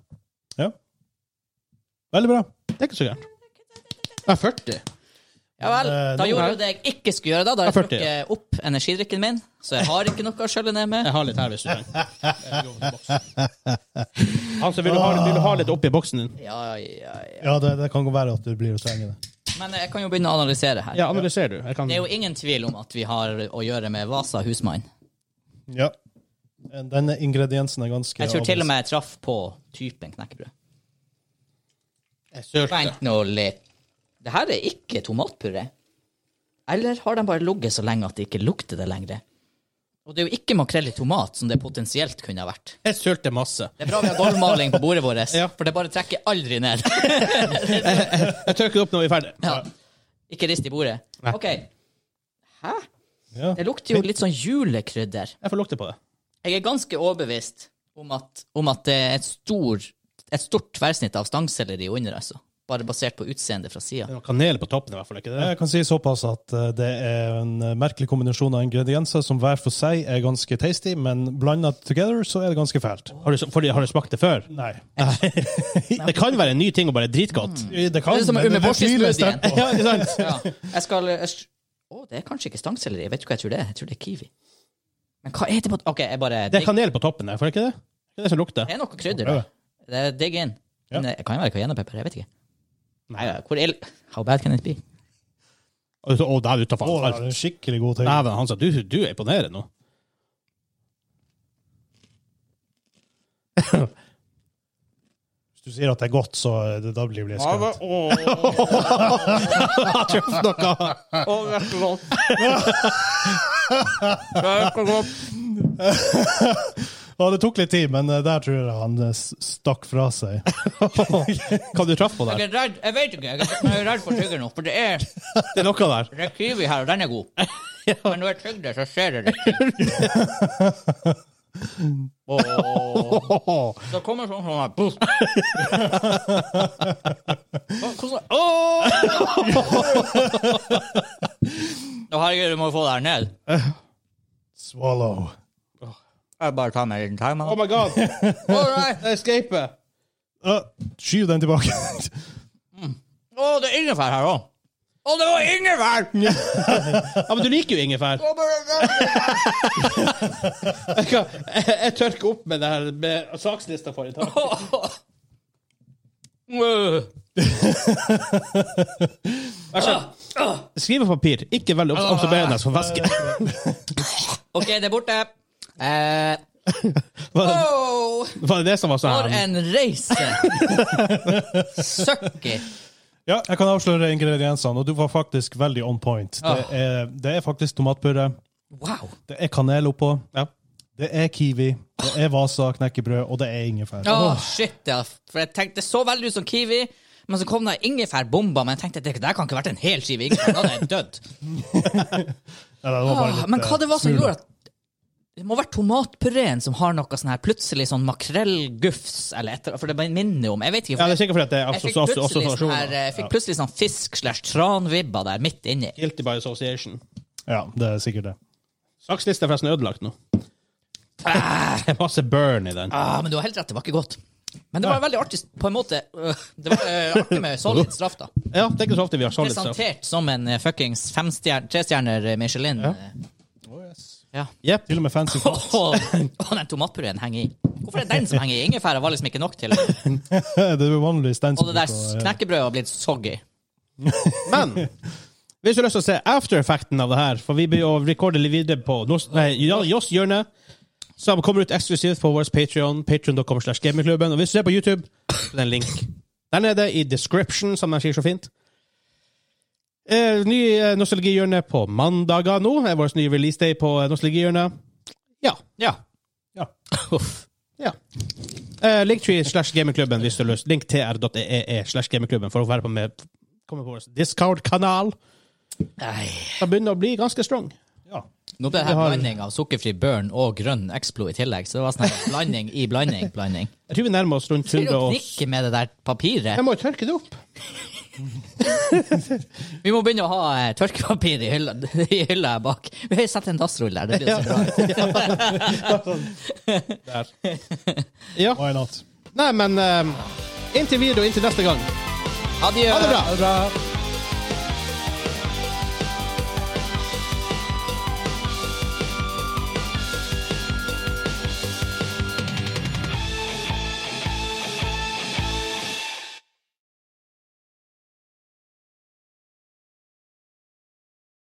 Veldig bra.
Det er ikke så gærent. Ja, 40?
Ja vel.
Eh,
Da
nå
gjorde
her.
jeg det jeg ikke skulle gjøre. Da Da har jeg
Ja, 40,
drukket opp energidrikken min, så jeg har ikke noe å skjølle ned med.
Jeg har litt her, hvis du trenger. (laughs) Hansa, vil du ha, vil du ha litt oppi boksen din?
Ja, ja, ja.
Ja, det, det kan godt være at du blir å trenge det.
Men jeg kan jo begynne å analysere her.
Ja, analyser du. Jeg kan...
Det er jo ingen tvil om at vi har å gjøre med Vasa husmann.
Ja. Eh, Denne ingrediensen er ganske
Jeg tror til og med jeg traff på typen knekkebrød.
Jeg sølte.
Vent nå litt. Det her er ikke tomatpuré. Eller har de bare ligget så lenge at det ikke lukter det lenger? Og det er jo ikke makrell i tomat, som det potensielt kunne ha vært.
Jeg sølte masse.
Det er bra vi har gulvmaling på bordet vårt,
(laughs) Ja.
for det bare trekker aldri ned. (laughs)
Jeg tørker opp når vi er ferdig.
Ja. Ikke rist i bordet.
Nei.
OK. Hæ?
Ja.
Det lukter jo litt sånn julekrydder.
Jeg får lukte på det.
Jeg er ganske overbevist om at, om at det er et, stor, et stort tverrsnitt av stangselleri under, altså. Bare basert på utseendet fra sida.
Det er noe kanel på toppen, i hvert fall. ikke det?
Jeg kan si såpass at eh, det er en eh, merkelig kombinasjon av ingredienser som hver for seg er ganske tasty, men blanda together så er det ganske fælt.
Har du, fordi, har du smakt det før?
Nei.
Det kan være en ny ting og bare dritgodt.
Det
Det
kan,
er som
men det tviler jeg
umeboshi-smoothien.
sterkt på.
Ja, ikke sant?
Ja. Jeg skal jeg sk- Å, det er kanskje ikke stangselleri. Jeg vet du hva jeg tror det er? Jeg tror det er kiwi. Men hva er det på OK, jeg bare
Det er kanel på toppen der, for det ikke det? Det er det som lukter.
Det er noe krydder.
Prøve.
der. Det er digg inn.
Ja.
Men det kan jo være cayennepepper. Jeg vet ikke.
Nei,
Ja, Hvor ill How bad can it be?
Og så- Å, der utafor.
Å, det er en skikkelig god ting.
Dæven, han sa du, du er imponerende nå.
Hvis du sier at det er godt, så eh, det, da blir det skremt.
(laughs) Kjøpt noe!
Ja, det tok litt tid, men eh, der tror jeg han eh, s- stakk fra seg.
Hva du traff på der?
Jeg er redd Jeg vet ikke. Jeg er- Jeg er redd for tygger nå, for det er,
Det er noe der.
det er kiwi her, og den er (laughs) god. Men når jeg tygger det, så ser jeg det ikke. Åh. Så kommer sånn sånn her Buff. Åh, Hvordan Åh! Å, Herregud, du må jo få det her ned.
Swallow.
Jeg bare tar meg en liten time.
Oh my god!
Å nei!
Escape!
Uh, skyv den tilbake. (laughs)
Å, det er ingefær her òg. Å, det var ingefær!
Ja, men du liker jo ingefær.
Å, bare-
Jeg, kan- jeg, jeg tørker opp med det her med sakslista for i dag.
Øh.
Skriv på papir. Ikke veldig obs- observerende for væske. (laughs)
OK, det er borte.
(laughs)
Eh,
Var
oh,
var det det som var
for
sånn? her?
en reise! Søkki.
Ja, jeg kan avsløre ingrediensene, og du var faktisk veldig on point. Det
Ah.
er, det er faktisk tomatpurre,
Wow.
det er kanel oppå,
Ja.
det er kiwi, det er Vasa knekkebrød, og det er ingefær.
Å, shit, ja. For jeg tenkte det så veldig ut som kiwi, men så kom det ingefærbomber. Men jeg tenkte det der kan ikke ha vært en hel skive ingefær. Da hadde jeg dødd.
(laughs) Ja, det var bare
Åh,
litt,
Ah, Men hva det var som
eh,
gjorde at Det må ha vært tomatpureen som har noe sånn her plutselig sånn makrellgufs, eller et eller annet, for det bare minner jo om Jeg vet ikke.
ja,
for
det er sikkert fordi at det er
jeg fikk
assos- assos-
plutselig sånn, her,
assosiasjoner.
jeg fikk plutselig sånn fisk slash tranvibba der midt inni.
Guilty by association.
smoothie. eh, Ja, det er sikkert det. (laughs)
Sakslista er forresten ødelagt nå. (laughs) Det er masse burn i den.
Ah, men du har helt rett, det var ikke godt. Men det var veldig artig på en måte. øh, Det var øh, artig med
(laughs)
solid straff, da.
Ja, det er ikke så ofte vi har sånn solid stuff.
Presentert som en øh, fuckings femstjer- trestjerner øh, Michelin. øh. Ja. (laughs)
Jepp.
Til og med fancy
Og og den tomatpureen henger i. Hvorfor er det den som henger i? Ingefæra var liksom ikke nok
(laughs)
til. Og
Det er vanligvis den som
det der
bruker å-
knekkebrødet har blitt soggy.
Men hvis du har lyst til å se aftereffekten av det her, for vi blir å recorde litt videre på Nos- nei, Ja- Joss hjørne, som kommer ut eksklusivt på vår Patreon, patreon.com slash gamingklubben. Og hvis du ser på YouTube, så er det en link der nede i description, som de sier så fint. Eh, ny eh, nostalgihjørne på mandager nå. Det er vår nye releaseday på eh, nostalgihjørnet. Ja.
Ja.
Ja.
Uff.
Ja. Eh, Linktree slash gamingklubben hvis du har lyst. Link tr.ee e slash gamingklubben for å være på med komme på vår Discord-kanal.
Nei.
Den begynner å bli ganske strong.
Ja.
Nå ble det her blanding av sukkerfri børn og grønn Explo i tillegg, så det var sånn her blanding i blanding. blanding.
Jeg tror vi nærmer oss rundt
Til å
100 og
knikke med det der papiret.
Jeg må jo tørke det opp.
Vi må begynne å ha eh, tørkepapir i hylla, (laughs) i hylla her bak. Vi har sett en dassrull der. Det blir så bra.
Der. Ja.
Why not?
Nei, men eh, inntil eh, videre og inntil neste gang.
Adjø.
Ha det bra!
Ha det bra.